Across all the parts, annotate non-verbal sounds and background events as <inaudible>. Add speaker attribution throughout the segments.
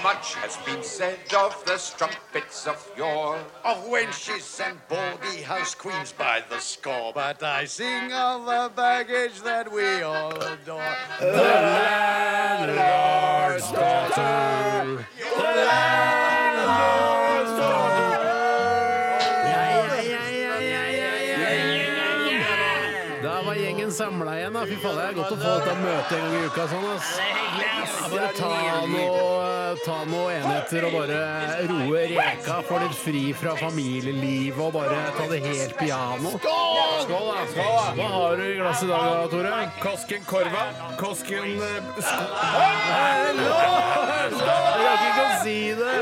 Speaker 1: Much has been said of the strumpets of yore, of wenches and baldy house queens by the score. But I sing of the baggage that we all adore. The landlord's daughter. The landlord's
Speaker 2: Da var gjengen samla igjen. da Fy faen, Det er godt å få dette møtet en gang i uka. sånn ass. Ja, Bare ta noen ta noe enheter og bare roe reka. Få litt fri fra familielivet og bare ta det helt piano. Skål, da! Hva har du i glasset i dag, da, Tore? Kosken korva. Kosken eh, Jeg rakk ikke å si det!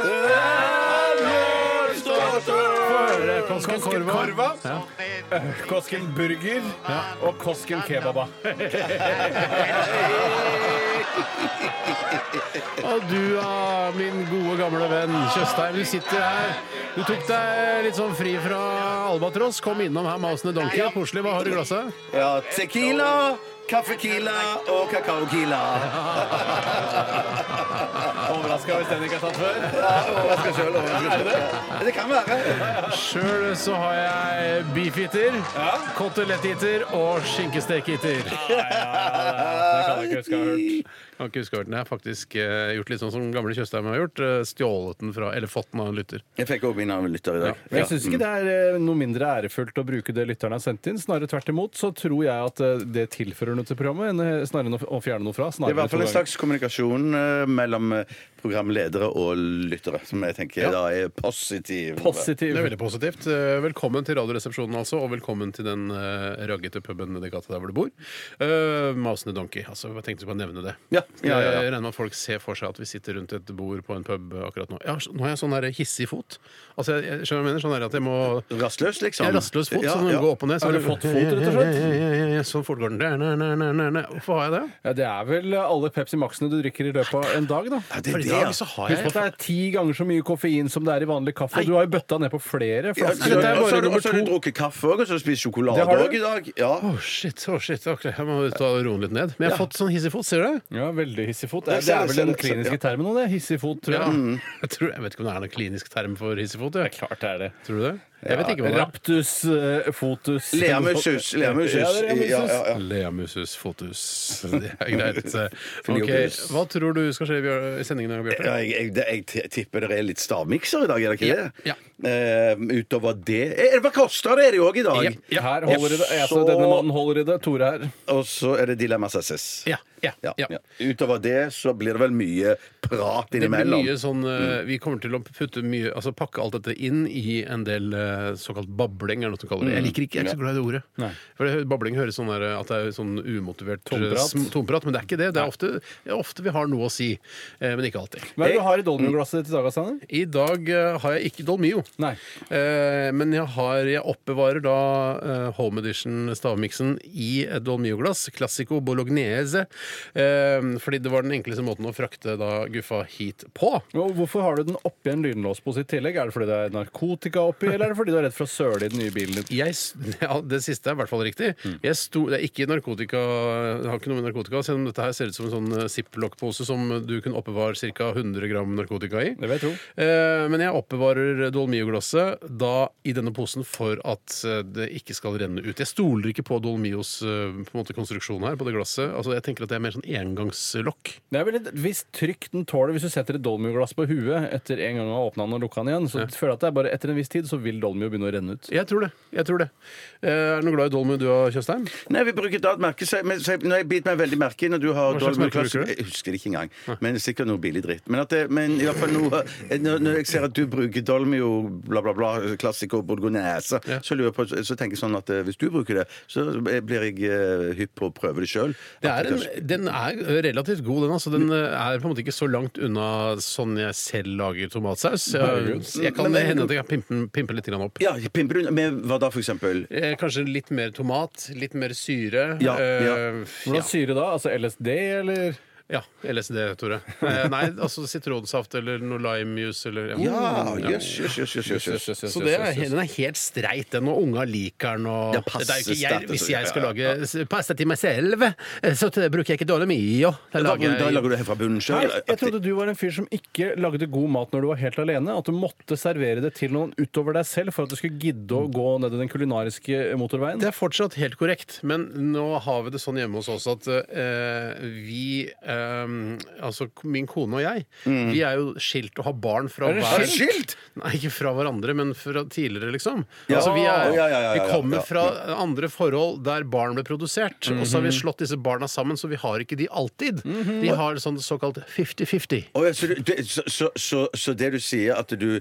Speaker 2: Få høre det. Kosken korva. Ja.
Speaker 3: Kosken burger og Kosken kebaba.
Speaker 2: Og du, ah, min gode gamle venn Tjøstheim, du sitter her. Du tok deg litt sånn fri fra Albatross. Kom innom her med House of Donkey. Koselig. Hva har du i glasset?
Speaker 4: Ja, tequila, kaffekila og kakaokila.
Speaker 3: Overraska hvis den ikke er tatt før.
Speaker 4: Ja, overraska sjøl. Det kan være.
Speaker 2: Sjøl så har jeg beefeater, kotelettiter og skinkestekiter.
Speaker 3: Det kan jeg ikke huske å ha hørt.
Speaker 2: Kan ikke huske hva den er. Jeg har faktisk eh, gjort litt sånn som gamle Tjøstheim har gjort. eh, Stjålet den fra Eller fått den av en lytter.
Speaker 4: Jeg fikk òg min av en lytter i dag.
Speaker 3: Men jeg syns ikke det er eh, noe mindre ærefullt å bruke det lytterne har sendt inn. Snarere tvert imot så tror jeg at eh, det tilfører noe til programmet, enn, eh, snarere enn å f- å fjerne noe fra.
Speaker 4: Det er i
Speaker 3: Snarere
Speaker 4: hvert fall en
Speaker 3: to ganger.
Speaker 4: slags kommunikasjon eh, mellom eh, programledere og lyttere, som jeg tenker da er positiv.
Speaker 2: Det
Speaker 3: positiv.
Speaker 2: er veldig positivt. Eh, Velkommen til Radioresepsjonen, altså, og velkommen til den eh, raggete puben nedi gata der hvor du bor. Eh, Masende Donkey. altså, Jeg tenkte bare å nevne det.
Speaker 4: Ja, ja, ja, ja.
Speaker 2: Jeg regner med at folk ser for seg at vi sitter rundt et bord på en pub akkurat nå. Ja, nå har jeg sånn der hissig fot. Altså, jeg, jeg skjønner hva jeg mener? Sånn der at jeg må
Speaker 4: Rastløs, liksom.
Speaker 2: jeg er rastløs fot, så den går opp og ned. Så
Speaker 3: Har du fått fot, rett og slett?
Speaker 2: <laughs> Ja, ja, ja, ja, Sånn fort går den. Der, nei, nei, nei, nei, nei. Hvorfor har jeg det?
Speaker 3: Ja, det er vel alle Pepsi Max-ene du drikker i løpet av en dag, da.
Speaker 4: Ja, det
Speaker 2: For
Speaker 4: er
Speaker 2: i
Speaker 4: det,
Speaker 2: dag
Speaker 4: ja.
Speaker 2: så har
Speaker 3: Husk
Speaker 2: jeg
Speaker 3: på at det er ti ganger så mye koffein som det er i vanlig kaffe. Og du har jo bøtta ned på flere
Speaker 4: Ja,
Speaker 3: flasker.
Speaker 4: så-
Speaker 2: dette er bare
Speaker 4: og så har du-
Speaker 2: nummer
Speaker 4: og så har du
Speaker 2: to.
Speaker 4: drukket kaffe òg, og så har du spist sjokolade
Speaker 3: Det har du.
Speaker 4: òg i dag. Ja.
Speaker 2: Å, shit. å shit, ok, Jeg må ta og roe den litt ned. Men jeg har fått sånn hissig fot, ser du det?
Speaker 3: Ja, veldig hissig fot. Det
Speaker 4: Jeg
Speaker 3: er,
Speaker 4: ser
Speaker 3: det er
Speaker 4: det,
Speaker 3: vel
Speaker 4: ser
Speaker 3: den
Speaker 4: det, ser det,
Speaker 3: kliniske termen nå, det. Hissig fot, tror
Speaker 2: Ja.
Speaker 3: jeg. Mm,
Speaker 4: Mm.
Speaker 2: <laughs> Jeg, tror, jeg vet ikke om det er noen klinisk term for hissefot. Ja.
Speaker 3: Klart det er det.
Speaker 2: Tror du det? Jeg vet ikke hva det er.
Speaker 3: Raptus eh, fotus
Speaker 4: Leamusus. Leamusus.
Speaker 3: Ja, det er leamusus.
Speaker 4: Ja, ja, ja.
Speaker 2: Leamusus fotus. Det er greit.
Speaker 4: <laughs>
Speaker 2: Ok,
Speaker 4: Filiopus.
Speaker 2: Hva tror du skal skje i Bjør- i sendingen i dag,
Speaker 4: Ja,
Speaker 2: Bjarte?
Speaker 4: jeg, jeg, det- jeg t- tipper det er litt stavmikser i dag, er det ikke det?
Speaker 2: Ja,
Speaker 4: Eh, utover det eh, Hva koster det er det jo òg i dag?
Speaker 2: Ja, ja.
Speaker 3: Her holder det. Altså,
Speaker 4: Så-
Speaker 3: Denne mannen holder i det. Tore her.
Speaker 4: Og så er det Dilemmas SS.
Speaker 2: Ja. ja,
Speaker 4: Ja.
Speaker 2: ja.
Speaker 4: Utover det så blir det vel mye prat
Speaker 2: Det blir
Speaker 4: innimellom. Mm.
Speaker 2: mye sånn, eh, Vi kommer til å putte mye, altså pakke alt dette inn i en del eh, såkalt babling. Er det noe som
Speaker 4: Mm.
Speaker 2: kaller det. Jeg liker ikke, jeg er ikke så glad i det ordet. For det, Babling høres sånn der, eh, at det er sånn umotivert eh,
Speaker 3: Tomprat.
Speaker 2: sm- tomprat, men det er ikke det. Det er ofte, det er ofte vi har noe å si, eh, men ikke alltid.
Speaker 3: Hva er det du har i dolmeglasset ditt i dag, Sander?
Speaker 2: I dag eh, har jeg ikke Dolmio.
Speaker 3: Nei.
Speaker 2: Eh, men jeg, har, jeg oppbevarer da eh, Home Edition stavmiksen i et Dolmio-glass. Classico bolognese. Eh, fordi det var den enkleste måten å frakte da guffa hit på.
Speaker 3: Og hvorfor har du den oppi en lynlås på sitt tillegg? Er det fordi det er narkotika oppi, eller er det fordi du er redd for å søle i den nye bilen din?
Speaker 2: Jeg, s- <laughs> ja, det siste er i hvert fall riktig.
Speaker 3: Mm.
Speaker 2: Jeg sto, det er ikke narkotika Det har ikke noe med narkotika Selv om dette her ser ut som en sånn eh, ziplock-pose som du kunne oppbevare ca. 100 gram narkotika i.
Speaker 3: Det vil jeg tro.
Speaker 2: Eh, Men jeg oppbevarer Dolmio-glasset da i denne posen for at eh, det ikke skal renne ut. Jeg stoler ikke på Dolmios eh, på en måte, konstruksjon her på det glasset. Altså, jeg tenker at det er mer sånn engangslokk.
Speaker 3: Det er vel et visst trykk den tåler. Hvis du setter et dolmioglass på huet etter en gang å åpna den og lukka den igjen, så føler jeg at det er bare etter en viss tid så vil dolmio begynne å renne ut.
Speaker 2: Jeg tror det. jeg tror det Eh, Er du noe glad i Dolmio du har, Tjøstheim?
Speaker 4: Nei, vi bruker da et merke så jeg, men, så jeg, Når jeg biter meg veldig merke i når du har
Speaker 2: Hva slags
Speaker 4: Dolmen
Speaker 2: merke bruker
Speaker 4: Classic-
Speaker 2: du?
Speaker 4: Jeg husker det ikke engang. Men sikkert noe billig dritt. Men, at det, men i hvert fall noe eh, når, når jeg ser at du bruker Dolmio, bla, bla, bla, klassiker Borgonese,
Speaker 2: Ja.
Speaker 4: så, lurer jeg på, så tenker jeg sånn at eh, hvis du bruker det, så blir jeg eh, hypp på å prøve det sjøl.
Speaker 2: Det er en, den er relativt god, den. altså. Den eh, er på en måte ikke så langt unna sånn jeg selv lager tomatsaus. Jeg, jeg kan
Speaker 4: Men-
Speaker 2: hende at jeg kan pimpe, den- pimpe litt grann pimper han opp.
Speaker 4: Ja, pimper du med hva da, for eksempel?
Speaker 2: Eh, kanskje litt mer tomat, litt mer syre.
Speaker 4: Ja,
Speaker 2: eh,
Speaker 3: Hvordan syre da? Altså LSD, eller?
Speaker 2: ja. ja LSD, <laughs> Tore. Eh, nei, altså sitronsaft eller noe limejus eller
Speaker 4: Ja,
Speaker 2: Mm.
Speaker 4: jøss, jøss, jøss, jøss, jøss, jøss.
Speaker 2: Så det er, den er helt streit, den, og unga liker den. Og,
Speaker 4: Ja, passe
Speaker 2: Det er jo ikke, jeg,
Speaker 4: sterkt,
Speaker 2: hvis
Speaker 4: altså.
Speaker 2: jeg skal
Speaker 4: Ja, ja,
Speaker 2: lage s- pasta til meg selv, eh, så t- bruker jeg ikke dårlig mye. Da
Speaker 4: Da,
Speaker 2: lager
Speaker 4: da
Speaker 2: jeg-
Speaker 4: lager du helt fra bunnen
Speaker 3: Nei,
Speaker 4: sjøl?
Speaker 3: jeg trodde du var en fyr som ikke lagde god mat når du var helt alene. At du måtte servere det til noen utover deg selv for at du skulle gidde å gå ned i den kulinariske motorveien.
Speaker 2: Det er fortsatt helt korrekt, men nå har vi det sånn hjemme hos oss at eh, vi eh, Altså min kone og jeg,
Speaker 4: Mm.
Speaker 2: vi er jo skilt og har barn fra
Speaker 3: Er dere
Speaker 2: hver
Speaker 3: skilt?
Speaker 2: Nei, ikke fra hverandre, men fra tidligere, liksom.
Speaker 4: Ja.
Speaker 2: Altså, vi,
Speaker 4: Å,
Speaker 2: er,
Speaker 4: ja, ja, ja, ja,
Speaker 2: vi kommer
Speaker 4: ja.
Speaker 2: fra andre forhold der barn ble produsert, og så har vi
Speaker 4: Mhm.
Speaker 2: slått disse barna sammen, så vi har ikke de alltid. Vi har sånn såkalt 50-50.
Speaker 4: Å ja, så, du, det- så, så, så, så det du sier, at du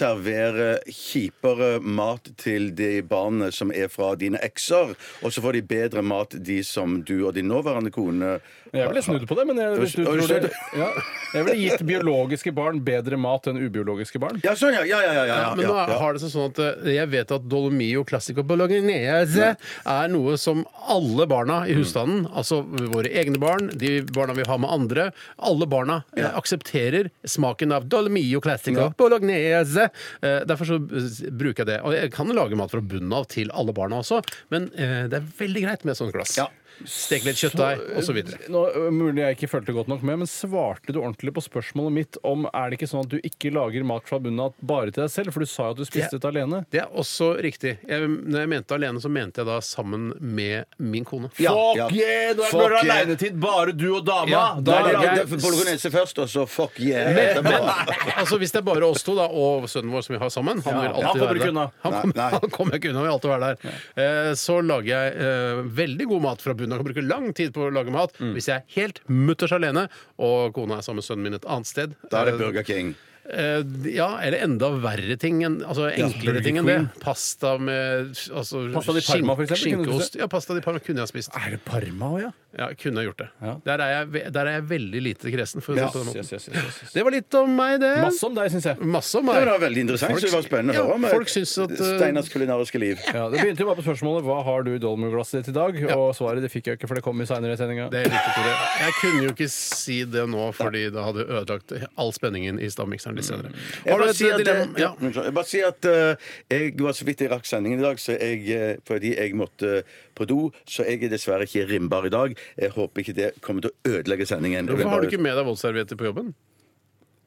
Speaker 4: serverer kjipere mat til de barna som er fra dine ekser, og så får de bedre mat, de som du og din nåværende kone
Speaker 3: Jeg ville snudd på det, men jeg, hvis du
Speaker 4: Oi,
Speaker 3: tror
Speaker 4: snudd.
Speaker 3: det, ja, jeg ville gitt biologiske barn bedre mat enn ubiologiske barn.
Speaker 4: Ja, sånn, ja! Ja, ja, ja. ja,
Speaker 2: Ja,
Speaker 4: ja,
Speaker 2: men nå er,
Speaker 4: ja.
Speaker 2: har det seg sånn at eh, jeg vet at Dolomio Classico Bolognese er noe som alle barna
Speaker 4: Mm.
Speaker 2: i husstanden, altså våre egne barn, de barna vi har med andre, alle barna eh, aksepterer smaken av Dolomio Classico Bolognese. Eh, derfor så eh, bruker jeg det. Og jeg kan lage mat fra bunnen av til alle barna også, men eh, det er veldig greit med et sånt glass.
Speaker 4: Ja.
Speaker 2: Stek litt kjøttdeig, osv.
Speaker 3: Nå, øh, mulig jeg ikke fulgte godt nok med, men svarte du ordentlig på spørsmålet mitt om er det ikke sånn at du ikke lager mat fra bunnen av bare til deg selv? For du sa jo at du spiste
Speaker 2: Det-
Speaker 3: det alene.
Speaker 2: Det er også riktig. Jeg, når jeg mente alene, så mente jeg da sammen med min kone.
Speaker 4: Ja, ja. Fuck yeah.
Speaker 3: Bare du og dama!
Speaker 2: Ja,
Speaker 4: Da
Speaker 3: da
Speaker 4: er
Speaker 3: er
Speaker 4: det
Speaker 3: det greit.
Speaker 4: det- bolognese først, og så fuck yeah.
Speaker 2: Men,
Speaker 4: etterpå.
Speaker 2: men altså, hvis det er bare oss to da, og sønnen vår som vi har sammen Han, vil
Speaker 3: Ja, han
Speaker 2: alltid
Speaker 3: kommer
Speaker 2: være
Speaker 3: ikke
Speaker 2: der.
Speaker 3: unna.
Speaker 2: Han
Speaker 4: Nei,
Speaker 2: kommer,
Speaker 4: nei.
Speaker 2: han kommer ikke unna. Vil alltid være der. Eh, så lager jeg eh, veldig god mat fra bunnen. Jeg kan bruke lang tid på å lage mat.
Speaker 3: Mm.
Speaker 2: Hvis jeg er helt mutters alene, og kona er sammen med sønnen min et annet sted
Speaker 4: Da er det
Speaker 2: eh,
Speaker 4: Burger King.
Speaker 2: Eh, ja, eller enda verre ting enn Altså enklere
Speaker 3: Burger
Speaker 2: ting enn det.
Speaker 3: Queen.
Speaker 2: Pasta med altså,
Speaker 3: Pasta di Parma, for eksempel, kunne du spist
Speaker 2: Skinkeost. Ja, pasta di Parma kunne jeg spist.
Speaker 3: Er det Parma òg, ja?
Speaker 2: Ja, kunne jeg gjort det.
Speaker 3: Ja.
Speaker 2: Der, er jeg, ve- der er jeg veldig lite kresen. For å si det på den måten.
Speaker 3: Yes, yes, yes, yes, yes.
Speaker 2: Det var litt om meg, det.
Speaker 3: Masse om deg, syns jeg.
Speaker 2: Masse om
Speaker 4: Det
Speaker 2: meg.
Speaker 4: var veldig interessant.
Speaker 2: Folk-
Speaker 4: så det var spennende å
Speaker 2: ja,
Speaker 4: høre om
Speaker 2: folk syns at, eh,
Speaker 4: Steinars kulinariske liv.
Speaker 3: Ja, det begynte jo bare på spørsmålet 'Hva har du i dolmoglasset ditt i dag?' Og svaret det fikk jeg ikke, for det kom i seinere i sendinga.
Speaker 2: Det er riktig, Tore. Jeg kunne jo ikke si det nå, fordi det hadde ødelagt all spenningen i stavmikseren litt senere.
Speaker 4: Mm. Jeg
Speaker 2: Har du
Speaker 4: bare
Speaker 2: et eh,
Speaker 4: sier at,
Speaker 2: dilemma?
Speaker 4: ja.
Speaker 2: Ja.
Speaker 4: unnskyld. jeg, bare sier at eh, jeg var så vidt jeg rakk sendingen i dag, så jeg, eh, fordi jeg måtte på do. Så jeg er dessverre ikke rimbar i dag. Jeg håper ikke det kommer til å ødelegge sendingen.
Speaker 2: Hvorfor har du ikke med deg våtservietter på jobben?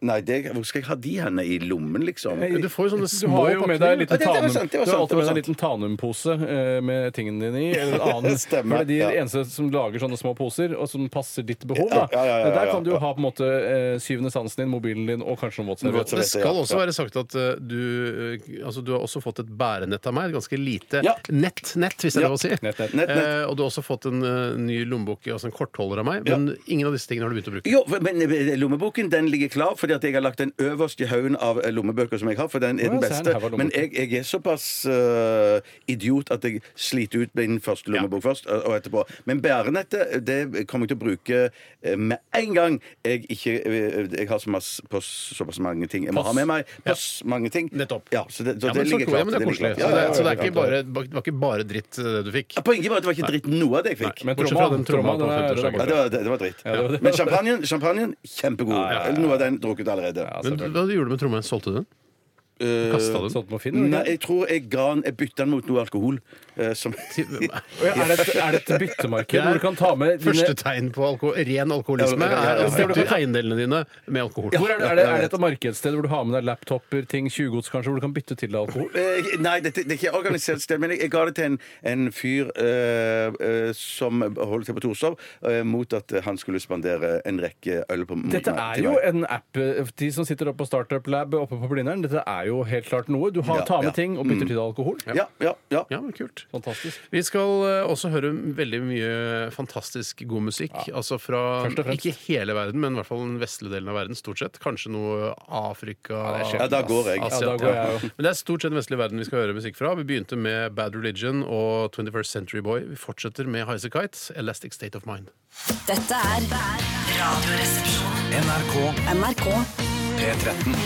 Speaker 4: Nei, det, Hvor skal jeg ha de henne? I lommen, liksom?
Speaker 2: Du får jo sånne
Speaker 3: Du
Speaker 2: små
Speaker 3: har jo med deg
Speaker 4: Ja,
Speaker 2: pakninger.
Speaker 3: en liten
Speaker 4: det- det var
Speaker 3: tanum.
Speaker 4: sant,
Speaker 3: Du
Speaker 4: det var
Speaker 3: har
Speaker 4: sant, det
Speaker 3: alltid
Speaker 4: var
Speaker 3: med deg en
Speaker 4: sant.
Speaker 3: liten tanumpose eh, med tingene dine i.
Speaker 4: <laughs>
Speaker 3: Eller en annen.
Speaker 4: Stemmer,
Speaker 3: For det er de
Speaker 4: ja.
Speaker 3: eneste som lager sånne små poser, og som passer ditt behov.
Speaker 4: Ja,
Speaker 3: Da.
Speaker 4: ja, ja, ja, ja,
Speaker 3: Der
Speaker 4: ja.
Speaker 3: kan du jo ha på en måte eh, syvende sansen din, mobilen din og kanskje en våtserviett.
Speaker 2: Det skal
Speaker 4: Ja, ja.
Speaker 2: også være sagt at eh, du eh, Altså, du har også fått et bærenett av meg. Et ganske lite
Speaker 4: Ja.
Speaker 2: nett, nett, hvis det er lov å si.
Speaker 3: Nett, nett.
Speaker 4: Nett, nett.
Speaker 2: Eh, og du har også fått en eh, ny lommebok, altså en kortholder av meg.
Speaker 4: Ja.
Speaker 2: Men ingen av disse tingene har du begynt å bruke.
Speaker 4: Jo, men eh, lommeboken den ligger klar, fordi at jeg har lagt den øverst i haugen av eh, lommebøker som jeg har, for den er
Speaker 3: Å,
Speaker 4: den
Speaker 3: ja, så er den
Speaker 4: beste.
Speaker 3: her var
Speaker 4: Men jeg, jeg er såpass øh, idiot at jeg sliter ut min første lommebok først, eh, og og etterpå. Men bærenettet det kommer jeg til å bruke øh, med en gang jeg ikke øh, Jeg har så masse, på såpass mange ting jeg må ha med meg. Pass mange ting.
Speaker 2: Nettopp.
Speaker 4: Ja, så det, så
Speaker 2: Ja,
Speaker 4: det
Speaker 2: men så-
Speaker 4: ligger
Speaker 2: ja,
Speaker 4: klart.
Speaker 2: men det er
Speaker 4: ligger
Speaker 2: koselig.
Speaker 4: klart.
Speaker 2: Så
Speaker 4: Ja, ja,
Speaker 2: det
Speaker 4: ja,
Speaker 2: så det er
Speaker 4: ja,
Speaker 2: ikke
Speaker 4: ja.
Speaker 2: bare, det var ikke bare dritt eh, du fikk?
Speaker 4: Poenget var at det var ikke dritt noe av det jeg fikk.
Speaker 3: Men
Speaker 2: Bortsett fra
Speaker 3: tromma,
Speaker 2: den
Speaker 3: tromma,
Speaker 2: tromma
Speaker 3: den
Speaker 2: på
Speaker 3: er- den er
Speaker 2: 50-årsdagen.
Speaker 4: Ja, det var, det, det var dritt.
Speaker 3: det var det.
Speaker 4: Men champagnen, champagnen kjempegod. Noe av den drukket allerede.
Speaker 2: Men hva du gjorde du med trommen? Solgte du den? Kasta du den?
Speaker 3: Sånn på Finn,
Speaker 4: Nei,
Speaker 3: eller?
Speaker 4: jeg tror jeg ga den Jeg bytta den mot noe alkohol. eh,
Speaker 3: <laughs>
Speaker 4: som
Speaker 3: Å ja, er, det et, er det et byttemarked hvor du kan ta med dine
Speaker 2: Første tegn på alko ren alkoholisme
Speaker 4: Ja, ja, ja,
Speaker 2: er
Speaker 4: ja.
Speaker 2: at du bytter eiendelene dine med alkohol.
Speaker 3: hvor er, det, er, det, er det et markedssted hvor du har med deg laptoper, ting, tjuvgods kanskje, hvor du kan bytte til deg alkohol?
Speaker 4: Eh, Nei, det, det er ikke organisert sted, men jeg, jeg ga det til en, en fyr eh, eh, som holder til på Torshov, eh, mot at han skulle spandere en rekke øl på mot
Speaker 3: Dette
Speaker 4: meg-
Speaker 3: er
Speaker 4: til
Speaker 3: jo
Speaker 4: meg.
Speaker 3: en app. eh, De som sitter oppe på Startup Lab oppe på Blindern, dette er jo helt klart noe. Du har,
Speaker 4: Ja,
Speaker 3: tar med
Speaker 4: ja. Mm.
Speaker 3: ting og bytter til deg alkohol.
Speaker 4: Ja, ja, ja.
Speaker 2: Ja, men kult.
Speaker 3: Fantastisk.
Speaker 2: Vi skal eh, også høre veldig mye fantastisk god musikk. Altså fra
Speaker 3: Først og fremst.
Speaker 2: ikke hele verden, men i hvert fall den vestlige delen av verden. Stort sett. Kanskje noe Afrika
Speaker 4: Ja, da går jeg.
Speaker 2: Asia.
Speaker 3: Ja, da går jeg jo.
Speaker 2: Men det er stort sett den vestlige verden vi skal høre musikk fra. Vi begynte med Bad Religion og 21st Century Boy. Vi fortsetter med Highasakite, Elastic State of Mind.
Speaker 5: Dette er Radioresepsjonen. NRK. NRK.
Speaker 6: P13.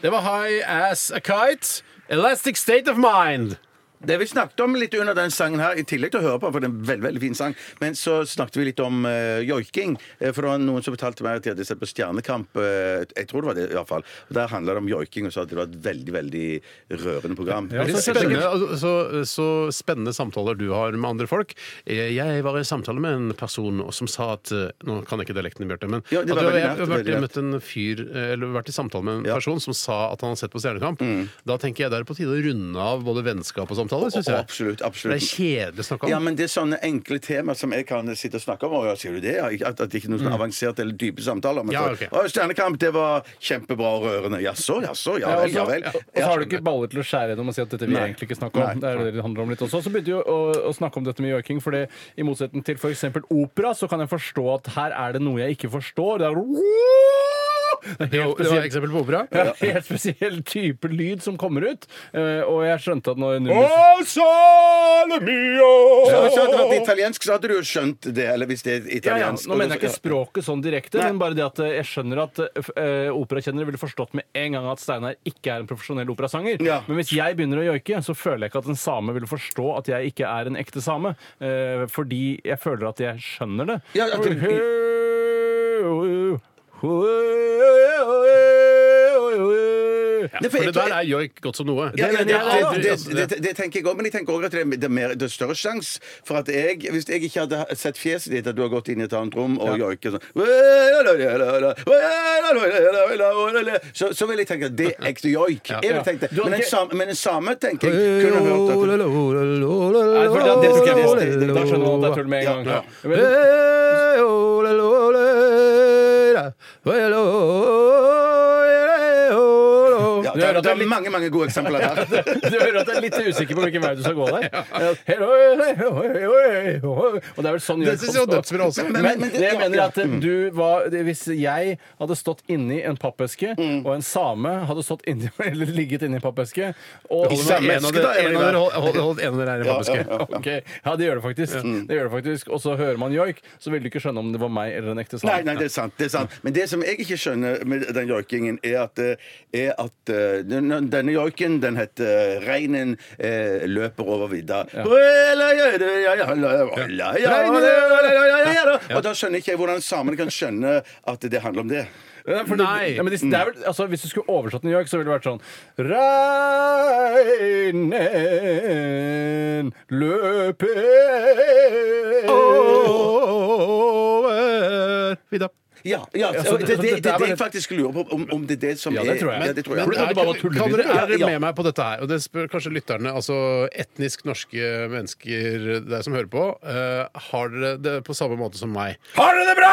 Speaker 2: Det var High As A Kite Elastic State of Mind.
Speaker 4: Det vi snakket om litt under den sangen her, i tillegg til å høre på, for det er en veldig, veldig fin sang, men så snakket vi litt om eh, joiking. Eh, For det var noen som fortalte meg at de hadde sett på Stjernekamp, eh, jeg tror det var det i hvert fall. Og Der handla det om joiking, og så hadde det vært et veldig, veldig rørende program.
Speaker 2: Ja, så, spennende, så, så spennende samtaler du har med andre folk. Eh, Jeg var i samtale med en person som sa at eh, Nå kan jeg ikke dialekten, Bjarte, men
Speaker 4: Ja, det var
Speaker 2: at
Speaker 4: veldig
Speaker 2: jeg
Speaker 4: nært,
Speaker 2: har vært,
Speaker 4: veldig nært.
Speaker 2: møtt en fyr, eh, eller vært i samtale med en
Speaker 4: Ja.
Speaker 2: person som sa at han har sett på Stjernekamp. Da tenker jeg det er på tide å runde av både vennskap og samtaler, syns jeg.
Speaker 4: Absolutt,
Speaker 2: For Det
Speaker 4: absolutt.
Speaker 2: er kjedelig å snakke om.
Speaker 4: Ja, men det er sånne enkle tema som jeg kan sitte og snakke om. Og ja, sier du det? Ja, ikke- at, at det ikke er noe sånn avansert eller dype samtaler. Men
Speaker 2: Mm. Ja,
Speaker 4: så-
Speaker 2: ok.
Speaker 4: «Å, Stjernekamp, det var kjempebra og rørende. Jaså, jaså, ja vel, ja vel.
Speaker 2: Ja, og så-
Speaker 3: Og så har du ikke baller til å skjære gjennom og si at dette vil jeg
Speaker 4: Nei.
Speaker 3: egentlig ikke snakke om.
Speaker 4: Nei.
Speaker 3: Det er jo det det handler om litt også. Så begynte vi å, å, å snakke om dette med joiking, for det- i motsetning til f.eks. opera, så kan jeg forstå at her er det noe jeg ikke forstår. Det er, det er
Speaker 2: Jo, det var et
Speaker 3: helt spesielt.
Speaker 2: eksempel på opera.
Speaker 3: Ja, <laughs> helt spesiell type lyd som kommer ut. Eh, og jeg skjønte at når
Speaker 4: Så hvis det hadde vært italiensk, så hadde du jo skjønt det. Eller hvis det er
Speaker 3: ja, ja,
Speaker 4: italiensk.
Speaker 3: Nå mener jeg ikke språket sånn direkte,
Speaker 4: Nei.
Speaker 3: men bare det at eh, jeg skjønner at uh, operakjennere ville forstått med en gang at Steinar ikke er en profesjonell operasanger.
Speaker 4: Ja.
Speaker 3: Men hvis jeg begynner å joike, så føler jeg ikke at en same ville forstå at jeg ikke er en ekte same. eh, fordi jeg føler at jeg skjønner det.
Speaker 4: Ja, at det-
Speaker 2: Ja, for det der er joik godt som noe.
Speaker 4: Ja, ja, det,
Speaker 3: mener jeg da.
Speaker 4: det, det, det, det, det tenker jeg òg, men jeg tenker også at det er, det, er mer, det er større sjanse for at jeg Hvis jeg ikke hadde sett fjeset ditt, at du har gått inn i et annet rom og joiket sånn så, så vil jeg tenke at det er ekte joik. Jeg vil tenke, det. men, en same, men en same, tenker jeg, kunne hørt at det,
Speaker 3: Nei, for da- det- det- det- det- Da skjønner man at det er tull med
Speaker 4: Ja,
Speaker 3: en
Speaker 4: ja.
Speaker 3: gang. Men-
Speaker 4: ja,
Speaker 3: det
Speaker 4: det,
Speaker 3: er-
Speaker 4: er- det er mange, mange gode eksempler
Speaker 3: <laughs>
Speaker 4: der.
Speaker 3: Du hører at jeg er litt usikker på hvilken vei du skal gå der. Og det er vel sånn
Speaker 2: Det synes jeg var dødsbra også.
Speaker 3: Men, men, men det jeg mener er at eh, du var det- Hvis jeg hadde stått inni en pappeske, og en same hadde stått inni, <laughs> eller ligget inni en pappeske og
Speaker 4: Ikke samme
Speaker 2: En av
Speaker 4: eske, da,
Speaker 2: dere-
Speaker 4: eller?
Speaker 2: en av dere hold- hold- holdt en av dere her i
Speaker 4: Ja, ja,
Speaker 2: pappeske.
Speaker 4: ja.
Speaker 3: Ok, Ja, det gjør det faktisk. Det gjør det faktisk. Og så hører man joik, så vil du ikke skjønne om det var meg eller en ekte
Speaker 4: Nei,
Speaker 3: same.
Speaker 4: nei, det er sant. det er sant Men det som jeg ikke skjønner med den joikingen, er at, eh, er at eh, den- denne joiken, den heter 'Reinen eh, løper over vidda'. Og da skjønner ikke jeg hvordan samene kan skjønne at det handler om det.
Speaker 3: Ja, for
Speaker 2: Nei.
Speaker 3: Det, ja, men det, det er vel, altså, hvis du skulle oversatt New York, så ville det vært sånn Regnen løper
Speaker 2: Over vidda.
Speaker 4: Ja, ja
Speaker 3: Ja, så
Speaker 4: og det, det, det,
Speaker 3: det- det
Speaker 4: det
Speaker 3: er
Speaker 4: er
Speaker 3: vel-
Speaker 4: jeg faktisk lurer på, om, om det er det som
Speaker 3: Ja,
Speaker 4: er
Speaker 3: det tror jeg.
Speaker 4: Ja, det tror
Speaker 3: Men-
Speaker 4: jeg.
Speaker 3: men- det bare var
Speaker 2: kan dere
Speaker 3: tullevideoer?
Speaker 2: er dere
Speaker 4: Ja, ja.
Speaker 2: med meg på dette her? Og det spør kanskje lytterne, altså etnisk norske mennesker der som hører på, eh, har dere det på samme måte som meg?
Speaker 4: Har dere det bra?!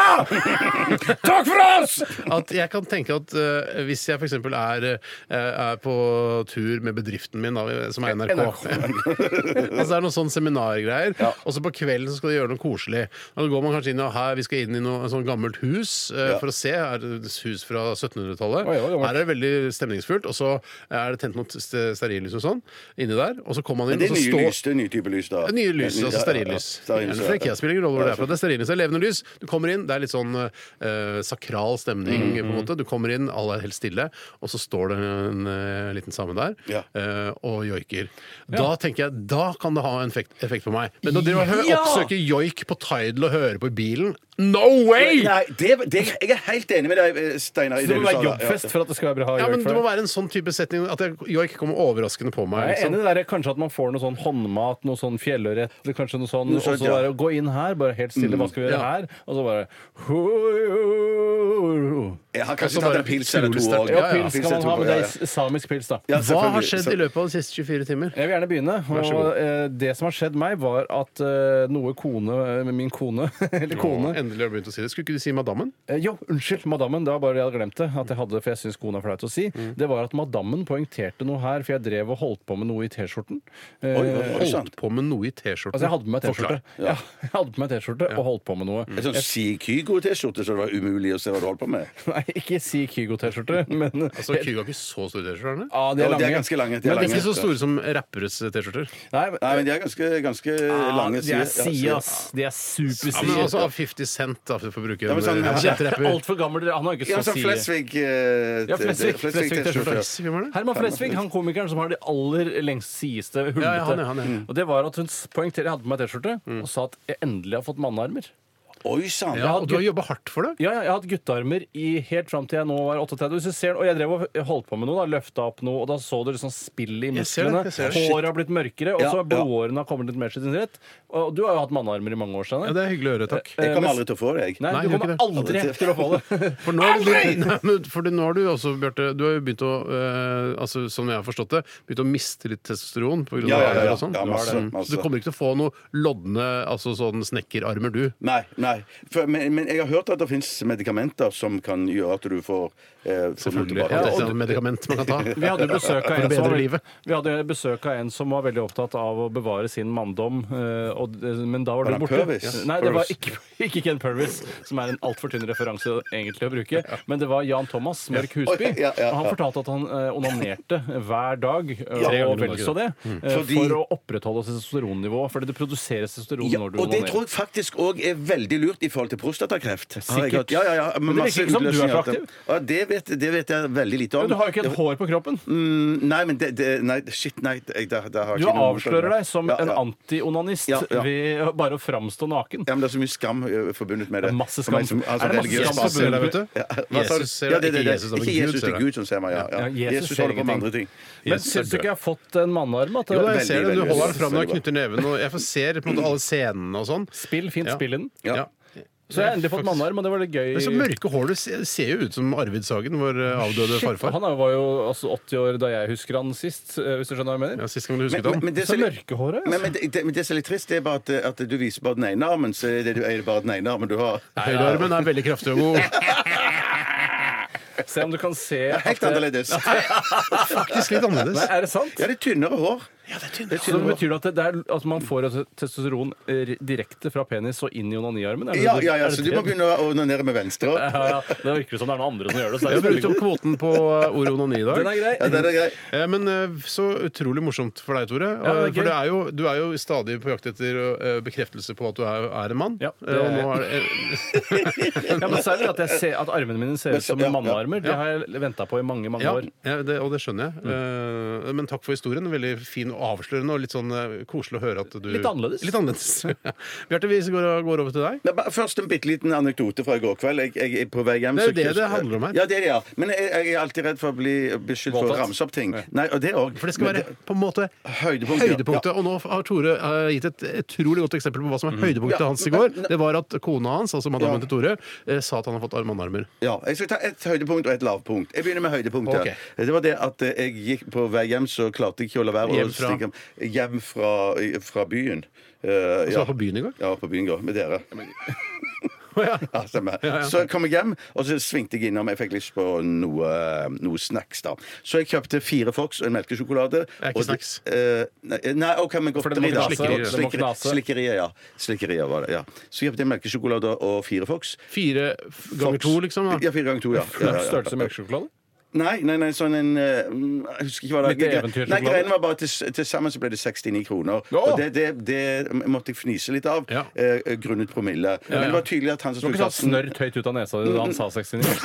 Speaker 4: Takk for oss!
Speaker 2: At jeg kan tenke at eh, hvis jeg f.eks. Er, eh, er på tur med bedriften min, da, som er NRK, <laughs> altså Det er noen sånne seminargreier, og så på kvelden så skal de gjøre noe koselig. Og Da går man kanskje inn og her, vi skal inn i noe sånn gammelt hus eh, for å se. Her er det et hus fra 1700-tallet.
Speaker 3: Oi, oi, oi.
Speaker 2: Her er det veldig stemningsfullt. Og så er det tent noe st- stearinlys og sånn inni der, og så kommer man
Speaker 4: Det er
Speaker 2: inn, og så
Speaker 4: nye
Speaker 2: står
Speaker 4: lys. Det er nye typer lys, da.
Speaker 2: Nye lys, altså stearinlys.
Speaker 4: Ja, ja, ja.
Speaker 2: Gjerne
Speaker 4: Stearinlys,
Speaker 2: fra IKEA
Speaker 4: ja.
Speaker 2: spiller ingen rolle hvor det er fra. Det er stearinlys, det er levende lys. Du kommer inn, det er litt sånn eh, sakral
Speaker 4: Mm,
Speaker 2: stemning, på en måte. Du kommer inn, alle er helt stille, og så står det en eh, liten same der
Speaker 4: Ja.
Speaker 2: eh, og joiker. Da tenker jeg, da kan det ha en effekt, effekt på meg. Men å drive og hø-
Speaker 3: Ja!
Speaker 2: oppsøke joik på Tidal og høre på i bilen No way!
Speaker 4: Nei, det, det, jeg er helt enig med deg, eh, Steinar. i
Speaker 3: Så det må
Speaker 4: du sa
Speaker 3: være
Speaker 4: da. Ja.
Speaker 3: jobbfest for at det skal være bra
Speaker 2: Ja, men
Speaker 3: joik
Speaker 2: Det må
Speaker 3: for deg.
Speaker 2: være en sånn type setting at jeg, joik kommer overraskende på meg.
Speaker 3: Jeg er
Speaker 2: liksom.
Speaker 3: enig i det der, kanskje at man får noe sånn håndmat, noe sånn fjellørret, eller kanskje noe sånn,
Speaker 4: Noe
Speaker 3: og
Speaker 4: sånt,
Speaker 3: så
Speaker 4: ja.
Speaker 3: bare gå inn her, bare helt stille, hva skal vi gjøre
Speaker 2: Mm, Ja.
Speaker 3: her? Og så bare
Speaker 4: Jeg har
Speaker 2: Også
Speaker 4: kanskje tatt
Speaker 2: bare
Speaker 4: en pils eller to
Speaker 2: utrolig sterkt.
Speaker 4: òg.
Speaker 3: Ja,
Speaker 2: Ja, ja.
Speaker 3: pils skal man ha, men det er samisk pils, da.
Speaker 2: Hva har skjedd i løpet av de siste 24 timer?
Speaker 3: Jeg vil gjerne begynne.
Speaker 2: så
Speaker 3: Og
Speaker 2: god.
Speaker 3: eh, det som har skjedd meg, var at eh, noe kone eh, Min kone <laughs> Eller kone
Speaker 2: Å, endelig har du begynt å si det. Skulle ikke du si madammen?
Speaker 3: eh, Jo, unnskyld, madammen. Det var bare jeg hadde glemt det. At jeg hadde, For jeg syns kona er flaut å si. Det var at madammen poengterte noe her, for jeg drev og holdt på med noe i T-skjorten. Eh,
Speaker 2: Holdt på med noe i T-skjorten.
Speaker 3: Altså, jeg hadde på meg T-skjorte
Speaker 2: Forklar.
Speaker 3: ja. <laughs> Jeg hadde på meg T-skjorte og holdt på med noe.
Speaker 4: En sånn Kygo-T-skjorte, så det var umulig å se hva du holdt på med.
Speaker 3: <laughs> Nei, ikke si Kygo-T-skjorte, <laughs> men eh,
Speaker 2: Altså, Kygo har ikke så store T-skjorter?
Speaker 3: ja, de
Speaker 4: Ja,
Speaker 3: er
Speaker 4: de
Speaker 3: lange.
Speaker 4: er ganske lange. De er
Speaker 2: Men det er
Speaker 4: lange.
Speaker 2: ikke så store som rapperes T-skjorter.
Speaker 3: Nei,
Speaker 4: Nei, men de er ganske, ganske
Speaker 3: ah,
Speaker 4: lange.
Speaker 3: de er
Speaker 4: sier- ja, sier-
Speaker 3: si, ass. De er
Speaker 2: Ja, men
Speaker 3: supersi.
Speaker 2: altså, av 50 produsent, da, for å bruke
Speaker 4: Ja,
Speaker 2: en
Speaker 4: men sånn-
Speaker 2: eh, kjent rapper.
Speaker 3: Altfor gammel. Han har ikke
Speaker 4: Ja,
Speaker 3: så
Speaker 4: sånn
Speaker 3: tidlig.
Speaker 4: Flesvig eh,
Speaker 3: Ja, Flesvig.
Speaker 4: t-
Speaker 3: Flesvig
Speaker 4: T-skjorte.
Speaker 2: Flesvig, hvem er det?
Speaker 3: Herman Flesvig, han komikeren som har de aller lengst sideste hullete.
Speaker 2: Ja, ja, han er, han er. Mm.
Speaker 3: Og det var at hun poengterte jeg hadde på meg T-skjorte, og sa at jeg endelig har fått mannearmer.
Speaker 4: Oi sann!
Speaker 2: Ja, og du har jobba hardt for det.
Speaker 3: Ja, ja, jeg har hatt guttearmer i helt fram til jeg nå var 38. Hvis du ser, og jeg drev og holdt på med noe, da, løfta opp noe, og da så du liksom spillet i
Speaker 2: Jeg ser
Speaker 3: musklene.
Speaker 2: det, jeg ser det.
Speaker 3: Håret har blitt mørkere, og
Speaker 4: Ja,
Speaker 3: så har
Speaker 4: ja.
Speaker 3: blodårene har kommet litt mer til sin rett. Og du har jo hatt mannearmer i mange
Speaker 2: Ja,
Speaker 3: år, Steinar.
Speaker 2: Det er hyggelig å høre, takk.
Speaker 3: Eh,
Speaker 4: Jeg kommer aldri til å få det, jeg.
Speaker 3: Nei,
Speaker 2: Nei,
Speaker 3: du
Speaker 2: gjør
Speaker 3: kommer
Speaker 2: ikke
Speaker 3: aldri <laughs> til å få det.
Speaker 2: For nå, har du begynt- <laughs> Nei, men for nå har du også, Bjarte, du har jo begynt å eh, altså, Som jeg har forstått det, begynt å miste litt testosteron pga.
Speaker 4: Ja, ja, ja,
Speaker 2: alder
Speaker 4: ja.
Speaker 2: og sånn.
Speaker 4: Ja,
Speaker 2: Du har
Speaker 4: masse,
Speaker 2: det.
Speaker 4: masse.
Speaker 2: Så du kommer ikke til å få noe lodne altså sånn snekkerarmer, du.
Speaker 4: Nei. nei. For, men, men jeg har hørt at det fins medikamenter som kan gjøre at du får eh, får noe
Speaker 2: Selvfølgelig.
Speaker 4: tilbake.
Speaker 2: Ja,
Speaker 3: og
Speaker 2: det er
Speaker 3: du-
Speaker 2: et medikament man kan
Speaker 3: <laughs>
Speaker 2: ta.
Speaker 3: Vi hadde besøk av
Speaker 2: For å
Speaker 3: en som,
Speaker 2: bedre livet.
Speaker 3: vi hadde besøk av en som var veldig opptatt av å bevare sin manndom, eh, og, men da
Speaker 4: Var
Speaker 3: var du
Speaker 4: han
Speaker 3: borte.
Speaker 4: Purvis?
Speaker 3: Nei, det var
Speaker 4: Purvis.
Speaker 3: ikke, <laughs> ikke Ken Purvis, som er en altfor tynn referanse egentlig å bruke, men det var Jan Thomas Mørk Husby.
Speaker 4: Oi, ja, ja,
Speaker 3: Og han
Speaker 4: ja.
Speaker 3: fortalte at han eh, onanerte hver dag, eh,
Speaker 2: Ja.
Speaker 3: og vel så det, eh,
Speaker 4: Mm. Fordi-
Speaker 3: for å opprettholde testosteronnivået, fordi det produseres testosteron
Speaker 4: Ja,
Speaker 3: når du
Speaker 4: og det tror
Speaker 3: onanerer.
Speaker 4: jeg faktisk òg er veldig lurt i forhold til prostatakreft. Har jeg
Speaker 3: Sikkert.
Speaker 4: hørt. Ja, ja, ja.
Speaker 3: Men det virker ikke som du er
Speaker 4: utløsninger.
Speaker 3: proaktiv.
Speaker 4: Ja, det, vet, det vet jeg veldig lite om.
Speaker 3: Men du har jo ikke et hår på kroppen.
Speaker 4: Mm, Nei, men det, det Nei, shit, nei. jeg- Da, da har jeg
Speaker 3: Du
Speaker 4: ikke noe-
Speaker 3: avslører deg som
Speaker 4: Ja,
Speaker 3: en
Speaker 4: ja.
Speaker 3: anti-onanist
Speaker 4: Ja, ja.
Speaker 3: ved bare å framstå naken.
Speaker 4: Ja, men Det er så mye skam ø, forbundet med det.
Speaker 3: Masse
Speaker 4: For meg
Speaker 3: skam.
Speaker 4: som- altså,
Speaker 3: Er det masse
Speaker 4: religiøs
Speaker 3: skam
Speaker 4: base.
Speaker 3: forbundet med det?
Speaker 4: Ja, hva sa du?
Speaker 2: Jesus ser
Speaker 4: ja, det,
Speaker 2: det,
Speaker 4: det,
Speaker 2: ikke
Speaker 4: det.
Speaker 2: Jesus, det er
Speaker 4: Ikke
Speaker 2: Gud
Speaker 4: Jesus,
Speaker 2: ser
Speaker 4: det
Speaker 2: det.
Speaker 4: er Gud som ser meg. Ja, ja.
Speaker 3: Ja, Jesus
Speaker 4: Jesus,
Speaker 3: ser
Speaker 4: holder på med
Speaker 3: ingenting.
Speaker 4: andre ting.
Speaker 3: Men
Speaker 2: Jesus er
Speaker 3: syns du
Speaker 2: død.
Speaker 3: ikke jeg har fått en mannearm? at det-
Speaker 2: Jo, da, jeg
Speaker 4: Veldig,
Speaker 2: ser det. Du
Speaker 4: veldig,
Speaker 2: holder den
Speaker 4: veldig
Speaker 2: fram når jeg
Speaker 4: bra.
Speaker 2: knytter neven, og jeg får ser på en måte alle scenene og sånn.
Speaker 3: Spill, fint
Speaker 2: Ja.
Speaker 3: spill i den.
Speaker 4: Ja.
Speaker 3: Så jeg har endelig fått
Speaker 2: Faktisk.
Speaker 3: mannearm, og det var litt gøy.
Speaker 2: Men så mørke hår du ser, ser jo ut som Arvid Sagen, vår eh, avdøde
Speaker 3: Shit,
Speaker 2: farfar.
Speaker 3: Han er- var jo altså 80 år da jeg husker han sist, eh, hvis du skjønner hva jeg mener.
Speaker 2: Ja, Sist gang du
Speaker 4: Men,
Speaker 2: husket
Speaker 4: men,
Speaker 2: han.
Speaker 4: men, det
Speaker 3: Så
Speaker 4: som er
Speaker 3: altså.
Speaker 4: litt-
Speaker 3: mørkehåret,
Speaker 4: men, men, det, det- men det som er litt trist, det er bare at, at du viser bare den ene armen, så er det, du- er det bare den ene armen du har.
Speaker 2: Høyrearmen er veldig kraftig og god.
Speaker 3: Se om du kan se
Speaker 4: Det er Helt
Speaker 3: at det-
Speaker 4: annerledes.
Speaker 2: Faktisk litt annerledes.
Speaker 3: Nei, er det sant?
Speaker 4: Ja, det er tynnere hår. Det er
Speaker 3: Så det
Speaker 4: tynnere hår.
Speaker 3: betyr det at, det det er, at man får altså testosteron eh, direkte fra penis og inn i onaniarmen? Er det-
Speaker 4: Ja, ja,
Speaker 3: er
Speaker 4: ja,
Speaker 3: det
Speaker 4: så du må
Speaker 3: trend?
Speaker 4: begynne å onanere med venstre hånd.
Speaker 3: <laughs> Ja, ja. Det virker jo som det er noen andre som gjør det. Så
Speaker 2: Jeg
Speaker 3: det er jo
Speaker 2: brukte opp
Speaker 3: veldig god.
Speaker 2: kvoten på eh, ordet onani i
Speaker 3: Den
Speaker 2: dag.
Speaker 3: er grei.
Speaker 4: Ja, den er grei.
Speaker 2: Eh, Men eh, så utrolig morsomt for deg, Tore.
Speaker 3: Ja, det er
Speaker 2: Eh, for
Speaker 3: gøy.
Speaker 2: det er jo, du er jo stadig på jakt etter eh, bekreftelse på at du er, er en mann.
Speaker 3: Ja,
Speaker 2: Eh, og
Speaker 3: det er-
Speaker 2: nå er det,
Speaker 3: Ja, men særlig at, jeg ser, at armene mine ser ut som
Speaker 4: Ja, ja.
Speaker 3: mannearmer. Det har jeg venta på i mange, mange
Speaker 2: ja,
Speaker 3: år.
Speaker 2: ja, det, og det skjønner jeg. Eh, Men takk for historien. Veldig fin og avslørende og litt sånn eh, koselig å høre at du
Speaker 3: Litt annerledes.
Speaker 2: Litt annerledes. <laughs> Ja. Bjarte, vi går, går over til deg.
Speaker 4: Nei, bare Først en bitte liten anekdote fra i går kveld. Jeg, jeg er på vei hjem
Speaker 2: Det er jo
Speaker 4: så-
Speaker 2: det det handler om her.
Speaker 4: Ja, det er det, ja. Men jeg, jeg er alltid redd for å bli beskyldt for å
Speaker 3: Voldtatt.
Speaker 4: ramse opp ting. Nei, og det òg.
Speaker 2: For det skal være på en måte
Speaker 4: Høydepunkt, ja.
Speaker 2: høydepunktet. Og nå har Tore eh, gitt et utrolig godt eksempel på hva som er høydepunktet
Speaker 4: Ja,
Speaker 2: hans i
Speaker 4: men-
Speaker 2: går. Det var at kona hans, altså madammen
Speaker 4: Ja.
Speaker 2: til Tore, eh, sa at han har fått armannarmer.
Speaker 4: Ja, Jeg skal ta et høydepunkt og et lavpunkt. Jeg begynner med høydepunktet.
Speaker 2: Ok.
Speaker 4: Det var det at eh, jeg gikk på vei hjem, så klarte jeg ikke å la være
Speaker 2: Hjem
Speaker 4: å
Speaker 2: fra?
Speaker 4: stikke hjem fra, fra byen. Eh,
Speaker 2: Så var Altså på byen i går.
Speaker 4: Ja, på byen i går. Med dere.
Speaker 2: Ja.
Speaker 4: Ja, stemmer. Så jeg kom jeg hjem, og så svingte jeg innom. Jeg fikk lyst på noe, noe snacks, da. Så jeg kjøpte fire Fox og en melkesjokolade.
Speaker 2: Er ikke
Speaker 4: og-
Speaker 2: snacks.
Speaker 4: eh, nei, nei, OK, men
Speaker 3: For det må
Speaker 4: godteri, da.
Speaker 3: knase,
Speaker 4: Slikkeri-
Speaker 3: det må
Speaker 4: slikkeri-
Speaker 3: knase.
Speaker 4: Slikkeriet, ja. Slikkeriet var det, ja. Så jeg kjøpte en melkesjokolade og fire Fox.
Speaker 2: Fire f- ganger
Speaker 4: Fox.
Speaker 2: to, liksom? Da.
Speaker 4: Ja, fire ganger to, ja. ja, ja, ja.
Speaker 3: <laughs> Størrelse melkesjokolade?
Speaker 4: Nei, nei, nei, sånn en eh, mm, Jeg husker ikke hva det
Speaker 3: Litt eventyrsjokolade?
Speaker 4: Nei, greiene var bare til, til sammen så ble det 69 kroner.
Speaker 3: Åh!
Speaker 4: Og det, det, det måtte jeg fnise litt av,
Speaker 2: Ja.
Speaker 4: eh, grunnet promille. Men det var tydelig at han som
Speaker 3: Du har
Speaker 4: sto i
Speaker 3: ikke tatt
Speaker 4: kassen
Speaker 3: snørrt høyt ut av nesa di da han sa 69?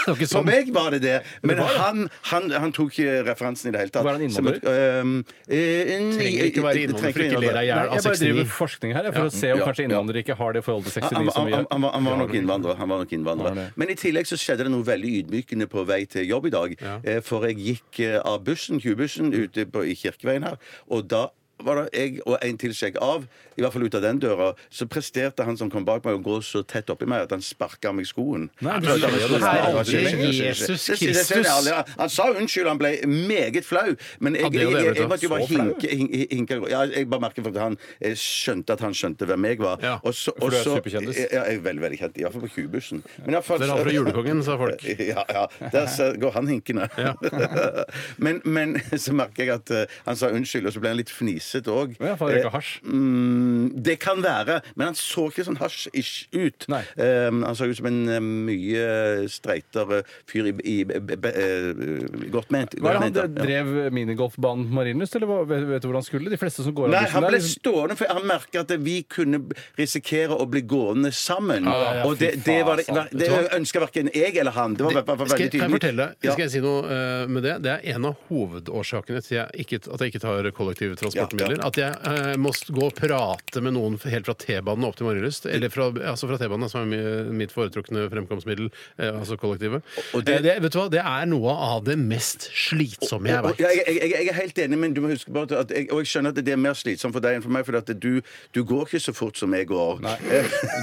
Speaker 2: Det var ikke
Speaker 4: For
Speaker 2: sånn.
Speaker 4: meg var det det, men han, han, han tok ikke referansen i det hele tatt. eh,
Speaker 3: Var han innvandrer?
Speaker 2: Trenger
Speaker 4: Trenger
Speaker 2: ikke være innvandrer for ikke le deg i
Speaker 3: Nei,
Speaker 2: hjel
Speaker 3: jeg
Speaker 2: av
Speaker 3: bare driver
Speaker 2: 69.
Speaker 3: forskning her jeg, for å se om
Speaker 4: Ja,
Speaker 3: kanskje
Speaker 4: ja.
Speaker 3: innvandrere ikke har det forholdet til
Speaker 4: Han, han,
Speaker 3: 69 som
Speaker 4: han,
Speaker 3: vi
Speaker 4: han,
Speaker 3: gjør.
Speaker 4: han, var- han var nok innvandrer. Han var nok
Speaker 3: Var
Speaker 4: innvandrer.
Speaker 3: det.
Speaker 4: Men i tillegg så skjedde det noe veldig ydmykende på vei til jobb i dag. Eh, For jeg gikk eh, av bussen, Q-bussen ute på, i Kirkeveien her, og da var det jeg og en til som gikk av, i hvert fall ut av den døra, så presterte han som kom bak meg å gå så tett oppi meg at han sparka meg i skoen.
Speaker 3: Nei, du
Speaker 4: Han sparket
Speaker 3: sier
Speaker 4: meg i
Speaker 3: det.
Speaker 4: skoen.
Speaker 3: Herre
Speaker 4: Unnskyld, unnskyld, unnskyld.
Speaker 2: Jesus
Speaker 4: Det sier- det sier jeg
Speaker 2: Kristus.
Speaker 4: ærlig. Han- Han sa unnskyld, han ble meget flau, men jeg,
Speaker 2: Ja, det er
Speaker 4: jeg,
Speaker 2: jo det,
Speaker 4: jeg,
Speaker 2: vet du.
Speaker 4: jeg måtte jo bare
Speaker 2: Så flau.
Speaker 4: hinke, hin- hinke ja, Jeg bare merket at han eh, skjønte at han skjønte hvem jeg var.
Speaker 2: Ja,
Speaker 4: Og så-
Speaker 3: for du er
Speaker 4: og så-
Speaker 3: superkjendis.
Speaker 4: ja, jeg er veldig, veldig kjent. I hvert fall på Q-bussen. Men jeg har følt-
Speaker 2: Dere har fra julekongen, sa folk.
Speaker 4: Ja, ja. Der ser- går han hinkende. men, men så merker jeg at eh, han sa unnskyld, og så ble han litt fnis, misset òg.
Speaker 3: Ja, for han røyka hasj.
Speaker 4: Mm, det kan være, men han så ikke sånn hasj-ish ut.
Speaker 3: Nei.
Speaker 4: Ehm, han så ut som en eh, mye streitere fyr i, i, be- be- eh, Godt ment.
Speaker 3: Hva er
Speaker 4: godt
Speaker 3: det han
Speaker 4: ment,
Speaker 3: drev-
Speaker 4: ja.
Speaker 3: drev minigolfbanen på Marienlyst, eller hva- vet, vet du hvor han skulle? De fleste som går av
Speaker 4: Nei,
Speaker 3: bussen
Speaker 4: han
Speaker 3: der,
Speaker 4: ble
Speaker 3: liksom-
Speaker 4: stående, for han merka at vi kunne risikere å bli gående sammen.
Speaker 3: Ja, ja,
Speaker 4: og det,
Speaker 3: fy
Speaker 4: det,
Speaker 3: faen,
Speaker 4: var det,
Speaker 2: altså.
Speaker 3: sant.
Speaker 4: det ønska verken jeg eller han. Det var i hvert fall
Speaker 2: Skal,
Speaker 4: veldig
Speaker 2: jeg- kan jeg
Speaker 4: tydelig.
Speaker 2: fortelle deg?
Speaker 4: Ja.
Speaker 2: Skal jeg si noe eh, med det? Det er en av hovedårsakene til jeg ikke, at jeg ikke tar kollektive transportmidler.
Speaker 4: Ja, ja.
Speaker 2: At jeg eh, må gå og prate med noen helt fra T-banen og opp til Marienlyst. Eller fra, altså fra T-banen, som er mi- mitt foretrukne fremkomstmiddel, eh, altså kollektivet.
Speaker 4: og det-
Speaker 2: Eh, det, vet du hva? det er noe av det mest slitsomme jeg
Speaker 4: Og- og-
Speaker 2: vet.
Speaker 4: ja, Jeg, jeg, jeg er helt enig, men du må huske bare at jeg, og jeg skjønner at det er mer slitsomt for deg enn for meg, for at du, du går ikke så fort som jeg går.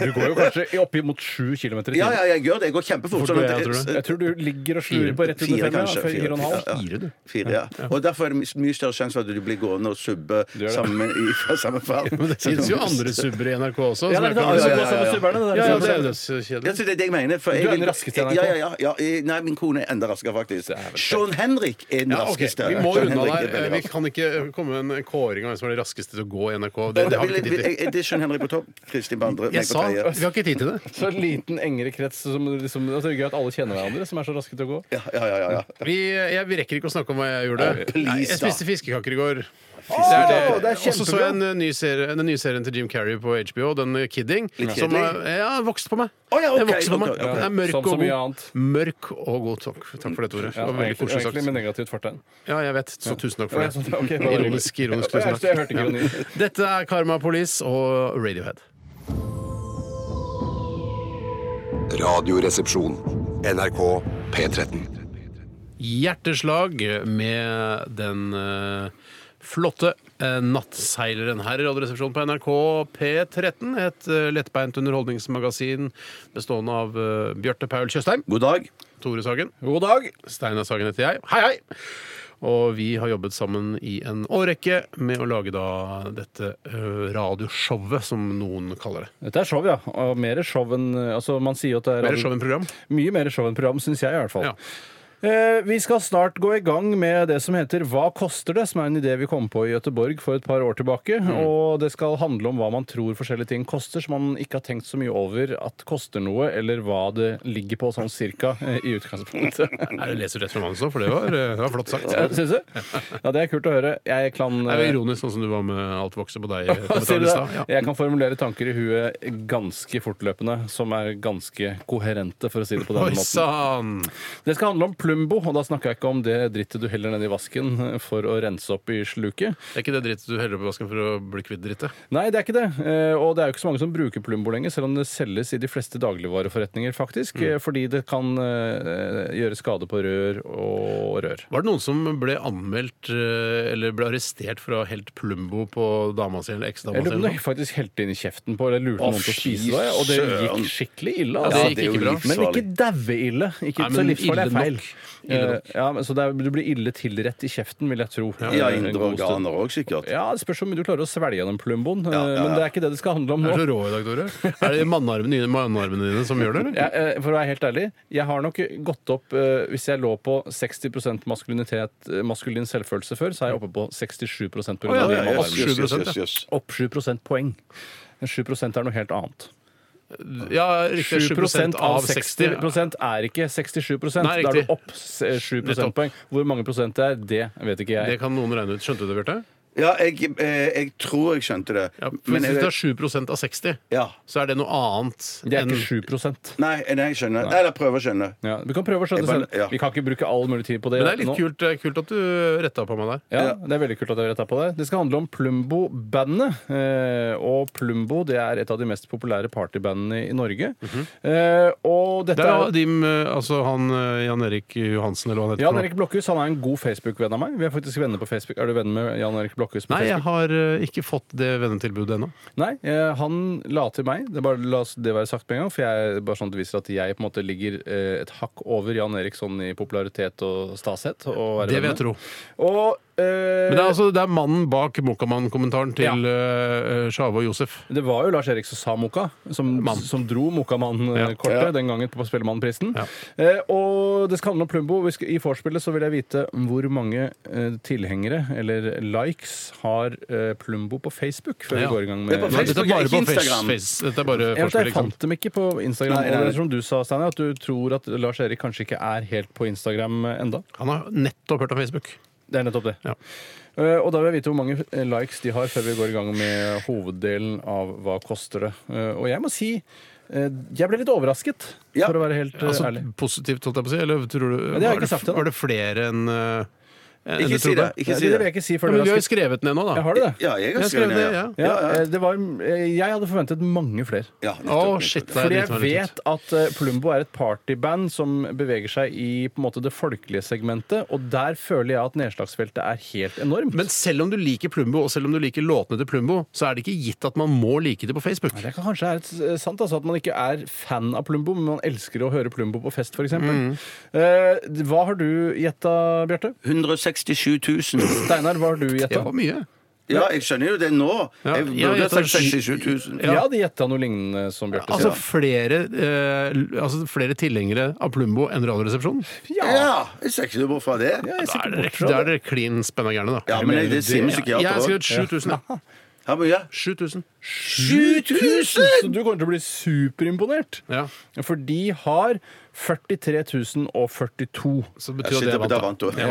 Speaker 3: Du går jo kanskje oppimot 7 km i timen.
Speaker 4: Ja, ja, jeg gjør det. Jeg går kjempefort.
Speaker 2: Fort
Speaker 4: sånn at-
Speaker 2: går jeg, tror du?
Speaker 3: Jeg tror du ligger og slurer på rett under
Speaker 4: Fire,
Speaker 3: fem, ja,
Speaker 4: kanskje.
Speaker 3: før fire og en halv.
Speaker 4: Ja, ja.
Speaker 2: Fire, du.
Speaker 4: Fire, ja. Og derfor er det my- mye større sjanse for at du blir gående og subbe
Speaker 3: det.
Speaker 4: sammen i fra
Speaker 2: <laughs>
Speaker 4: samme fall.
Speaker 2: Men det finnes jo andre subber i NRK også.
Speaker 3: Ja,
Speaker 2: som
Speaker 3: det er
Speaker 2: jeg
Speaker 3: det
Speaker 2: kan-
Speaker 3: andre som
Speaker 4: ja,
Speaker 3: går
Speaker 4: ja,
Speaker 3: sammen med
Speaker 4: ja.
Speaker 3: subberne. det er liksom-
Speaker 2: Ja,
Speaker 3: det
Speaker 2: ja, det
Speaker 3: som skjer.
Speaker 2: er dødskjedelig.
Speaker 4: Ja, så det er det jeg mener. For
Speaker 3: Du er
Speaker 4: jeg-
Speaker 3: den raskeste i NRK.
Speaker 4: Ja, ja, ja, ja. I- Nei, min kone er enda raskere, faktisk. Sean Henrik er den
Speaker 2: Ja, ok,
Speaker 4: raskeste.
Speaker 2: Vi må
Speaker 4: Sean
Speaker 2: runde
Speaker 4: Henrik
Speaker 2: av
Speaker 4: er
Speaker 2: der. Eh,
Speaker 4: veldig
Speaker 2: Vi
Speaker 4: rask.
Speaker 2: kan ikke komme med en kåring av hvem som er de raskeste til å gå i NRK. Det,
Speaker 4: Og
Speaker 2: det
Speaker 4: da
Speaker 2: har vi
Speaker 4: vil-
Speaker 2: ikke tid
Speaker 4: vil-
Speaker 2: til.
Speaker 4: Er det Sean Henrik på topp? Kristin på andre? meg
Speaker 2: Jeg
Speaker 4: på
Speaker 2: sa vi
Speaker 4: tredje?
Speaker 2: har ikke tid
Speaker 4: <laughs>
Speaker 2: til det.
Speaker 3: Så en liten engere krets som liksom, altså, Det er gøy at alle kjenner hverandre, som er så raske til å gå.
Speaker 4: Ja, ja, ja, ja, ja.
Speaker 2: Vi, jeg, vi rekker ikke å snakke om hva jeg gjorde.
Speaker 4: please,
Speaker 2: Nei, jeg
Speaker 4: da.
Speaker 2: spiste fiskekaker i går.
Speaker 3: Åh, det er
Speaker 2: Og så så jeg en eh, ny serie, den nye serien til Jim Carrey på HBO, den eh, Kidding.
Speaker 4: Litt
Speaker 2: Som
Speaker 4: kjedelig.
Speaker 2: eh, ja, vokste på meg.
Speaker 4: Å ja, ok,
Speaker 2: Den vokste på meg.
Speaker 4: ok, ok.
Speaker 2: Den er mørk
Speaker 3: Som så
Speaker 2: og
Speaker 3: mye
Speaker 2: god.
Speaker 3: annet.
Speaker 2: Mørk og god. Takk, takk for det, Tore. Det
Speaker 3: Ja,
Speaker 2: var veldig
Speaker 3: egentlig,
Speaker 2: koselig
Speaker 3: egentlig med
Speaker 2: sagt.
Speaker 3: negativt fortegn.
Speaker 2: Ja, jeg vet. Så tusen takk for
Speaker 3: Ja,
Speaker 2: det.
Speaker 3: sånn, ok, det var
Speaker 2: Ironisk,
Speaker 3: hyggelig.
Speaker 2: ironisk.
Speaker 3: Ja,
Speaker 2: Tusen
Speaker 3: jeg hørte ironi.
Speaker 2: takk. Ja. Dette er Karma Police og Radiohead.
Speaker 6: Radioresepsjon. NRK P13.
Speaker 2: Hjerteslag med den eh, flotte eh, nattseileren her i Radioresepsjonen på NRK P13. Et eh, lettbeint underholdningsmagasin bestående av eh, Bjarte Paul Tjøstheim,
Speaker 4: God dag.
Speaker 2: Tore Sagen,
Speaker 3: God dag!
Speaker 2: Steinar Sagen heter jeg. Hei, hei! Og vi har jobbet sammen i en årrekke med å lage da dette eh, radioshowet, som noen kaller det.
Speaker 3: Dette er show, ja. Og mer show enn Altså, man sier jo at det er
Speaker 2: Mer show enn program.
Speaker 3: Mye mer show enn program, syns jeg i hvert fall.
Speaker 2: Ja.
Speaker 3: Eh, Vi skal snart gå i gang med det som heter Hva koster det?, som er en idé vi kom på i Gøteborg for et par år tilbake.
Speaker 2: Mm.
Speaker 3: Og det skal handle om hva man tror forskjellige ting koster, så man ikke har tenkt så mye over at koster noe, eller hva det ligger på sånn cirka eh, i utgangspunktet.
Speaker 2: <laughs> Jeg leser rett fra manuset, for det var, eh, det var flott sagt.
Speaker 3: Ja, Syns du? Ja, det er kult å høre. Jeg kan eh,
Speaker 2: Det er jo ironisk, sånn som du var med Alt vokser på
Speaker 3: <laughs>
Speaker 2: deg. i
Speaker 3: Hva
Speaker 2: kommentaren i
Speaker 3: sier du da?
Speaker 2: stad. Ja.
Speaker 3: Jeg kan formulere tanker i huet ganske fortløpende, som er ganske koherente, for å si det på
Speaker 2: Oi
Speaker 3: den måten.
Speaker 2: sann!
Speaker 3: Det skal handle om Plumbo, og da snakker jeg ikke om det drittet du heller ned i vasken for å rense opp i sluket.
Speaker 2: Det er ikke det drittet du heller på vasken for å bli kvitt drittet?
Speaker 3: Nei, det er ikke det. Eh, Og det er jo ikke så mange som bruker Plumbo lenger, selv om det selges i de fleste dagligvareforretninger, faktisk.
Speaker 2: Mm.
Speaker 3: eh, Fordi det kan eh, gjøre skade på rør og rør.
Speaker 2: Var det noen som ble anmeldt eh, eller ble arrestert for å ha helt Plumbo på dama si eller eksdama si?
Speaker 3: Jeg lurer på om
Speaker 2: eller
Speaker 3: det faktisk helte inn i kjeften på eller lurte
Speaker 4: Å,
Speaker 3: noen til
Speaker 4: fy
Speaker 3: å spise det, og det
Speaker 4: søren.
Speaker 3: gikk skikkelig ille.
Speaker 2: Ja, det
Speaker 3: altså.
Speaker 2: gikk ikke bra.
Speaker 3: Men ikke daue ille. Ikke
Speaker 2: Nei,
Speaker 3: så
Speaker 2: men
Speaker 3: livsfarlig
Speaker 2: ille
Speaker 3: er feil.
Speaker 2: nok. Ille nok.
Speaker 3: Eh, Ja, men så det er, du blir ille tilrett i kjeften, vil jeg tro.
Speaker 4: Ja,
Speaker 3: Eh, en
Speaker 4: indre
Speaker 3: god stund.
Speaker 4: organer òg, sikkert.
Speaker 3: Ja, Det spørs om du klarer å svelge gjennom plumboen, eh,
Speaker 4: ja, ja.
Speaker 3: men det er ikke det det skal handle om
Speaker 2: noe? Du er så
Speaker 3: nå.
Speaker 2: rå i dag, Tore. Er det mannarmene dine, mannarmene dine som gjør det, eller?
Speaker 3: Jeg, eh, for å være helt ærlig, jeg har nok gått opp eh, Hvis jeg lå på 60 maskulinitet, eh, maskulin selvfølelse før, så er jeg oppe på 67 på grunn
Speaker 2: Å,
Speaker 3: av
Speaker 2: ja,
Speaker 3: det.
Speaker 2: ja, ja.
Speaker 4: Jøss, jøss, jøss, jøss.
Speaker 3: Opp 7 prosentpoeng. 7 er noe helt annet.
Speaker 2: Ja,
Speaker 3: 7
Speaker 2: riktig. 7 av 60.
Speaker 3: er ikke 67
Speaker 2: Nei,
Speaker 3: Da er
Speaker 2: riktig.
Speaker 3: du opp s- 7 prosentpoeng. Hvor mange prosent det er, det vet ikke
Speaker 2: Det
Speaker 3: jeg.
Speaker 2: kan noen regne ut. Skjønte du det, Bjarte?
Speaker 4: Ja, jeg, eh, jeg tror jeg skjønte det.
Speaker 2: Ja, for
Speaker 4: jeg,
Speaker 2: hvis det er 7 av 60,
Speaker 4: Ja.
Speaker 2: så er det noe annet
Speaker 3: Det er
Speaker 2: enn
Speaker 3: ikke 7
Speaker 4: Nei, nei, jeg skjønner. Eller prøver å skjønne.
Speaker 3: ja, Vi kan prøve å skjønne
Speaker 4: Jeg bare-
Speaker 3: selv.
Speaker 4: ja.
Speaker 3: Vi kan ikke bruke all mulig tid på det.
Speaker 2: Men det er litt
Speaker 3: nå.
Speaker 2: kult, det er kult at du retta på meg der.
Speaker 3: Ja, Det er veldig kult at dere tar på det. Det skal handle om Plumbo-bandet. Eh, og Plumbo det er et av de mest populære partybandene i Norge. eh, og
Speaker 2: Mhm.
Speaker 3: dette
Speaker 2: Det er
Speaker 3: er
Speaker 2: de, altså han eh, Jan Erik Johansen, eller hva han heter.
Speaker 3: Jan
Speaker 2: for noe.
Speaker 3: Erik Blokhus han er en god Facebook-venn av meg. Vi Er faktisk venner på Facebook. Er du venn med Jan Erik Blokhus på
Speaker 2: Nei, jeg
Speaker 3: Facebook?
Speaker 2: har eh, ikke fått det vennetilbudet ennå.
Speaker 3: Nei, eh, Han la til meg. Det er bare La oss det være sagt med en gang. For jeg bare sånn at det viser at jeg på en måte ligger eh, et hakk over Jan Erik sånn i popularitet og stashet. Og er
Speaker 2: Det vil
Speaker 3: venn
Speaker 2: jeg tro.
Speaker 3: med. Og eh,
Speaker 2: Men det er, altså, det er mannen bak Mokamann-kommentaren til
Speaker 3: Ja.
Speaker 2: eh, Sjave og Josef.
Speaker 3: Det var jo Lars Erik som sa Moka, som,
Speaker 2: Mann.
Speaker 3: som dro Mokamann-kortet
Speaker 4: Ja.
Speaker 3: den gangen på Spellemannprisen.
Speaker 2: Ja.
Speaker 3: Eh, og det skal handle om Plumbo. Vi skal- I vorspielet så vil jeg vite hvor mange eh, tilhengere, eller likes, har eh, Plumbo på Facebook før
Speaker 2: Ja.
Speaker 3: vi går i gang
Speaker 4: Det er
Speaker 3: med
Speaker 4: på Facebook.
Speaker 2: Dette er bare
Speaker 4: ikke
Speaker 2: på face,
Speaker 4: Instagram.
Speaker 2: face. Dette er bare
Speaker 3: Jeg vet,
Speaker 2: forspill, ikke
Speaker 3: jeg
Speaker 2: sant?
Speaker 3: fant dem ikke på Instagram.
Speaker 4: Nei, nei,
Speaker 3: og det
Speaker 4: nei.
Speaker 3: er som du sa, Steiner, at du tror at Lars Erik kanskje ikke er helt på Instagram enda.
Speaker 2: Han har nettopp hørt om Facebook.
Speaker 3: Det er nettopp det.
Speaker 2: Ja.
Speaker 3: Eh, og da vil jeg vite hvor mange eh, likes de har før vi går i gang med hoveddelen av Hva koster det? Eh, og jeg må si eh, jeg ble litt overrasket,
Speaker 4: Ja.
Speaker 3: for å være helt eh,
Speaker 2: Altså,
Speaker 3: ærlig.
Speaker 2: positivt, holdt jeg på å si. Eller tror du,
Speaker 3: det har jeg
Speaker 2: var
Speaker 3: ikke sagt til
Speaker 2: Var det flere enn uh,
Speaker 4: Ikke si det. Ikke
Speaker 3: Nei,
Speaker 4: si
Speaker 3: det vil
Speaker 4: det.
Speaker 3: jeg ikke si
Speaker 2: Ja,
Speaker 3: før
Speaker 2: men vi
Speaker 3: dere
Speaker 2: har
Speaker 3: har
Speaker 2: jo
Speaker 3: skutt.
Speaker 2: skrevet ned nå, da.
Speaker 3: Jeg har det, det.
Speaker 4: Ja, jeg
Speaker 2: Jeg
Speaker 4: har
Speaker 2: skrev
Speaker 4: skrevet
Speaker 2: det,
Speaker 4: det.
Speaker 2: ja.
Speaker 3: Ja, eh, det var, eh, jeg hadde forventet mange flere.
Speaker 4: Ja,
Speaker 2: Å,
Speaker 4: nettopp,
Speaker 2: shit.
Speaker 4: nettopp.
Speaker 2: Det er litt
Speaker 3: Fordi jeg
Speaker 2: mer nytt.
Speaker 3: vet at eh, Plumbo er et partyband som beveger seg i på en måte, det folkelige segmentet, og der føler jeg at nedslagsfeltet er helt enormt.
Speaker 2: Men selv om du liker Plumbo, og selv om du liker låtene til Plumbo, så er det ikke gitt at man må like det på Facebook.
Speaker 3: det kan kanskje være et- sant altså, at man ikke er fan av Plumbo, men man elsker å høre Plumbo på fest, f.eks.
Speaker 2: Mm.
Speaker 3: Eh, hva har du gjetta, Bjarte?
Speaker 4: 167 000.
Speaker 3: Steinar, hva har
Speaker 2: <laughs>
Speaker 3: du
Speaker 2: Det
Speaker 3: gjetta?
Speaker 2: var mye.
Speaker 4: Ja, jeg skjønner jo det nå.
Speaker 2: Ja,
Speaker 4: Jeg
Speaker 2: ja,
Speaker 4: burde
Speaker 2: jeg
Speaker 4: ha sagt
Speaker 2: tar sky-
Speaker 4: 67 000.
Speaker 3: Jeg hadde gjetta noe lignende som Bjarte.
Speaker 2: Altså
Speaker 3: sa.
Speaker 2: flere, eh, l- altså flere tilhengere av Plumbo enn Radioresepsjonen?
Speaker 3: ja.
Speaker 4: Ja, jeg ser ikke noe bort fra det.
Speaker 3: Jeg ser
Speaker 2: Da er
Speaker 3: ikke
Speaker 2: dere-
Speaker 3: bort fra
Speaker 2: da er
Speaker 3: det.
Speaker 2: dere klin spenna gærne, da.
Speaker 4: Ja, men det, det sier
Speaker 2: Jeg har
Speaker 4: musikkiater òg.
Speaker 2: skrevet 7000. ja.
Speaker 4: Her må jeg
Speaker 2: 7000.
Speaker 4: 7000!
Speaker 3: Så du kommer til å bli superimponert.
Speaker 2: Ja.
Speaker 3: For de har 43 042.
Speaker 2: Så det betyr jo
Speaker 4: Shit,
Speaker 2: at jeg
Speaker 4: det- da
Speaker 2: vant,
Speaker 4: vant
Speaker 2: da.
Speaker 4: du.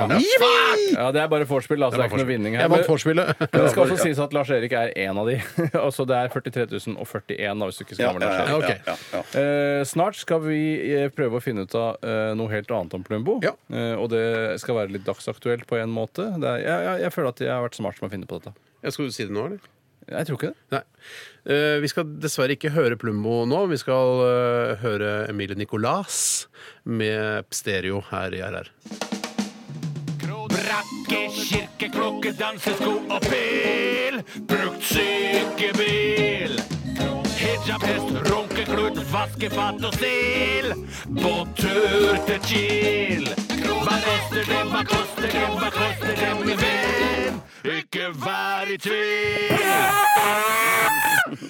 Speaker 3: Ja, det er bare vorspiel, altså. Det er ikke noe vinning her.
Speaker 2: Jeg vant
Speaker 3: Men- <laughs>
Speaker 2: vorspielet.
Speaker 3: Men det skal også sies at Lars Erik er en av de. <laughs> Altså det er 43 041, da, hvis du ikke skal
Speaker 4: Ja,
Speaker 3: ha med
Speaker 4: ja,
Speaker 3: Lars Erik.
Speaker 4: ja,
Speaker 2: ok.
Speaker 4: ja, ja, ja.
Speaker 3: Eh, snart skal vi eh, prøve å finne ut av eh, noe helt annet om Plumbo.
Speaker 2: Ja.
Speaker 3: Eh, og det skal være litt dagsaktuelt på en måte. Det er, jeg, jeg, jeg føler at jeg har vært smart som har funnet på dette.
Speaker 2: Jeg skal du si det nå, eller?
Speaker 3: Jeg tror ikke det.
Speaker 2: Nei. Eh, vi skal dessverre ikke høre Plumbo nå. Vi skal eh, høre Emilie Nicolas med stereo her i RR.
Speaker 7: Brakke, kirke, klokke, dansesko og pil. Brukt sykebil. Hijabhest, runkeklut, vaskefat og stil. På tur til Kiel. Hva koster det, hva koster det, hva koster det, min venn? Ikke vær i tvil.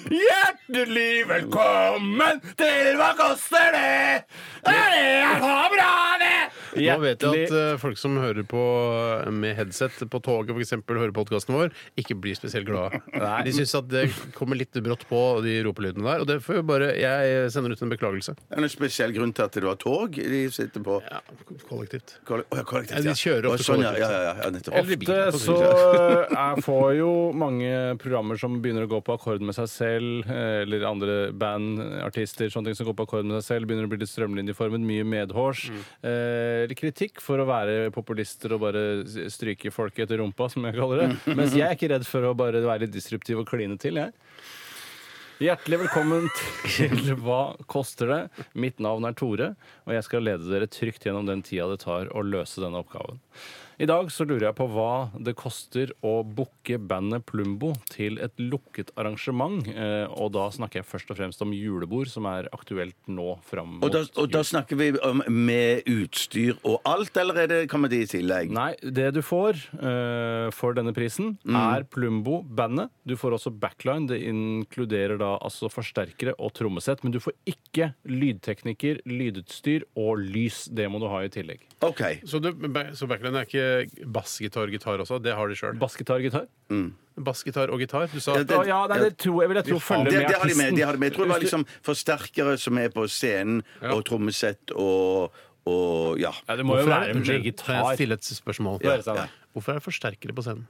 Speaker 7: Hjertelig velkommen til Hva koster det? Det er det jeg har bra, det!
Speaker 2: Nå vet jeg at eh, folk som hører på eh, med headset på toget, f.eks., hører podkasten vår, ikke blir spesielt glade. De syns at det kommer litt brått på, de ropelydene der. Og det får jo bare Jeg sender ut en beklagelse.
Speaker 4: Er det noen spesiell grunn til at du har tog de sitter på?
Speaker 2: Ja, kollektivt.
Speaker 4: Kolle- Å, ja, kollektivt,
Speaker 2: Ja, de kjører
Speaker 4: Å,
Speaker 2: ofte
Speaker 4: sånn, ja,
Speaker 2: kollektivt.
Speaker 4: ja, ja, ja, nettopp.
Speaker 2: Eller i bil.
Speaker 3: Ofte så eh, er, får jo mange programmer som begynner å gå på akkord med seg selv, eh, eller andre band, artister, sånne ting som går på akkord med seg selv, begynner å bli litt strømlinjeformet, mye medhårs. Eh, litt kritikk for å være populister og bare s- stryke folk etter rumpa, som jeg kaller det. Mens jeg er ikke redd for å bare være litt disruptiv og kline til, jeg. Hjertelig <laughs> velkommen til Hva koster det? Mitt navn er Tore, og jeg skal lede dere trygt gjennom den tida det tar å løse denne oppgaven. I dag så lurer jeg på hva det koster å booke bandet Plumbo til et lukket arrangement. eh, Og da snakker jeg først og fremst om julebord, som er aktuelt nå fram
Speaker 4: <laughs> Og da,
Speaker 3: mot
Speaker 4: og da snakker vi om med utstyr og alt, eller er det, kommer det i tillegg?
Speaker 3: Nei, det du får eh, for denne prisen, er Plumbo-bandet. Du får også backline. Det inkluderer da altså forsterkere og trommesett. Men du får ikke lydtekniker, lydutstyr og lys. Det må du ha i tillegg.
Speaker 4: OK.
Speaker 2: Så, du, så backline er ikke bassgitar og gitar også? Det har de sjøl.
Speaker 3: Bassgitar, gitar?
Speaker 2: Bassgitar og gitar? Du sa
Speaker 4: Ja, det-
Speaker 3: Å, ja, nei, det tror jeg vil jeg tro
Speaker 4: Det,
Speaker 3: følger
Speaker 4: det har
Speaker 3: med
Speaker 4: de med.
Speaker 3: artisten.
Speaker 4: De har det med. Jeg tror det var liksom forsterkere som er på scenen, og trommesett og, og ja.
Speaker 3: Ja, det må jo
Speaker 2: Hvorfor er
Speaker 3: være
Speaker 2: det,
Speaker 3: med
Speaker 2: unnskyld, kan
Speaker 3: gitar.
Speaker 2: jeg stille et spørsmål?
Speaker 3: Ja, ja.
Speaker 2: Hvorfor er det forsterkere på scenen?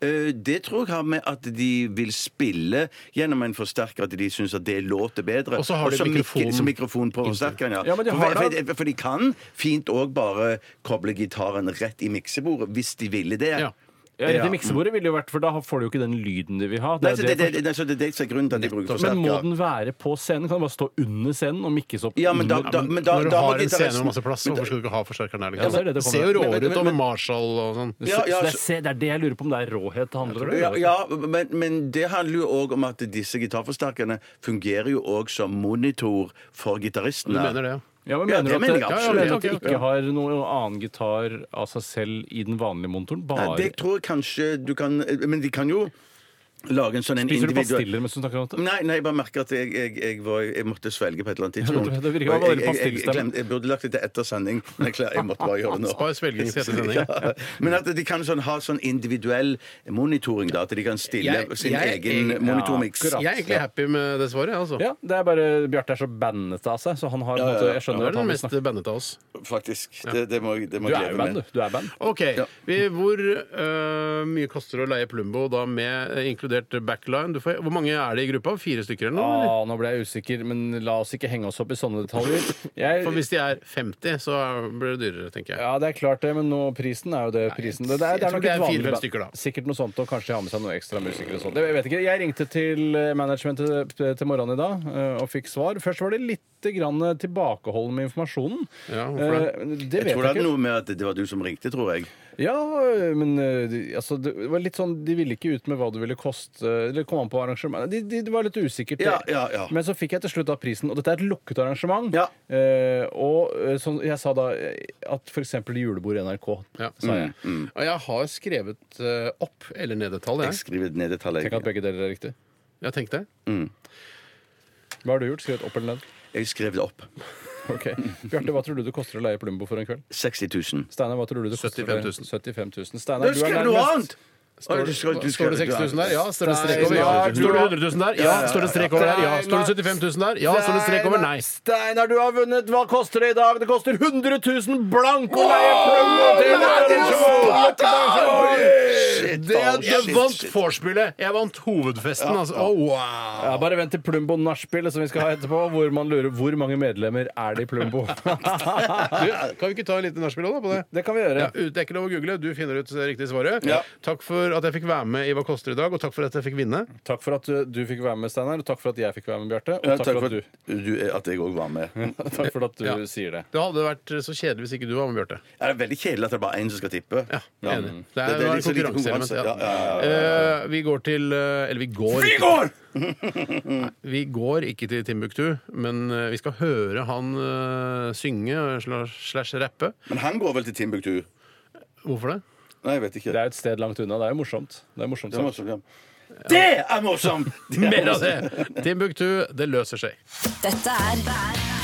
Speaker 4: Eh, Det tror jeg har med at de vil spille gjennom en forsterker, at de syns at det låter bedre.
Speaker 2: Og så har de
Speaker 4: Også
Speaker 2: mikrofon-
Speaker 4: mikrofon, så mikrofon på forsterkeren, ja.
Speaker 3: Ja, men de
Speaker 4: for,
Speaker 3: har da-
Speaker 4: for, for de kan fint òg bare koble gitaren rett i miksebordet, hvis de ville det.
Speaker 2: Ja.
Speaker 3: Ja, rett i miksebordet ville jo vært, for da får du jo ikke den lyden de vil ha. Det
Speaker 4: Nei,
Speaker 3: er
Speaker 4: så
Speaker 3: det
Speaker 4: det, det, det, så det, er det som er grunnen til at de bruker
Speaker 3: for- men må
Speaker 4: forsterker.
Speaker 3: den være på scenen? Kan den bare stå under scenen og mikkes opp? Mm.
Speaker 4: Ja, men da,
Speaker 3: under-
Speaker 4: da, men da,
Speaker 2: Når du
Speaker 4: da må
Speaker 2: har en scene
Speaker 4: gitaristen-
Speaker 2: med masse plass, hvorfor skal du ikke ha forsterkeren der? Liksom?
Speaker 3: Ja, men- det er det det
Speaker 2: Ser
Speaker 3: kommer-
Speaker 2: jo
Speaker 4: Men-
Speaker 2: råere
Speaker 4: men-
Speaker 2: ut, og med
Speaker 4: men-
Speaker 2: Marshall og sånn.
Speaker 4: Ja,
Speaker 3: Så-
Speaker 4: ja,
Speaker 3: så det, er,
Speaker 4: så-
Speaker 3: se- det er det jeg lurer på om det er råhet det handler om?
Speaker 4: Ja, ja men, men det handler jo òg om at disse gitarforsterkerne fungerer jo òg som monitor for gitaristene.
Speaker 2: Du mener det, ja.
Speaker 3: Ja, men
Speaker 4: Ja,
Speaker 3: mener du
Speaker 4: det
Speaker 3: at,
Speaker 4: mener jeg
Speaker 3: ja, ja,
Speaker 4: absolutt.
Speaker 3: mener du at
Speaker 2: Ja,
Speaker 3: det
Speaker 2: ok,
Speaker 3: ikke har noen annen gitar av seg selv i den vanlige montoren? Bare
Speaker 4: Nei, det tror jeg kanskje du kan Men de kan jo lage en sånn en
Speaker 3: Spiser du
Speaker 4: individuell
Speaker 3: pastiller mens du snakker om dette?
Speaker 4: Nei, nei, jeg bare merker at jeg, jeg, jeg, var, jeg måtte svelge på et eller annet tidspunkt.
Speaker 3: <laughs> Ja, det- det virker
Speaker 4: Og
Speaker 3: bare
Speaker 4: jeg, jeg, jeg,
Speaker 3: pastillstemmen.
Speaker 4: jeg, glemte, jeg burde lagt det til etter sending, men jeg, klar, jeg måtte bare gjøre det
Speaker 3: <laughs>
Speaker 4: nå.
Speaker 2: Spar svelging til etter sending.
Speaker 4: <laughs> Ja. Men at de kan sånn, ha sånn individuell monitoring, da. At de kan stille
Speaker 2: Jeg-
Speaker 4: sin
Speaker 2: jeg-
Speaker 4: egen
Speaker 2: jeg-
Speaker 4: monitormiks.
Speaker 2: Jeg er egentlig happy med det svaret. Altså.
Speaker 3: Ja, det er bare Bjarte er så bandete av seg, så han har på en måte, Jeg
Speaker 2: Du
Speaker 3: skjønner
Speaker 2: er
Speaker 3: at
Speaker 2: den
Speaker 3: han vil
Speaker 2: mest
Speaker 3: snakke
Speaker 2: bandet av oss.
Speaker 4: Faktisk. Det, det må, det må
Speaker 3: Du
Speaker 4: jeg
Speaker 3: er jo
Speaker 4: leve med.
Speaker 3: band, du. Du er band.
Speaker 2: Ok, vi, Hvor øh, mye koster det å leie Plumbo da med eh, inkludert backline? Du får, hvor mange er det i gruppa? Fire stykker eller noe? eller?
Speaker 3: Ah, nå ble jeg usikker, men la oss ikke henge oss opp i sånne detaljer. Jeg,
Speaker 2: For hvis de er 50, så er- blir det dyrere, tenker jeg.
Speaker 3: ja, det er klart det, men nå, prisen er jo det prisen. Det, det er,
Speaker 2: jeg
Speaker 3: det
Speaker 2: tror
Speaker 3: er nok
Speaker 2: det er
Speaker 3: et vanlig
Speaker 2: fire-fem
Speaker 3: band.
Speaker 2: stykker, da.
Speaker 3: Sikkert noe sånt, og kanskje ha med seg noen ekstra musikere og sånt. Jeg vet ikke. Jeg ringte til eh, managementet til til morgenen i dag eh, og fikk svar. Først var det litt grann eh, tilbakeholden med informasjonen.
Speaker 2: Ja, hvorfor det?
Speaker 3: Eh,
Speaker 4: Jeg
Speaker 3: det? vet
Speaker 4: tror det
Speaker 3: jeg ikke.
Speaker 4: hadde noe med at det var du som ringte, tror jeg.
Speaker 3: Ja, men eh, de- altså, det var litt sånn, de ville ikke ut med hva det ville koste. eh, Det kom an på arrangementet. De, de, det var litt usikkert.
Speaker 4: Ja, ja, ja.
Speaker 3: Men så fikk jeg til slutt da prisen, og dette er et lukket arrangement.
Speaker 4: Ja.
Speaker 3: Eh, og eh, sånn- jeg sa da eh, at f.eks. julebord i NRK.
Speaker 2: Ja.
Speaker 3: Sa jeg.
Speaker 4: Mm,
Speaker 2: Og jeg har skrevet eh, opp eller ned et tall,
Speaker 4: Jeg
Speaker 2: jeg.
Speaker 4: skriver ned et tall.
Speaker 3: Tenk at
Speaker 4: Jeg.
Speaker 3: begge deler er riktig.
Speaker 2: Jeg tenkte
Speaker 3: Hva har du gjort? Skrevet opp eller ned?
Speaker 4: jeg skrev det opp.
Speaker 3: Ok. Bjarte, hva tror du det koster å leie Plumbo for en kveld?
Speaker 4: 60 000.
Speaker 3: Steinar, hva tror du det koster?
Speaker 2: 75 000.
Speaker 3: 75 000. Steinar,
Speaker 4: Du
Speaker 3: du er
Speaker 4: skrev noe
Speaker 3: nærmest.
Speaker 4: annet! Oi, du skrev- du
Speaker 2: Står det
Speaker 4: skrev-
Speaker 2: 6000 der? Ja. Står det en strek
Speaker 3: Nei,
Speaker 2: over? Ja.
Speaker 3: snart.
Speaker 2: Står det 100 000 der? Ja. Står det en strek over der? Ja.
Speaker 3: Nei,
Speaker 2: Står det 75 000 der? Ja. Står det en strek over? Nei.
Speaker 3: Steinar, du har vunnet. Hva koster det i dag? Det koster 100 000 blank å leie Plumbo til
Speaker 4: Shit,
Speaker 2: Det,
Speaker 4: faen,
Speaker 2: jeg
Speaker 4: shit,
Speaker 2: vant
Speaker 4: shit.
Speaker 2: vorspielet! Jeg vant hovedfesten, altså. Oh, wow.
Speaker 3: Ja, bare vent til Plumbo nachspielet som vi skal ha etterpå, hvor man lurer hvor mange medlemmer er <laughs> det i Plumbo.
Speaker 2: Du, kan vi ikke ta en liten nachspiel også, da, på det?
Speaker 3: Det kan vi gjøre.
Speaker 2: Ja, det er ikke lov å google, du finner ut det riktige svaret. Takk for at jeg fikk være med i Hva koster i dag, og takk for at jeg fikk vinne.
Speaker 3: Takk for at du, du fikk være med, Steinar. og Takk for at jeg fikk være med, Bjarte.
Speaker 4: Ja,
Speaker 3: Og takk for at du, <laughs>
Speaker 4: du, at jeg òg var med. Ja,
Speaker 3: takk for at du
Speaker 2: Ja.
Speaker 3: sier det.
Speaker 2: Det hadde vært eh, så kjedelig hvis ikke du var med, Bjarte.
Speaker 4: Det er veldig kjedelig at det er bare én som skal tippe.
Speaker 2: Ja,
Speaker 4: Ja.
Speaker 2: enig. Det er,
Speaker 4: Det- det er
Speaker 2: var
Speaker 4: litt så lite
Speaker 2: konkurranseelement. Ja.
Speaker 4: konkurranse. Ja,
Speaker 2: Eh, vi går til eh, Eller vi går Vi går! vi går ikke til Timbuktu, men eh, vi skal høre han eh, synge slash, slash rappe.
Speaker 4: Men han går vel til Timbuktu?
Speaker 2: Hvorfor det?
Speaker 4: Nei, jeg vet ikke.
Speaker 3: Det er jo et sted langt unna. Det er jo morsomt. Det er morsomt
Speaker 4: Det er
Speaker 3: sagt.
Speaker 4: morsomt. ja. Det er morsomt! Det er
Speaker 2: Mer av
Speaker 4: morsomt.
Speaker 2: det! Timbuktu, det løser seg.
Speaker 5: Dette er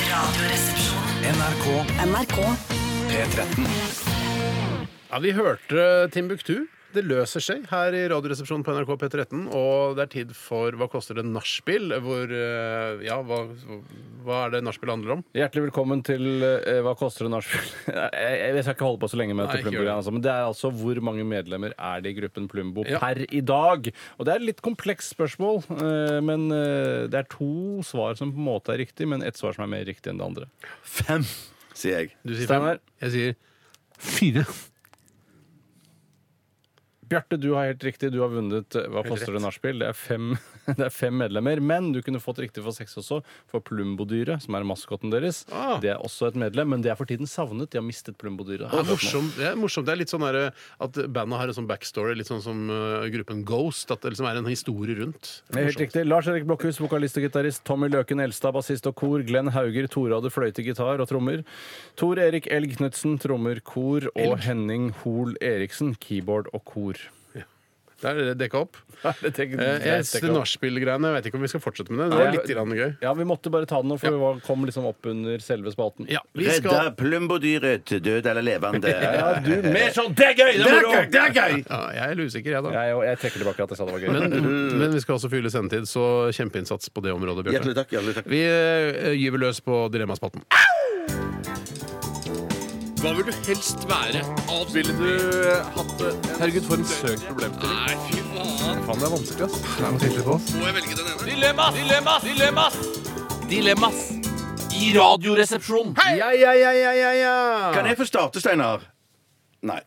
Speaker 5: Radioresepsjonen.
Speaker 8: NRK
Speaker 5: NRK
Speaker 8: P13.
Speaker 2: Ja, Vi hørte Timbuktu. Det løser seg her i Radioresepsjonen på NRK P13. Og det er tid for Hva koster det nachspiel? Hvor eh, Ja, hva, hva er det nachspiel handler om?
Speaker 3: Hjertelig velkommen til eh, Hva koster det <laughs> nachspiel? jeg, jeg, jeg skal ikke holde på så lenge med
Speaker 2: Nei,
Speaker 3: dette
Speaker 2: ikke gjør
Speaker 3: Plumbo-greiene, altså, men det er altså hvor mange medlemmer er det i gruppen Plumbo per i dag? Og det er et litt komplekst spørsmål, eh, men eh, det er to svar som på en måte er riktig, men ett svar som er mer riktig enn det andre.
Speaker 2: Fem.
Speaker 4: <laughs> Sier jeg.
Speaker 2: Du sier fem.
Speaker 3: Steinar,
Speaker 2: Jeg sier fire.
Speaker 3: Bjarte, du har helt riktig. Du har vunnet eh, Hva koster det nachspiel? Det, er fem- <laughs> det er fem medlemmer. Men du kunne fått riktig for seks også, for Plumbo-dyret, som er maskotten deres,
Speaker 2: Ah.
Speaker 3: det er også et medlem, men det er for tiden savnet. De har mistet Plumbo-dyret.
Speaker 2: Det er, morsomt. det er morsomt. Det er litt sånn der, at bandet har en sånn backstory, litt sånn som eh, gruppen Ghost. At det liksom er en historie rundt.
Speaker 3: Det er Helt riktig. Lars Erik Blokhus, vokalist og gitarist. Tommy Løken Elstad, bassist og kor. Glenn Hauger, Torade, fløyte, gitar og trommer. Tor Erik Elg Knutsen, trommer, kor. Og Henning Hoel Eriksen, keyboard og
Speaker 2: <laughs>
Speaker 3: kor.
Speaker 2: Der er det dekka opp. Eh, jeg- Det
Speaker 3: Ja,
Speaker 2: nachspiel-greiene, jeg vet ikke om vi skal fortsette med det. Det var
Speaker 3: Nei.
Speaker 2: litt grann gøy.
Speaker 3: vi måtte bare ta den nå, for vi var- kom liksom opp under selve spalten.
Speaker 2: Ja, vi skal
Speaker 4: Redda plumbodyret til død eller levende.
Speaker 3: Ja, du, mer sånn! Det er gøy! Det er moro!
Speaker 4: Det er gøy!
Speaker 2: ja, Jeg er litt usikker, jeg, da.
Speaker 3: Jeg, og jeg trekker tilbake at jeg sa det var gøy.
Speaker 2: Men, men vi skal også fylle sendetid, så kjempeinnsats på det området,
Speaker 4: Hjertelig
Speaker 2: Bjarte.
Speaker 4: takk. hjertelig takk
Speaker 2: Vi eh, gyver løs på Dilemmaspalten. Hva vil du helst være? Ville du eh, hatt det? Herregud, for en søk problemstilling. Nei, fy faen. Faen, det er vanskelig, ass. Det er vanskelig på oss.
Speaker 9: Må jeg velge den ene? Dilemmas! Dilemmas! Dilemmas! Dilemmas! I radioresepsjonen.
Speaker 2: Ja, ja, ja, ja, ja, ja.
Speaker 4: Kan jeg få starte, Steinar? Nei.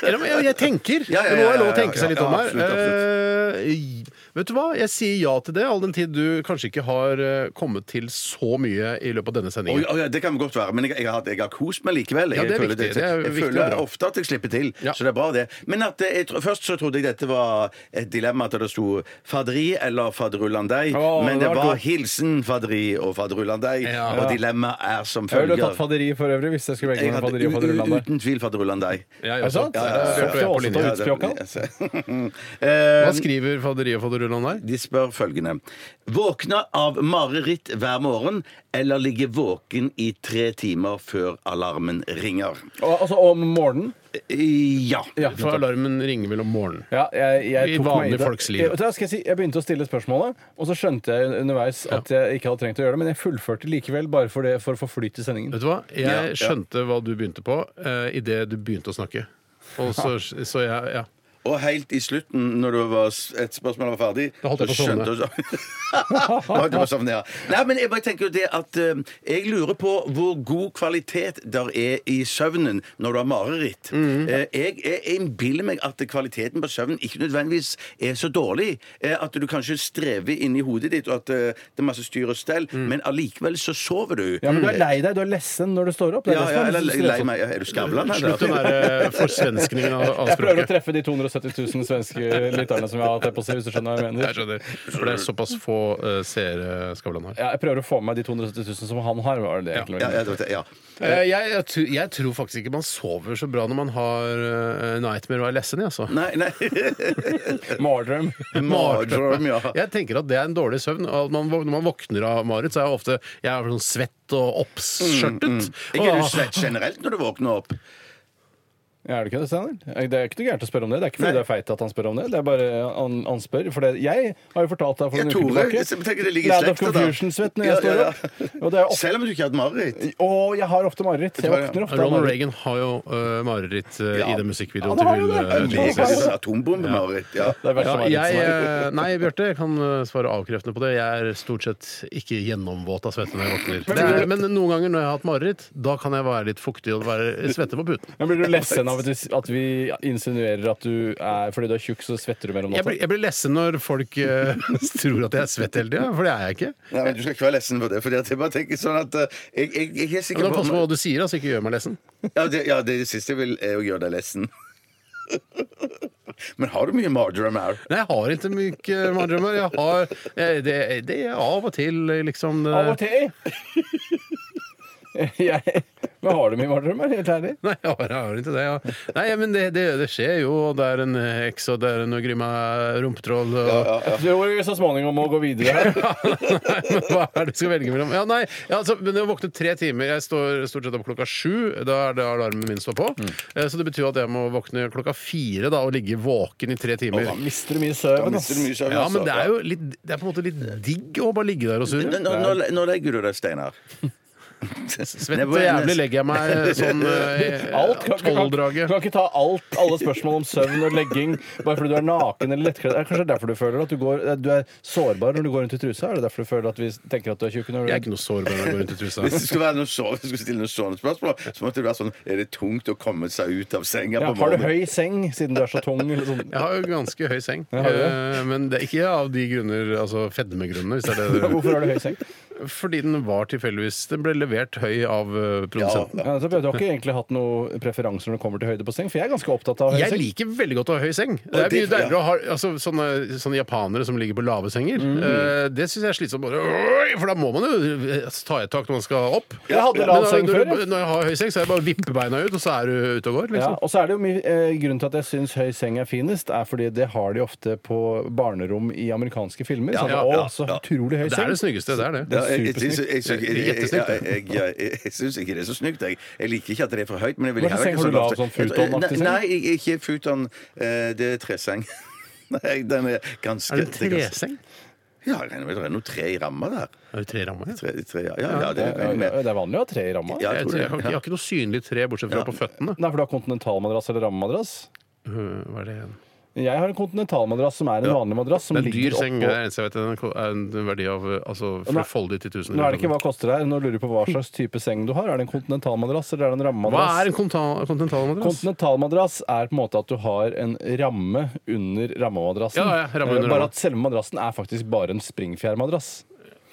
Speaker 2: Eller, men jeg, jeg tenker.
Speaker 4: Ja, ja, ja,
Speaker 2: Det må være lov å
Speaker 4: ja, ja,
Speaker 2: tenke seg
Speaker 4: ja,
Speaker 2: litt om
Speaker 4: ja,
Speaker 2: her.
Speaker 4: absolutt,
Speaker 2: Eh, Vet du hva, jeg sier ja til det, all den tid du kanskje ikke har eh, kommet til så mye i løpet av denne
Speaker 4: Å,
Speaker 2: sendingen.
Speaker 4: ja, ja, det kan godt være, men jeg, jeg, har, jeg har kost meg likevel.
Speaker 2: Ja, det er
Speaker 4: Jeg føler
Speaker 2: viktig. Det er
Speaker 4: jeg
Speaker 2: viktig og
Speaker 4: føler
Speaker 2: bra.
Speaker 4: ofte at jeg slipper til,
Speaker 2: Ja.
Speaker 4: så det er bra, det. Men at eh, jeg, tro- først så trodde jeg dette var et dilemma at det sto faderi eller faderullandei,
Speaker 3: Å,
Speaker 4: men
Speaker 3: det
Speaker 4: det
Speaker 3: var
Speaker 4: var
Speaker 3: dumt.
Speaker 4: hilsen faderi og faderullandei,
Speaker 2: Ja.
Speaker 4: og dilemmaet er som
Speaker 3: Jeg ville
Speaker 4: følger.
Speaker 3: tatt faderi for øvrig hvis jeg skulle velge
Speaker 4: Jeg
Speaker 3: mellom
Speaker 4: hadde
Speaker 3: faderi og
Speaker 4: u- u-
Speaker 3: faderullandet.
Speaker 4: uten tvil faderullandei.
Speaker 2: Ja,
Speaker 3: Er det sant?
Speaker 2: Ja,
Speaker 3: Ja, ja, ja.
Speaker 2: Bjarte og jeg er på linje.
Speaker 3: Ja, utspjåkal?
Speaker 4: <laughs> Eh,
Speaker 2: Hva skriver Faderi og Faderullan her?
Speaker 4: de spør følgende Våkne av mareritt hver morgen eller ligge våken i tre timer før alarmen ringer?
Speaker 3: Og- Altså om morgenen.
Speaker 4: Eh, Ja.
Speaker 3: Ja.
Speaker 2: For alarmen ringer vel om morgenen.
Speaker 3: Ja, jeg, jeg
Speaker 2: I
Speaker 3: tok meg
Speaker 2: vanlige
Speaker 3: det.
Speaker 2: folks liv.
Speaker 3: Jeg, vet du hva, skal jeg, si, jeg begynte å stille spørsmålet, og så skjønte jeg underveis at jeg ikke hadde trengt å gjøre det, men jeg fullførte likevel bare for, det, for å få flyt i sendingen.
Speaker 2: Vet du hva? Jeg
Speaker 4: Ja, ja.
Speaker 2: skjønte hva du begynte på uh, idet du begynte å snakke. Og så, så jeg ja.
Speaker 4: Og helt i slutten, når det var s- et spørsmål var ferdig
Speaker 2: Da holdt jeg på å
Speaker 4: så skjønte
Speaker 2: sovne.
Speaker 4: du- Da holdt jeg på å sovne, ja. Nei, men jeg bare tenker jo det at eh, Jeg lurer på hvor god kvalitet der er i søvnen når du har mareritt.
Speaker 2: Mm.
Speaker 4: Eh, jeg jeg innbiller meg at kvaliteten på søvnen ikke nødvendigvis er så dårlig. eh, at du kanskje strever inni hodet ditt, og at eh, det er masse styr og stell,
Speaker 2: Mm.
Speaker 4: men allikevel så sover du.
Speaker 3: Ja, men du er lei deg, du er lessen når du står opp. Det
Speaker 4: Ja,
Speaker 3: er det som
Speaker 4: ja,
Speaker 3: er
Speaker 4: eller
Speaker 3: litt
Speaker 4: lei
Speaker 3: stressende.
Speaker 4: meg. Ja, Er du skavlan? eller?
Speaker 2: Slutt å være forsvenskningen av, av
Speaker 3: Jeg prøver å
Speaker 2: språket.
Speaker 3: treffe de 270 000 svenske lytterne som jeg har hatt her på seg, hvis du skjønner hva jeg
Speaker 2: Jeg
Speaker 3: mener.
Speaker 2: skjønner. For det er såpass få eh, seere Skavlan har.
Speaker 3: Ja, jeg prøver å få med meg de 270 000 som han har. Var det det egentlig?
Speaker 4: Ja, ja, det var det, ja.
Speaker 2: Eh, Jeg, jeg, tr- jeg tror faktisk ikke man sover så bra når man har eh, nightmare og er lessen i, altså.
Speaker 4: Nei,
Speaker 2: <laughs>
Speaker 4: nei.
Speaker 3: Mardrøm.
Speaker 4: Mardrøm, ja.
Speaker 2: Jeg tenker at det er en dårlig søvn. og At man, våk- når man våkner av mareritt, så er jeg ofte jeg er sånn svett og oppskjørtet.
Speaker 4: Mm, Ikke er du
Speaker 2: Åh.
Speaker 4: svett generelt når du våkner opp?
Speaker 3: Ja, Er det ikke det, Steinar? Det er ikke noe gærent å spørre om det. Det er ikke fordi du er feit at han spør om det. Det er bare han, han spør. For det, jeg har jo fortalt deg for
Speaker 4: Ja,
Speaker 3: noen
Speaker 4: Tore,
Speaker 3: uker
Speaker 4: jeg tenker det ligger i
Speaker 3: Land of
Speaker 4: slekta, da.
Speaker 3: Confusion-svett når jeg
Speaker 4: Ja,
Speaker 3: står
Speaker 4: ja,
Speaker 3: opp. Og det er ofte,
Speaker 4: Selv om du ikke har hatt mareritt?
Speaker 3: å, jeg har ofte mareritt. Jeg
Speaker 4: tror jeg-
Speaker 3: våkner ofte av
Speaker 2: Ronald
Speaker 3: mareritt.
Speaker 2: Reagan har jo eh, mareritt eh,
Speaker 4: Ja.
Speaker 2: i den musikkvideoen
Speaker 3: Ja, han har jo
Speaker 2: til
Speaker 3: det.
Speaker 2: Will eh,
Speaker 3: Han liker
Speaker 2: Jesus.
Speaker 3: det.
Speaker 4: Liker atombombemareritt. Ja.
Speaker 3: Det er verste
Speaker 2: Ja,
Speaker 3: mareritt som
Speaker 2: jeg,
Speaker 3: er.
Speaker 2: eh, nei, Bjarte, jeg kan eh, svare avkreftende på det. Jeg er stort sett ikke gjennomvåt av svette når jeg våkner. Det er, men noen ganger når jeg har hatt mareritt, da kan jeg være litt fuktig og være svette på puten.
Speaker 3: Men
Speaker 4: <laughs>
Speaker 3: blir du lessen av at vi, at vi insinuerer at du er fordi du er tjukk, så svetter du mer om
Speaker 2: Jeg
Speaker 3: natta?
Speaker 2: blir, jeg blir lessen når folk eh, <laughs> tror at jeg er svett hele tida, for det er jeg ikke.
Speaker 4: Nei, men Du skal ikke være lessen på det. Fordi at jeg bare tenker sånn at eh, jeg, jeg, jeg er
Speaker 2: Men
Speaker 4: sikker
Speaker 2: da pass på
Speaker 4: på
Speaker 2: hva du sier, altså. Ikke gjør meg lessen.
Speaker 4: ja det, ja, det er det siste jeg vil, er å gjøre deg lessen. Men har du mye marjoram her?
Speaker 2: Nei, jeg har ikke myke marerittdrømmer. Jeg har eh, det, det er av og til, liksom. det-
Speaker 3: Av og til. <laughs> jeg, men har du mye mareritt, helt ærlig?
Speaker 2: <laughs> Nei, jeg har, jeg har ikke det. Ja. Nei, men det, det, det skjer jo. og Det er en heks, og det er en grima rumpetroll. Og...
Speaker 3: Jeg tror vi så småningom må gå videre her.
Speaker 2: <laughs> Nei, men hva er det du skal velge mellom? Ja, nei, ja, altså, men Jeg våkner tre timer. Jeg står stort sett opp klokka sju. Da er det alarmen min står på. Eh, Så det betyr at jeg må våkne klokka fire da, og ligge våken i tre timer.
Speaker 3: Mister du mye
Speaker 4: Da
Speaker 3: søvn? ass.
Speaker 4: mister du mye søvn,
Speaker 2: Ja,
Speaker 4: altså.
Speaker 2: men det er jo litt, det er på en måte litt digg å bare ligge der og
Speaker 4: Ja.
Speaker 2: surre.
Speaker 4: Nå, nå, nå legger du deg, Steinar.
Speaker 2: Svett og jævlig legger jeg meg sånn
Speaker 3: <laughs> Alt kan, kan, kan,
Speaker 2: tolvdraget.
Speaker 3: kan ikke ta alt, alle spørsmål om søvn og legging bare fordi du er naken eller lettkledd. Det er kanskje derfor du føler at du, går, eh, du er sårbar når du går rundt i trusa? Er det derfor du føler at vi tenker at du er tjukk? når du-
Speaker 2: Jeg er ikke noe sårbar når jeg går rundt i
Speaker 4: <laughs>
Speaker 2: trusa.
Speaker 4: Hvis du skulle, være noe så, hvis du skulle stille noe sånne spørsmål, så måtte det være sånn Er det tungt å komme seg ut av senga
Speaker 3: ja,
Speaker 4: på
Speaker 3: har du
Speaker 4: morgenen?
Speaker 3: høy seng siden du er så tung? Eller sånn?
Speaker 2: Jeg har jo ganske høy seng,
Speaker 3: Ja, har du det?
Speaker 2: Eh, men det er ikke av de grunner, altså fedmegrunnene, hvis det er det
Speaker 3: <laughs> Hvorfor har du høy seng?
Speaker 2: Fordi den var tilfeldigvis Den ble levert høy av eh, produsenten.
Speaker 3: Ja, så jeg har ikke egentlig hatt noen preferanser når det kommer til høyde på seng, for jeg er ganske opptatt av høy
Speaker 2: Jeg
Speaker 3: seng.
Speaker 2: liker veldig godt å ha høy seng. Det
Speaker 4: Og
Speaker 2: er mye
Speaker 4: det-
Speaker 2: deiligere
Speaker 4: ja.
Speaker 2: å ha altså, sånne, sånne japanere som ligger på lave senger.
Speaker 3: Mm.
Speaker 2: Eh, det syns jeg er slitsomt. Bare, «Oi!» for da må man jo eh, ta i et tak når man skal opp.
Speaker 3: Jeg hadde
Speaker 2: Men
Speaker 3: lav
Speaker 2: da-
Speaker 3: seng før. jeg.
Speaker 2: Når når jeg har høy seng, så er det bare å vippe beina ut, og så er du ute og går.
Speaker 3: Ja,
Speaker 2: Liksom.
Speaker 3: og så er det jo mye eh, Grunnen til at jeg syns høy seng er finest, er fordi det har de ofte på barnerom i amerikanske filmer. sånn,
Speaker 2: ja,
Speaker 3: å,
Speaker 2: ja,
Speaker 3: så utrolig høy
Speaker 2: Det er
Speaker 3: seng.
Speaker 2: det snyggeste. Det er det.
Speaker 4: Ja, jeg jeg, jeg, jeg, jeg, jeg, jeg,
Speaker 2: Jettesnykt, det.
Speaker 4: jeg, jeg, jeg, jeg syns ikke det er så snygt. Jeg, jeg liker ikke at det er for høyt. Men jeg vil
Speaker 3: Hva
Speaker 4: heller
Speaker 3: slags
Speaker 4: ikke
Speaker 3: seng
Speaker 4: så
Speaker 3: har du
Speaker 4: lavt.
Speaker 3: da, sånn
Speaker 4: Jeg-
Speaker 3: futonaktig seng?
Speaker 4: Nei, jeg- ikke futon. eh, Det er treseng. <laughs> Nei, den er ganske
Speaker 2: Er det
Speaker 4: er
Speaker 2: en
Speaker 4: ganske-
Speaker 2: treseng?
Speaker 4: Ja, jeg regner med det er noe tre i ramma der.
Speaker 2: Er det tre rammer?
Speaker 4: Tre, tre, ja, ja, ja, det
Speaker 3: Ja,
Speaker 4: regner jeg med.
Speaker 3: Eh, Det er vanlig å ha tre i ramma.
Speaker 4: Ja,
Speaker 2: Jeg,
Speaker 4: jeg
Speaker 2: tror, jeg,
Speaker 4: tror
Speaker 2: har, ikke-
Speaker 4: det.
Speaker 2: jeg har ikke noe synlig tre bortsett fra på føttene.
Speaker 3: Nei, for du har kontinentalmadrass eller rammemadrass.
Speaker 2: Uh, Hva er det igjen?
Speaker 3: Jeg har en kontinentalmadrass som er en vanlig madrass. Som
Speaker 2: Det er en dyr
Speaker 3: ligger
Speaker 2: seng. Det
Speaker 3: oppå-
Speaker 2: er det eneste jeg vet. Den er en verdi av eh, altså,
Speaker 3: Nei.
Speaker 2: fra foldig til tusen.
Speaker 3: Nå er det ikke hva koster det her, nå lurer jeg på hva slags type seng du har. Er det en kontinentalmadrass eller er det
Speaker 2: Hva
Speaker 3: en rammemadrass?
Speaker 2: er en konta- kontinentalmadrass?
Speaker 3: Kontinentalmadrass er på en måte at du har en ramme under rammemadrassen.
Speaker 2: Ja, ja, ramme under
Speaker 3: Eh, bare
Speaker 2: ramma.
Speaker 3: at selve madrassen er faktisk bare en springfjærmadrass.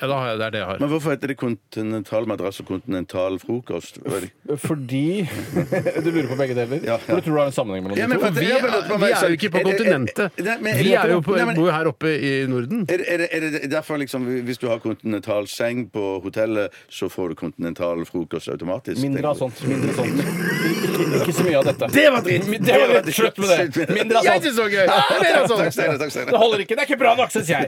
Speaker 2: Ja, da har jeg, det er det jeg har.
Speaker 4: Men hvorfor heter det kontinental madrass og kontinental frokost? Hva er det?
Speaker 3: Fordi <laughs> Du lurer på begge deler?
Speaker 4: Ja, ja.
Speaker 3: For du tror det er en sammenheng mellom
Speaker 4: Ja,
Speaker 3: de
Speaker 4: men
Speaker 3: to?
Speaker 4: for-
Speaker 2: Vi,
Speaker 4: jeg bare
Speaker 2: er,
Speaker 4: lurte på hva
Speaker 2: vi
Speaker 4: jeg sa.
Speaker 2: er jo ikke på
Speaker 4: Er det-
Speaker 2: kontinentet.
Speaker 4: er- nei, men-
Speaker 2: Vi er jo på,
Speaker 4: Nei, men-
Speaker 2: bor jo her oppe i Norden.
Speaker 4: Er, er, det- er det derfor liksom, hvis du har kontinental seng på hotellet, så får du kontinental frokost automatisk?
Speaker 3: Mindre av
Speaker 4: tenker
Speaker 3: sånt. Mindre sånt. Ikke, ikke så mye av dette.
Speaker 4: Det var dritt!
Speaker 3: Det var litt slutt med det. Mindre av
Speaker 2: Jeg
Speaker 3: sånt.
Speaker 2: synes det var gøy! Det er
Speaker 4: du? <laughs> Takk,
Speaker 2: sånn.
Speaker 4: Steinar. Takk, Steinar.
Speaker 3: Det holder ikke. Det er ikke bra
Speaker 4: <laughs>
Speaker 3: nok, syns jeg.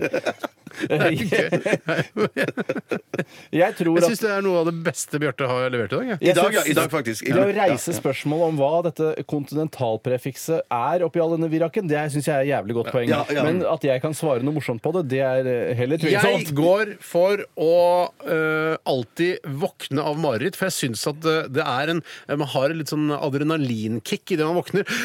Speaker 3: Jeg tror
Speaker 2: <laughs> Jeg
Speaker 3: at
Speaker 2: syns det er noe av det beste Bjarte har levert i dag. Jeg.
Speaker 4: I dag, ja. I dag, faktisk. I
Speaker 3: Det å
Speaker 4: dag.
Speaker 3: reise spørsmål om hva dette kontinentalprefikset er oppi all denne viraken, det syns jeg er jævlig godt poeng.
Speaker 4: Ja, ja.
Speaker 3: Men at jeg kan svare noe morsomt på det, det er eh, heller
Speaker 2: Jeg
Speaker 3: tvilsomt.
Speaker 2: går for å eh, alltid våkne av mareritt, for jeg syns at eh, det er en eh, Man har et litt sånn adrenalinkick idet man våkner. <gasps>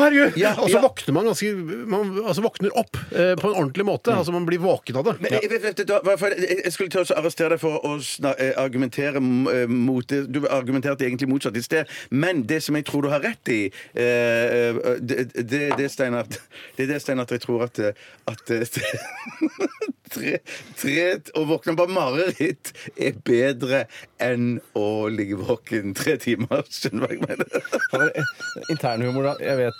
Speaker 2: Herregud!
Speaker 4: Ja,
Speaker 2: og så
Speaker 4: ja.
Speaker 2: våkner man ganske Man altså våkner opp eh, på en ordentlig måte. Altså man blir våken av det.
Speaker 4: Men jeg, vet, vet, du, da, hva- for eh, jeg jeg skulle til å arrestere deg for å sna- eh, argumentere m- eh, mot det. Du argumenterte egentlig motsatt i sted, men det som jeg tror du har rett i eh, eh, Det det- det er det, Steinar, at- det, er det, Steinar, at jeg tror at, eh, at eh, <laughs> tre, tre, Å våkne på mareritt er bedre enn å ligge våken tre timer. Skjønner du hva jeg mener? <laughs>
Speaker 3: For, eh, Internhumor, da. Jeg vet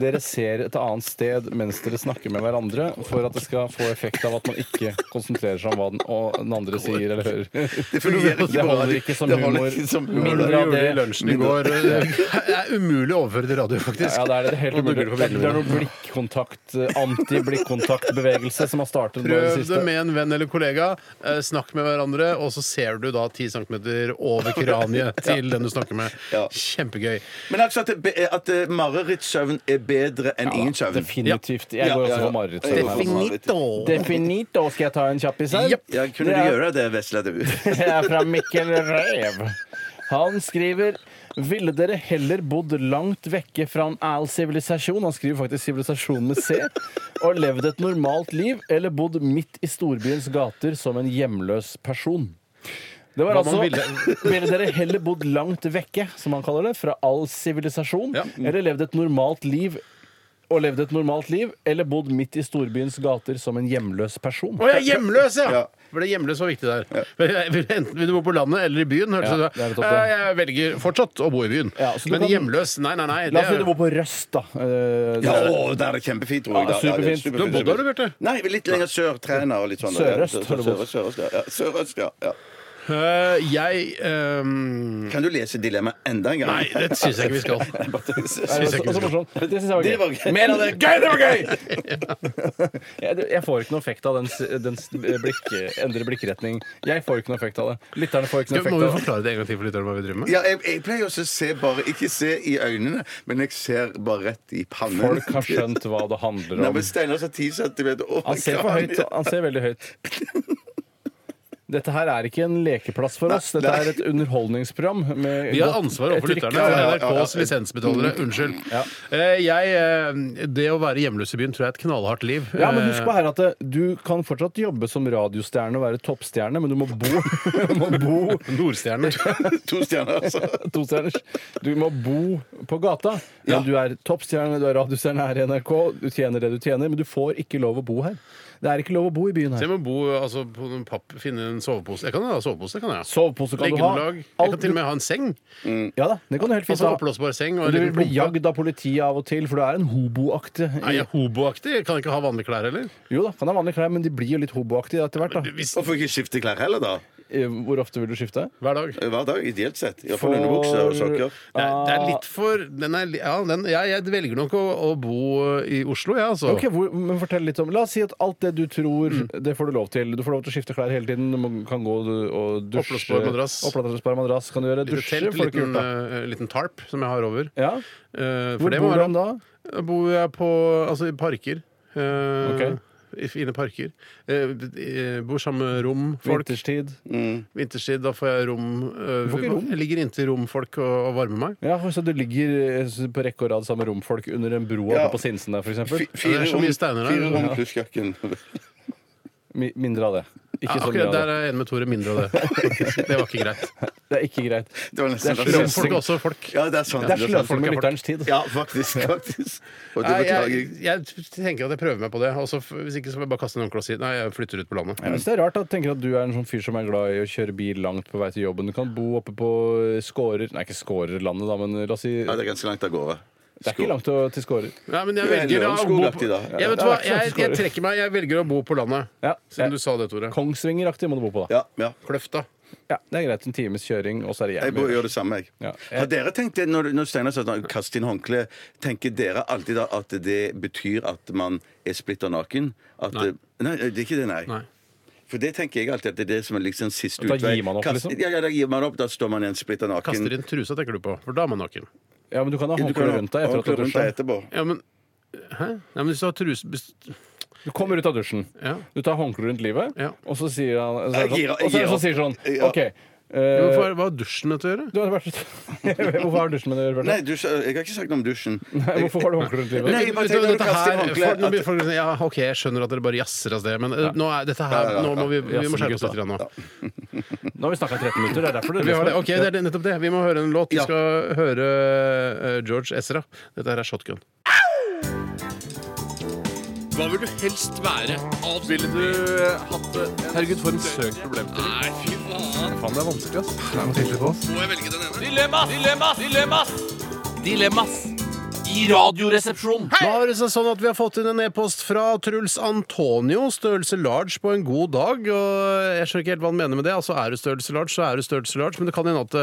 Speaker 3: Dere ser et annet sted mens dere snakker med hverandre, for at det skal få effekt av at man ikke konsentrerer seg om hva den, og den andre sier eller hører.
Speaker 4: Det fungerer ikke
Speaker 3: <laughs> Det
Speaker 4: bra.
Speaker 3: holder ikke som
Speaker 4: Det holder
Speaker 3: humor.
Speaker 4: ikke som humor.
Speaker 2: Når
Speaker 3: Mindre
Speaker 2: dere
Speaker 3: av
Speaker 2: gjorde det i
Speaker 3: det.
Speaker 2: lunsjen i går eh, <laughs> Det er umulig å overføre til radio, faktisk.
Speaker 3: Ja, det er det. det er helt
Speaker 2: Og
Speaker 3: umulig.
Speaker 2: dugger på
Speaker 3: Det er- det
Speaker 2: bildene.
Speaker 3: er noe blikkontakt, eh, anti-blikkontaktbevegelse som har startet nå i det
Speaker 2: Prøv det
Speaker 3: siste.
Speaker 2: med en venn eller kollega. Eh, snakk med hverandre, og så ser du da 10 cm over
Speaker 4: <laughs>
Speaker 2: kraniet til den du snakker med.
Speaker 4: Ja.
Speaker 2: Kjempegøy.
Speaker 4: Men altså at, det be- at eh, marerittsøvn er bedre enn ingen søvn.
Speaker 3: Definitivt. Jeg
Speaker 4: Ja,
Speaker 3: går
Speaker 4: ja,
Speaker 3: også
Speaker 4: ja.
Speaker 3: for mareritt.
Speaker 4: Jeg går for mareritt.
Speaker 3: Definito. Skal jeg ta en kjappis her?
Speaker 2: Japp.
Speaker 4: Ja, kunne
Speaker 3: Det
Speaker 4: du
Speaker 3: er-
Speaker 4: gjøre det, vesle du?
Speaker 3: Det er fra Mikkel Rev. Han skriver ville dere heller bodd langt vekke fra en all sivilisasjon Han skriver faktisk sivilisasjon med C. Og levd et normalt liv, eller bodd midt i storbyens gater som en hjemløs person? Det var
Speaker 2: Hva
Speaker 3: altså
Speaker 2: man
Speaker 3: <laughs> ville. dere heller bodd langt vekke, som han kaller det, fra all sivilisasjon,
Speaker 2: Ja.
Speaker 3: eller levd et normalt liv og levd et normalt liv, eller bodd midt i storbyens gater som en hjemløs person?
Speaker 2: Å, jeg er hjemløs, ja!
Speaker 4: Ja.
Speaker 2: For det hjemløs var viktig der. Men jeg vil- Enten vil du bo på landet eller i byen. Hørte
Speaker 3: Ja,
Speaker 2: du
Speaker 3: det er
Speaker 2: det?
Speaker 3: nettopp det.
Speaker 2: Eh, Jeg velger fortsatt å bo i byen.
Speaker 3: Ja, så du
Speaker 2: Men
Speaker 3: kan-
Speaker 2: hjemløs? Nei, nei, nei.
Speaker 3: La oss si
Speaker 2: det
Speaker 3: du
Speaker 2: er-
Speaker 3: bor på Røst, da. Eh,
Speaker 4: Ja, å, der er det kjempefint, tror jeg.
Speaker 3: Ja,
Speaker 4: da. Ja, det er
Speaker 3: superfint.
Speaker 2: Du har bodd der, du, Bjarte?
Speaker 4: Nei, litt lenger sør. Træna og litt sånn.
Speaker 3: Sørøst,
Speaker 4: Ja,
Speaker 3: har du bodd.
Speaker 4: Sørøst, sørøst, ja. ja. Sørøst, ja. ja.
Speaker 2: Eh, jeg ehm,
Speaker 4: Kan du lese dilemmaet enda en gang?
Speaker 2: Nei,
Speaker 4: <laughs>
Speaker 2: det syns jeg ikke vi
Speaker 3: <laughs>
Speaker 2: skal.
Speaker 4: Nei, bare tøys.
Speaker 3: Nei, det var så-
Speaker 2: ikke
Speaker 3: så morsomt. Det syns jeg var gøy.
Speaker 4: Det var gøy.
Speaker 3: Mer av det! Gøy, det var gøy! <laughs> jeg, jeg får ikke noe effekt av den, s- den s- blikk, endre blikkretning. Jeg får ikke noe effekt av det. Lytterne får ikke
Speaker 2: Må
Speaker 3: noe effekt
Speaker 2: vi
Speaker 3: av det.
Speaker 2: forklare det en gang til for lytterne hva vi driver med?
Speaker 4: Ja, jeg, jeg pleier også å se bare Ikke se i øynene, men jeg ser bare rett i pannen.
Speaker 3: Folk har skjønt hva det handler
Speaker 4: <laughs> Nei,
Speaker 3: om.
Speaker 4: men Steinar sa 10 centimeter over
Speaker 3: Han ser for høyt. Han ser veldig høyt. Dette her er ikke en lekeplass for oss. Dette er et underholdningsprogram. Med
Speaker 2: Vi har
Speaker 3: godt-
Speaker 2: ansvar overfor
Speaker 3: et
Speaker 2: lytterne.
Speaker 3: rykte.
Speaker 2: for
Speaker 4: ja, ja, ja.
Speaker 2: NRKs lisensbetalere. Unnskyld.
Speaker 3: Mm. Ja.
Speaker 2: Eh, Jeg, eh, det å være hjemløs i byen tror jeg er et knallhardt liv.
Speaker 3: Ja, men husk på her at eh, Du kan fortsatt jobbe som radiostjerne og være toppstjerne, men du må bo, <laughs> du må bo
Speaker 2: Eh,
Speaker 4: <laughs>
Speaker 2: Nordstjerne.
Speaker 3: <laughs>
Speaker 4: To stjerner, altså.
Speaker 3: Tostjerners. Du må bo på gata. Men du er toppstjerne, du er radiostjerne her i NRK, du tjener det du tjener, men du får ikke lov å bo her. Det er ikke lov å bo i byen
Speaker 2: Så jeg
Speaker 3: her.
Speaker 2: må bo altså, på noen papp, finne en sovepose. Jeg kan ha sovepose. det kan jeg.
Speaker 3: Sovepose kan du ha.
Speaker 2: Leggeunderlag. Jeg
Speaker 3: Alt
Speaker 2: kan til og med ha en seng.
Speaker 3: du- Ja da, det kan du helt fint
Speaker 2: Altså
Speaker 3: ha.
Speaker 2: Oppblåsbar seng. Og
Speaker 3: Og
Speaker 2: en
Speaker 3: Du
Speaker 2: liten
Speaker 3: vil bli
Speaker 2: pumpe.
Speaker 3: jagd av politiet av og til, for du er en hoboaktig.
Speaker 2: Nei, jeg er hoboaktig. Jeg Kan ikke ha vanlige klær heller.
Speaker 3: Jo da, kan ha vanlige klær, men de blir jo litt hoboaktige etter hvert. da.
Speaker 2: Hvis,
Speaker 4: Hvorfor ikke skifte klær heller, da?
Speaker 3: Eh, Hvor ofte vil du skifte?
Speaker 2: hver dag.
Speaker 4: Hver dag, ideelt sett.
Speaker 3: For-
Speaker 4: Iallfall underbukser og sokker.
Speaker 2: Det
Speaker 3: Ah.
Speaker 2: er, det er litt for den er, li- ja, den, jeg, jeg velger nok å, å bo i Oslo, jeg, altså.
Speaker 3: Ok, hvor, men fortell litt om La oss si at alt det du tror,
Speaker 2: Mm.
Speaker 3: det får du lov til. Du får lov til å skifte klær hele tiden. Du må- kan gå og- og dusje.
Speaker 2: Oppblåsbar madrass.
Speaker 3: Oppblåsbar madrass kan du gjøre.
Speaker 2: Lite
Speaker 3: Dusje
Speaker 2: telt,
Speaker 3: får du ikke
Speaker 2: liten,
Speaker 3: gjort, da.
Speaker 2: eh, liten tarp som jeg har over.
Speaker 3: Ja.
Speaker 2: Eh, for
Speaker 3: Hvor
Speaker 2: det må
Speaker 3: bor
Speaker 2: være-
Speaker 3: han da?
Speaker 2: Da bor jeg på altså, i parker. Eh,
Speaker 3: Ok.
Speaker 2: i fine parker. Eh, eh, bor sammen med romfolk.
Speaker 3: Vinterstid.
Speaker 2: Vinterstid, da får jeg rom. eh,
Speaker 3: får ikke rom.
Speaker 2: Jeg ligger inntil romfolk og, og varmer meg.
Speaker 3: Ja, så du ligger eh, på rekke og rad sammen med romfolk under en bro
Speaker 4: Ja.
Speaker 3: på Sinsen der, f.eks.?
Speaker 2: det er så mye steiner der.
Speaker 4: Fire rom pluss kjøkken.
Speaker 3: Mi- Mindre av det. Ikke
Speaker 2: Ja,
Speaker 3: så mye
Speaker 2: akkurat
Speaker 3: av
Speaker 2: der
Speaker 3: det.
Speaker 2: er jeg enig med Tore. Mindre av <laughs> det. Det var ikke greit.
Speaker 3: Det er ikke greit.
Speaker 4: <laughs> Det var nesten
Speaker 3: Det er
Speaker 4: rasistisk.
Speaker 2: Romfolk er også folk.
Speaker 4: Ja, det er sånn.
Speaker 3: Det er sløsing
Speaker 2: folk er
Speaker 3: med
Speaker 2: folk.
Speaker 3: lytterens tid.
Speaker 4: Ja, faktisk. faktisk. Og det
Speaker 2: Nei,
Speaker 4: beklager
Speaker 2: jeg,
Speaker 4: jeg.
Speaker 2: jeg tenker at jeg prøver meg på det. Og så f- hvis ikke så får jeg bare kaste en håndkle og si nei, jeg flytter ut på landet.
Speaker 3: Jeg synes det er rart at, tenker at du er en sånn fyr som er glad i å kjøre bil langt på vei til jobben. Du kan bo oppe på Skårer Nei, ikke Skårerlandet, da, men la oss si
Speaker 4: Ja,
Speaker 3: Det
Speaker 4: det er ganske langt av gårde.
Speaker 3: er ikke langt å- til Skårer.
Speaker 2: Nei, men jeg
Speaker 4: Du er
Speaker 2: velger da å bo på
Speaker 4: Lørenskog-aktig da. Ja,
Speaker 2: jeg, vet
Speaker 3: det er
Speaker 2: hva,
Speaker 3: ikke sant,
Speaker 2: jeg, jeg trekker meg. Jeg velger å bo på landet.
Speaker 3: Ja.
Speaker 2: Siden du sa det, Tore.
Speaker 3: Kongsvingeraktig må du bo på, da.
Speaker 4: Ja, ja.
Speaker 2: Kløfta.
Speaker 3: Ja, det er greit. En times kjøring, og så er det
Speaker 4: Jeg
Speaker 3: hjem.
Speaker 4: bør gjøre det samme, jeg.
Speaker 3: Ja.
Speaker 4: Har dere tenkt det, når, når Steinar sa at han kastet inn håndkle, tenker dere alltid da at det betyr at man er splitter naken? At,
Speaker 2: Nei.
Speaker 4: nei, det er ikke det, nei.
Speaker 2: Nei.
Speaker 4: For det tenker jeg alltid at det er det som er liksom siste
Speaker 3: Da
Speaker 4: utvei.
Speaker 3: gir man opp,
Speaker 4: Kast-
Speaker 3: liksom?
Speaker 4: Ja, ja, da gir man opp. Da står man igjen splitter naken.
Speaker 2: Kaster inn trusa, tenker du på. For da er man naken.
Speaker 3: Ja, men du kan ha
Speaker 4: Du kan
Speaker 3: håndkle
Speaker 4: ha-
Speaker 3: rundt deg etter at
Speaker 4: håndkle
Speaker 3: du har
Speaker 4: rundt deg
Speaker 3: dusja.
Speaker 4: etterpå.
Speaker 2: Ja, men Hæ? Nei, men hvis du har truse best-
Speaker 3: Du kommer ut av dusjen.
Speaker 2: Ja.
Speaker 3: Du tar håndkle rundt livet,
Speaker 2: Ja.
Speaker 3: og så sier han så er det
Speaker 4: Jeg gir-
Speaker 3: sånn,
Speaker 4: jeg
Speaker 3: Og så,
Speaker 4: gir
Speaker 3: så sier han sånn OK eh,
Speaker 2: Hvorfor, har- Hva har dusjen med det å gjøre?
Speaker 3: du har vært, <laughs> Hvorfor har dusjen med det å gjøre, Bjarte?
Speaker 4: Nei, dusj- jeg har ikke sagt noe om
Speaker 3: <laughs>
Speaker 4: dusjen.
Speaker 3: Nei, Hvorfor har du håndkle rundt livet?
Speaker 4: Nei, jeg bare
Speaker 2: Vet du
Speaker 4: tenker når
Speaker 2: hva,
Speaker 4: du
Speaker 2: dette
Speaker 4: kaster inn
Speaker 2: her,
Speaker 4: håndkle
Speaker 2: folk, nå blir
Speaker 4: at-
Speaker 2: folk sånn, ja, OK, jeg skjønner at dere bare jazzer av sted, men eh, nå er dette her Nå må vi, vi må skjerpe oss litt. grann Nå.
Speaker 3: Nå har vi snakka 13 minutter. Det er derfor det
Speaker 2: Vi har det. Ok, det er det- nettopp det. Vi må høre en låt. Vi skal høre eh, George Ezra. Dette her er Shotgun. Hva vil du helst være? Ville du hatt det? Herregud, for en søk problem. Nei, fy faen. Faen, det er vanskelig, ass. Må jeg velge den ene?
Speaker 9: Dilemmas! Dilemmas! Dilemmas! Dilemmas i Radioresepsjonen.
Speaker 2: Nå har det seg sånn at Vi har fått inn en e-post fra Truls Antonio, størrelse large på en god dag. og Jeg skjønner ikke helt hva han mener med det. Altså Er du størrelse large, så er du størrelse large. Men det kan hende at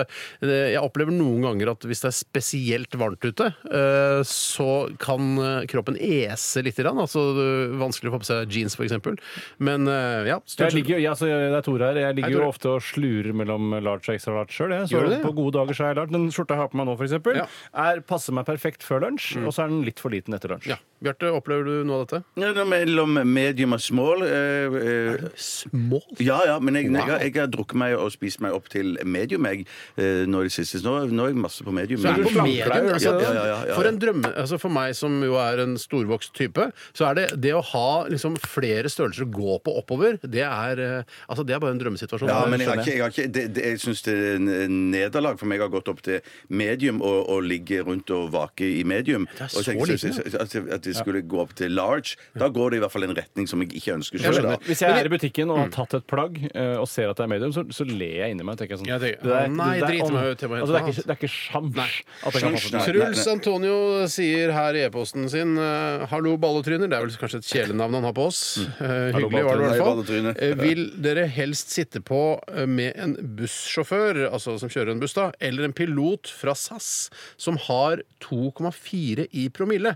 Speaker 2: eh, jeg opplever noen ganger at hvis det er spesielt varmt ute, eh, så kan eh, kroppen ese litt. grann, Altså eh, Vanskelig å få på seg jeans, f.eks. Men eh, ja
Speaker 3: Jeg
Speaker 2: størrelse-
Speaker 3: ligger, jo- ja, så jeg- det er Tore her. Jeg ligger
Speaker 2: Hei, Tore.
Speaker 3: jo ofte og slurer mellom large og extra large sjøl.
Speaker 2: Gjør du det?
Speaker 3: På gode dager så er jeg large. Den skjorta jeg har på meg nå, for eksempel,
Speaker 2: Ja. Mm.
Speaker 3: er passer meg perfekt før lunsj, og så er den litt for liten etter lunsj.
Speaker 2: ja. Bjarte, opplever du noe av dette?
Speaker 4: Ja, det er mellom medium og small. eh, eh,
Speaker 2: Small?
Speaker 4: Ja, ja, men jeg, jeg, har, jeg har drukket meg og spist meg opp til medium, jeg. eh, Nå i det siste. Nå, nå er jeg masse på medium.
Speaker 2: Så er det
Speaker 4: jeg.
Speaker 2: på medium, altså,
Speaker 4: Ja, ja, ja, ja.
Speaker 2: For en drømme, altså for meg som jo er en storvokst type, så er det det å ha liksom flere størrelser å gå på oppover, det er, eh, altså det er bare en drømmesituasjon.
Speaker 4: Ja, men jeg, har ikke, jeg, har ikke, det, det, jeg syns det er en nederlag for meg å ha gått opp til medium og, og ligge rundt og vake i medium.
Speaker 2: er
Speaker 4: Og
Speaker 2: så
Speaker 4: tenke-
Speaker 2: liten,
Speaker 4: at, at de skulle gå opp til large. Da går det i hvert fall i en retning som jeg ikke ønsker
Speaker 2: Jeg
Speaker 4: sjøl.
Speaker 2: skjønner. Mm.
Speaker 3: Hvis jeg er i butikken og har tatt et plagg eh, og ser at det er medium, så, så ler jeg inni meg. tenker jeg sånn.
Speaker 2: Ja, det-
Speaker 3: der-
Speaker 2: Å, nei,
Speaker 3: der-
Speaker 2: drit meg
Speaker 3: om-
Speaker 2: ut, jeg må hente
Speaker 3: altså, det, er
Speaker 2: noe
Speaker 3: ikke, det er ikke sjans at det kan
Speaker 4: Sjans,
Speaker 3: passe
Speaker 4: nei.
Speaker 3: meg.
Speaker 2: Truls Antonio sier her i e-posten sin eh, 'Hallo, balletryner'. Det er vel kanskje et kjælenavn han har på oss. Eh,
Speaker 3: Hallo,
Speaker 2: hyggelig var det
Speaker 4: balletryner.
Speaker 2: i hvert fall.
Speaker 4: Mm. Hei, balletryner.
Speaker 2: Eh, vil dere helst sitte på eh, med en bussjåfør, altså som kjører en buss, da, eller en pilot fra SAS som har 2,4 i promille?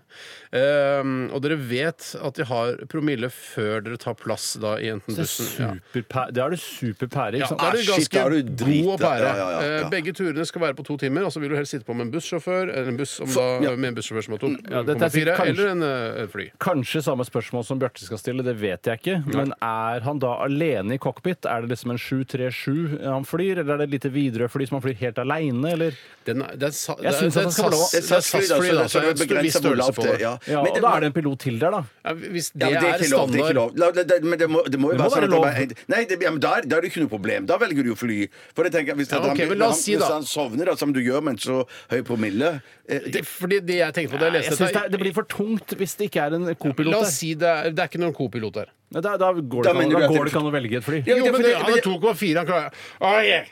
Speaker 2: Eh, og dere vet at de har promille før dere tar plass da i enten
Speaker 3: Det er
Speaker 2: bussen ja.
Speaker 3: superpæ- Det er du superpære, ikke
Speaker 2: Ja,
Speaker 3: sant?
Speaker 2: da er du
Speaker 4: Ah, shit,
Speaker 2: ganske
Speaker 4: da er du drit,
Speaker 2: god å
Speaker 4: da.
Speaker 2: bære.
Speaker 4: Ja, ja, ja, ja.
Speaker 2: Eh, Begge turene skal være på to timer, og så vil du helst sitte på med en bussjåfør eller en buss som da, med en bussjåfør som har
Speaker 3: Ja, dette er
Speaker 2: 2,4,
Speaker 3: sikkert kanskje-
Speaker 2: eller en eh, fly.
Speaker 3: Kanskje samme spørsmål som Bjarte skal stille, det vet jeg ikke. Men er han da alene i cockpit? Er det liksom en 737 han flyr, eller er det et lite Widerøe-fly som han flyr helt aleine, eller?
Speaker 2: Den er, det er, sa- det
Speaker 3: Jeg
Speaker 2: er,
Speaker 3: synes
Speaker 2: det er et
Speaker 3: at han skal
Speaker 2: SAS-
Speaker 3: få
Speaker 2: det er et SAS-fly, da, så det er en viss størrelse på det.
Speaker 4: Ja.
Speaker 3: Ja,
Speaker 4: Men
Speaker 3: og
Speaker 4: det
Speaker 3: da
Speaker 4: må-
Speaker 3: er det en pilot til der, da.
Speaker 2: Ja, Hvis det,
Speaker 4: Ja, men det er
Speaker 2: er
Speaker 4: ikke lov. Det er ikke
Speaker 2: standard
Speaker 4: lov. La- la- det- Men det må, det må jo
Speaker 3: Det
Speaker 4: være
Speaker 3: må
Speaker 4: sånn
Speaker 3: være
Speaker 4: at
Speaker 3: lov.
Speaker 4: det bare- Nei, det, ja, men da, er- da er det ikke noe problem. Da velger du jo fly. For jeg tenker, hvis,
Speaker 2: Ja,
Speaker 4: han-
Speaker 2: ok, men
Speaker 4: hvis
Speaker 2: la
Speaker 4: han,
Speaker 2: oss si
Speaker 4: hvis
Speaker 2: da-
Speaker 4: han sovner, da, som du gjør, men så høy promille eh, det,
Speaker 2: det, Fordi det jeg tenkte på da jeg
Speaker 3: Jeg
Speaker 2: leste
Speaker 3: synes det,
Speaker 2: dette
Speaker 3: er, det blir for tungt hvis det ikke er en
Speaker 2: La
Speaker 3: co-pilot
Speaker 2: oss
Speaker 3: der.
Speaker 2: si det er, det er ikke noen co-pilot der.
Speaker 3: Nei, Da, da
Speaker 4: Da
Speaker 3: går det ikke an-
Speaker 4: mener du
Speaker 3: da
Speaker 4: at
Speaker 3: går
Speaker 4: det-
Speaker 3: det ikke an å velge et fly.
Speaker 4: Ja,
Speaker 2: Jo, men det, han er 2,4, han klarer Å, jeg-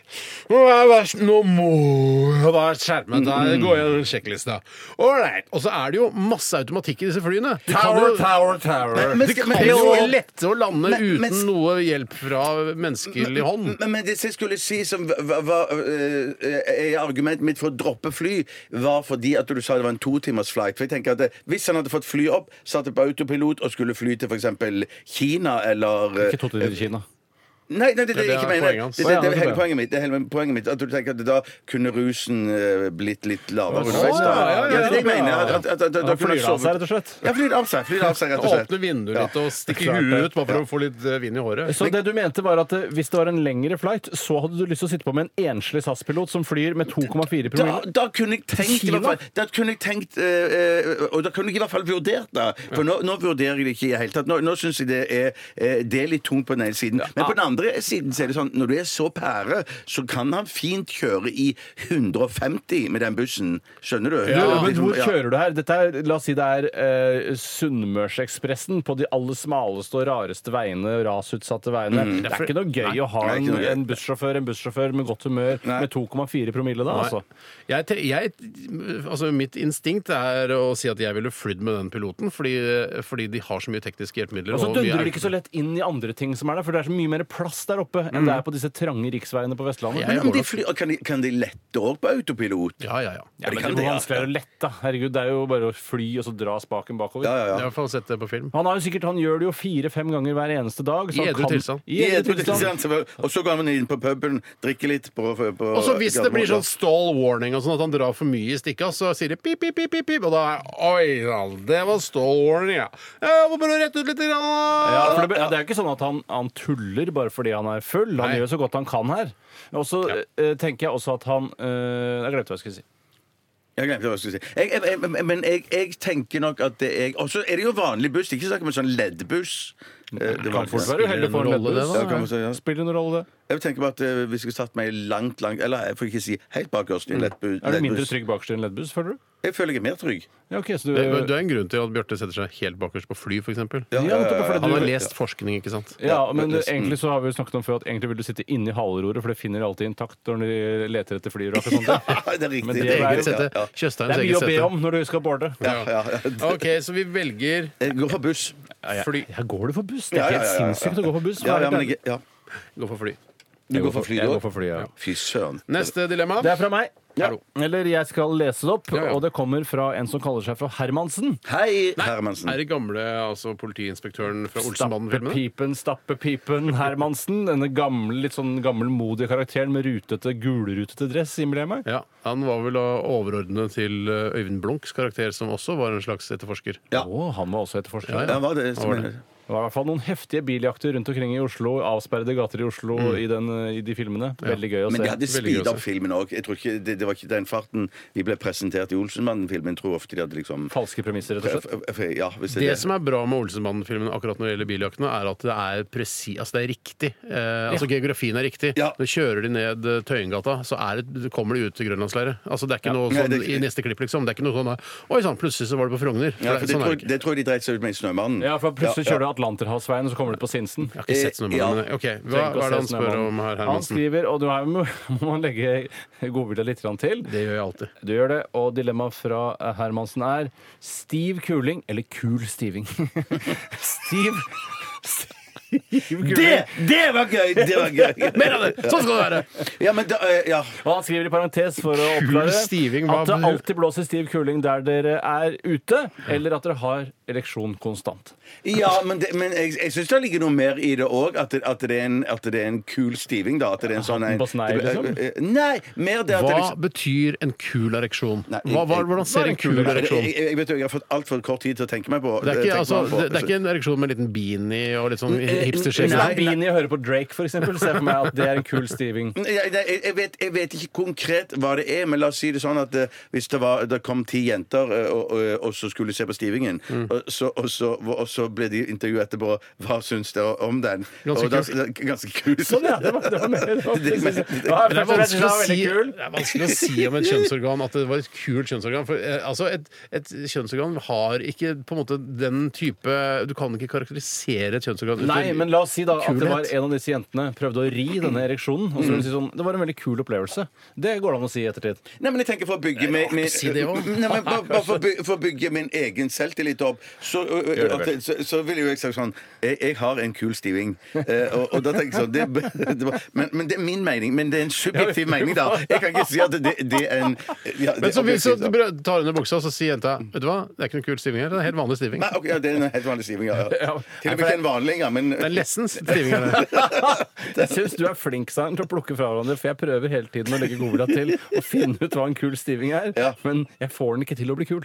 Speaker 2: Nå er jeg vers- Nå må jeg være skjermet. Der går jeg gjennom sjekklista. Ålreit. Og så er det jo masse automatikk i disse flyene. Du kan jo-
Speaker 10: tower, tower.
Speaker 4: Men- men
Speaker 2: Det
Speaker 4: skal-
Speaker 2: kan
Speaker 4: men-
Speaker 2: jo
Speaker 4: men-
Speaker 2: lette å lande
Speaker 4: Men-
Speaker 2: uten
Speaker 4: men-
Speaker 2: noe hjelp fra menneskelig hånd.
Speaker 4: Men, men det jeg skulle si som var, argumentet eh, mitt for å droppe fly, var fordi at du sa det var en totimers flight. For jeg tenker at det, Hvis han hadde fått fly opp, satt på autopilot og skulle fly til f.eks. Kina eller eh,
Speaker 3: Ikke to til Kina.
Speaker 4: Nei, nei, det er det jeg
Speaker 2: det
Speaker 4: ikke
Speaker 2: er
Speaker 4: mener.
Speaker 2: poenget hans.
Speaker 4: Det, det, det,
Speaker 3: Å, ja,
Speaker 4: er
Speaker 3: det er
Speaker 4: hele
Speaker 3: bra.
Speaker 4: poenget mitt. Det er hele poenget mitt At du tenker at da kunne rusen eh, blitt litt lavere
Speaker 3: Å,
Speaker 4: underveis. da.
Speaker 3: ja, ja, ja,
Speaker 4: det er det jeg
Speaker 3: ja.
Speaker 4: mener. At, at, at, at,
Speaker 3: Da
Speaker 4: da kunne
Speaker 3: flyr det av seg,
Speaker 4: sovet-
Speaker 3: rett og slett.
Speaker 4: Ja, flyr det av seg. Flyr det av seg, rett og slett.
Speaker 2: Åpne vinduet litt og stikke
Speaker 3: Klart det.
Speaker 2: huet ut bare for å få litt eh, vind i håret.
Speaker 3: Så det du mente var at eh, hvis det var en lengre flight, så hadde du lyst til å sitte på med en enslig SAS-pilot som flyr med
Speaker 4: Da,
Speaker 3: 2,4 promille?
Speaker 4: da kunne jeg tenkt i
Speaker 3: Kina?
Speaker 4: hvert fall, Da kunne jeg tenkt eh, eh, Og da kunne jeg i hvert fall vurdert det. For nå, nå vurderer jeg det ikke i det hele tatt. Nå, nå syns jeg det er, eh, det er litt tungt på den ene siden. Men på den andre siden så er det sånn når du er så pære, så kan han fint kjøre i 150 med den bussen. Skjønner du?
Speaker 3: Ja, men
Speaker 4: Liksom,
Speaker 3: hvor
Speaker 4: ja.
Speaker 3: kjører du her? Dette er, la oss si det er eh, Sunnmørsekspressen på de aller smaleste og rareste veiene, rasutsatte veiene. Mm. Det er ikke noe gøy å ha
Speaker 4: Nei,
Speaker 3: en,
Speaker 4: ikke noe gøy.
Speaker 3: en bussjåfør en bussjåfør med godt humør med 2,4 promille da, altså.
Speaker 2: Jeg, te- jeg, altså mitt instinkt er å si at jeg ville flydd med den piloten, fordi, fordi de har så mye tekniske hjelpemidler.
Speaker 3: Og så
Speaker 2: og mye
Speaker 3: dundrer de
Speaker 2: er-
Speaker 3: ikke så lett inn i andre ting som er der, for det er så mye mer plass der oppe enn det er på disse trange riksveiene på Vestlandet.
Speaker 4: Men om de flyr, kan, de, kan de lette over på autopilot?
Speaker 2: Ja, ja, ja.
Speaker 3: Ja,
Speaker 4: det
Speaker 3: men
Speaker 4: kan
Speaker 3: det
Speaker 4: de,
Speaker 3: er
Speaker 4: ja.
Speaker 3: vanskeligere å lette. Herregud, det er jo bare å fly og så dra spaken bakover.
Speaker 4: Ja,
Speaker 2: Jeg
Speaker 4: ja,
Speaker 2: har i
Speaker 4: ja.
Speaker 2: hvert fall sett det på film.
Speaker 3: Han, har jo sikkert, han gjør det jo fire-fem ganger hver eneste dag. så
Speaker 2: I
Speaker 3: han
Speaker 2: edru
Speaker 3: kan-
Speaker 2: tilstand.
Speaker 3: I edru tilstand.
Speaker 4: Og sånn, så går man inn på puben, drikker litt på, på
Speaker 2: Og så hvis det blir sånn stall warning og sånn at han drar for mye i stikka, så sier de pip, pip, pip, pip, pip, og da er Oi sann, det var stall warning, ja. Jeg må bare rette ut litt. Grann.
Speaker 3: Ja, for det, be- det er jo ikke sånn at han, han tuller bare fordi han er full. Han
Speaker 2: Nei.
Speaker 3: gjør så godt han kan her. Og så eh, tenker jeg også at han eh, Jeg glemte hva jeg skulle si.
Speaker 4: Jeg glemte hva jeg skulle si. Jeg, jeg, jeg, men jeg, jeg tenker nok at det er Og så er det jo vanlig buss. Ikke snakk om en sånn leddbuss. Eh, Det var-
Speaker 3: Kan fort være uheldig for en
Speaker 2: noen rolle,
Speaker 3: lettbuss.
Speaker 2: det, da?
Speaker 4: Ja, kan man si, ja.
Speaker 3: Spiller det noen rolle, det?
Speaker 4: Jeg tenker bare at eh, Hvis jeg skulle satt meg langt, langt Eller jeg får ikke si helt bakerst i en lettbu-
Speaker 3: Er du mindre
Speaker 4: leddbuss.
Speaker 3: trygg bakerst i en leddbuss, føler du?
Speaker 4: Jeg føler jeg er mer trygg.
Speaker 3: Ja, ok, så du,
Speaker 2: Det det er en grunn til at Bjarte setter seg helt bakerst på fly, f.eks.
Speaker 3: ja, nettopp, for
Speaker 2: Han
Speaker 3: du-
Speaker 2: har lest forskning, ikke sant?
Speaker 3: Ja,
Speaker 4: Ja,
Speaker 3: men
Speaker 4: nesten.
Speaker 3: egentlig så har vi jo snakket om før at egentlig vil du sitte inni haleroret, for det finner de alltid intakt når de leter etter flyvrak og sånt.
Speaker 4: det er riktig.
Speaker 3: Men det
Speaker 4: det er
Speaker 3: er-
Speaker 2: Eget
Speaker 4: ja,
Speaker 2: sette.
Speaker 4: ja.
Speaker 3: Det
Speaker 2: Tjøstheims
Speaker 3: er mye
Speaker 2: eget
Speaker 3: å be
Speaker 2: sette.
Speaker 3: om når du skal boarde.
Speaker 4: Ja, ja, ja.
Speaker 2: <laughs> OK, så vi velger
Speaker 4: Jeg går for buss.
Speaker 2: fly.
Speaker 3: Ja, går du for buss? Det
Speaker 4: Ja,
Speaker 3: er
Speaker 4: ja,
Speaker 3: helt
Speaker 4: ja, ja, ja.
Speaker 3: sinnssykt å gå for buss.
Speaker 4: Ja, ja, men jeg, ja.
Speaker 2: Gå for fly.
Speaker 4: Du går for fly,
Speaker 3: jeg
Speaker 4: du
Speaker 3: går for fly, ja.
Speaker 4: òg? Fy søren.
Speaker 2: Neste dilemma.
Speaker 3: Det er fra meg.
Speaker 2: Hallo.
Speaker 3: Eller jeg skal lese det opp,
Speaker 2: Ja, ja.
Speaker 3: og det kommer fra en som kaller seg for Hermansen.
Speaker 4: Hei,
Speaker 2: Nei,
Speaker 4: Hermansen.
Speaker 2: Er det gamle altså, politiinspektøren fra Olsenbanden-filmene?
Speaker 3: Stappepipen, stappepipen Hermansen. Denne gamle, litt sånn gammelmodige karakteren med rutete, gulrutete dress, innbiller jeg meg.
Speaker 2: Ja, Han var vel da overordnet til eh, Øyvind Blunks karakter, som også var en slags etterforsker.
Speaker 4: Ja.
Speaker 3: Å, han var også etterforsker.
Speaker 2: Ja, ja.
Speaker 4: Ja, hva er det som
Speaker 2: Hva var
Speaker 4: er
Speaker 2: det?
Speaker 3: Det var i hvert fall noen heftige biljakter rundt omkring i Oslo, avsperrede gater i Oslo i, den, eh, i de filmene. Veldig gøy å
Speaker 4: Mm. Men
Speaker 3: se.
Speaker 4: de hadde
Speaker 2: Veldig gøy å
Speaker 4: speeda opp
Speaker 2: se.
Speaker 4: filmen òg. Det, det var ikke den farten vi ble presentert i Olsenmannen-filmen. Tror ofte de hadde liksom
Speaker 3: Falske premisser, rett og slett.
Speaker 4: Ja, hvis det
Speaker 2: Det
Speaker 4: er det.
Speaker 2: som er bra med Olsenbanden-filmen akkurat når det gjelder biljaktene, er at det er, presi altså det er riktig. Eh, altså Geografien er riktig.
Speaker 4: Ja.
Speaker 2: Når kjører de ned eh, Tøyengata, så er det, kommer de ut til Grønlandsleiret. Altså, det er ikke noe
Speaker 4: Nei,
Speaker 2: sånn
Speaker 4: det er ikke-
Speaker 2: i neste klipp, liksom. Det er ikke noe sånn eh, Oi sann, plutselig så var det på Frogner.
Speaker 4: Ja, for
Speaker 2: det,
Speaker 4: det, tror,
Speaker 2: sånn er det ikke.
Speaker 4: det tror jeg de dreit seg ut med i Snømannen.
Speaker 3: Ja, for plutselig kjører du Atlanterhavsveien, og så kommer du på Sinsen.
Speaker 2: Jeg har ikke sett
Speaker 4: Eh, ja.
Speaker 2: nummeret, men OK. Hva,
Speaker 3: Trenger ikke å
Speaker 2: hva er det han
Speaker 3: se
Speaker 2: spør
Speaker 3: Snømannen.
Speaker 2: om her,
Speaker 3: Han
Speaker 2: Hermansen?
Speaker 3: skriver, og du her må <laughs> må man legge godvilja litt grann til.
Speaker 2: Det gjør jeg alltid.
Speaker 3: Du gjør det, og dilemmaet fra Hermansen er stiv kuling eller kul stiving. <laughs> stiv Stiv kuling.
Speaker 4: Det, det var gøy! Det var gøy.
Speaker 2: <laughs> Mer av det! Sånn skal det være!
Speaker 4: Ja, men da, eh, ja.
Speaker 3: Og han skriver i parentes for å
Speaker 2: Kul
Speaker 3: oppklare
Speaker 2: stiving, hva-
Speaker 3: at det alltid blåser stiv kuling der dere er ute, eller at dere har ereksjon konstant.
Speaker 4: ja, men, det, men jeg, jeg syns det ligger noe mer i det òg. At, det- at, det er en- at det er en kul stiving, da. At det er en sånn en,
Speaker 3: på snei,
Speaker 4: det ble-
Speaker 3: liksom?
Speaker 4: eh, Nei, mer det at det
Speaker 2: Hva
Speaker 4: liksom
Speaker 2: betyr en kul ereksjon?
Speaker 4: Nei,
Speaker 2: Hva, hva,
Speaker 4: jeg-
Speaker 2: hvordan ser en kul
Speaker 4: Nei, det-
Speaker 2: ereksjon
Speaker 4: jeg, jeg, vet jo, jeg har fått altfor kort tid til å tenke meg på.
Speaker 2: Det er,
Speaker 4: tenke
Speaker 2: ikke,
Speaker 4: meg
Speaker 2: altså,
Speaker 4: på.
Speaker 2: det, det er ikke en ereksjon med en liten beanie og litt sånn
Speaker 3: Hvis
Speaker 2: hipsterskjegg?
Speaker 3: det
Speaker 4: Nei,
Speaker 3: er en Beanie hører på Drake, for eksempel, ser jeg for meg at det er en kul stiving. <laughs>
Speaker 4: Nei, Mm, Jeg, jeg, jeg, vet, jeg vet ikke konkret hva det er, men la oss si det sånn at eh, hvis det, var, det kom ti jenter eh, og, og, og så skulle de se på stivingen,
Speaker 3: Mm.
Speaker 4: og, så, og, så, og så ble de intervjuet etterpå hva syns dere om den.
Speaker 2: Ganske
Speaker 4: og da,
Speaker 2: kult.
Speaker 4: Ganske kult.
Speaker 3: Sånn, ja. Det var, det var
Speaker 2: <laughs>
Speaker 3: mer. Det var,
Speaker 4: <laughs> Det- men-
Speaker 3: Ja,
Speaker 2: Men det er,
Speaker 3: først og
Speaker 2: vanskelig
Speaker 3: fremst,
Speaker 2: å
Speaker 3: var
Speaker 2: si,
Speaker 3: veldig kul.
Speaker 2: det er vanskelig å si om et kjønnsorgan at det var et kult kjønnsorgan. For, eh, altså et, et kjønnsorgan har ikke på en måte den type Du kan ikke karakterisere et kjønnsorgan ut fra
Speaker 3: Nei, men la oss si da at det
Speaker 2: kulhet.
Speaker 3: var en av disse jentene prøvde å ri denne ereksjonen. Og så vil de si sånn, Det var en veldig kul opplevelse. Det går det an å si i ettertid.
Speaker 4: Nei, men jeg tenker for å bygge min, min,
Speaker 2: si det også.
Speaker 4: Nei, men bare, bare for, å by- for å bygge min egen selvtillit opp, så, ø, ø,
Speaker 3: Gjør det
Speaker 4: at,
Speaker 3: vel.
Speaker 4: det- så, så ville jo jeg sagt sånn Jeg, jeg har en kul stiving. Eh, og, og da tenker jeg sånn det, <laughs> det var, men, men det er min mening. Men det er en subjektiv mening, da. Jeg kan ikke si at det, det er en ja, det er
Speaker 2: Men så, hvis
Speaker 4: objektivt,
Speaker 2: du
Speaker 4: da.
Speaker 2: br- tar under buksa, så sier jenta Vet du hva, det er ikke noe kul stivning her. Det er en helt vanlig stiving.
Speaker 4: Nei, ok, ja, det er en helt vanlig stiving. Ja, ja. Til og med ikke en vanlig engang, men
Speaker 2: Det er
Speaker 4: <laughs>
Speaker 2: lessens stiving. er det.
Speaker 3: Jeg syns du er flink Saren, til å plukke fra hverandre, for jeg prøver hele tiden å legge godvilja til og finne ut hva en kul stiving er,
Speaker 4: Ja.
Speaker 3: men jeg får den ikke til å bli kul.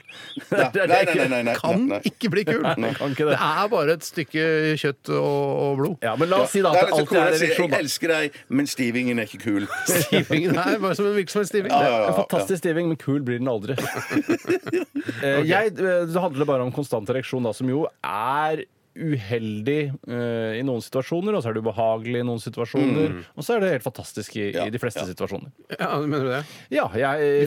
Speaker 4: Nei,
Speaker 3: <laughs> Det er det
Speaker 4: nei,
Speaker 3: jeg
Speaker 4: nei,
Speaker 3: ikke-
Speaker 4: nei, nei, nei,
Speaker 2: Kan
Speaker 4: nei.
Speaker 2: ikke bli kul.
Speaker 3: Nei, kan ikke det.
Speaker 2: Det er bare et stykke kjøtt og, og blod.
Speaker 3: Ja, men la oss si da
Speaker 4: Nei,
Speaker 3: at
Speaker 4: men
Speaker 3: det
Speaker 4: så
Speaker 3: alltid
Speaker 4: kona
Speaker 3: er
Speaker 4: sier,
Speaker 3: ereksjon.
Speaker 4: Jeg
Speaker 3: da.
Speaker 4: elsker deg, men stivingen er ikke kul.
Speaker 2: <laughs> Stivingen er bare som en virksomhetsstiving.
Speaker 4: Ja, ja, ja,
Speaker 3: En
Speaker 4: ja.
Speaker 3: fantastisk stiving, men kul blir den
Speaker 4: <laughs>
Speaker 3: aldri. Eh, Jeg, eh, det handler bare om konstant ereksjon, da, som jo er uheldig eh, i noen situasjoner, og så er det ubehagelig i noen situasjoner, og så er det helt fantastisk i,
Speaker 4: Mm. Ja,
Speaker 3: i de fleste
Speaker 4: ja.
Speaker 3: situasjoner.
Speaker 2: Ja, mener du det?
Speaker 3: Ja, jeg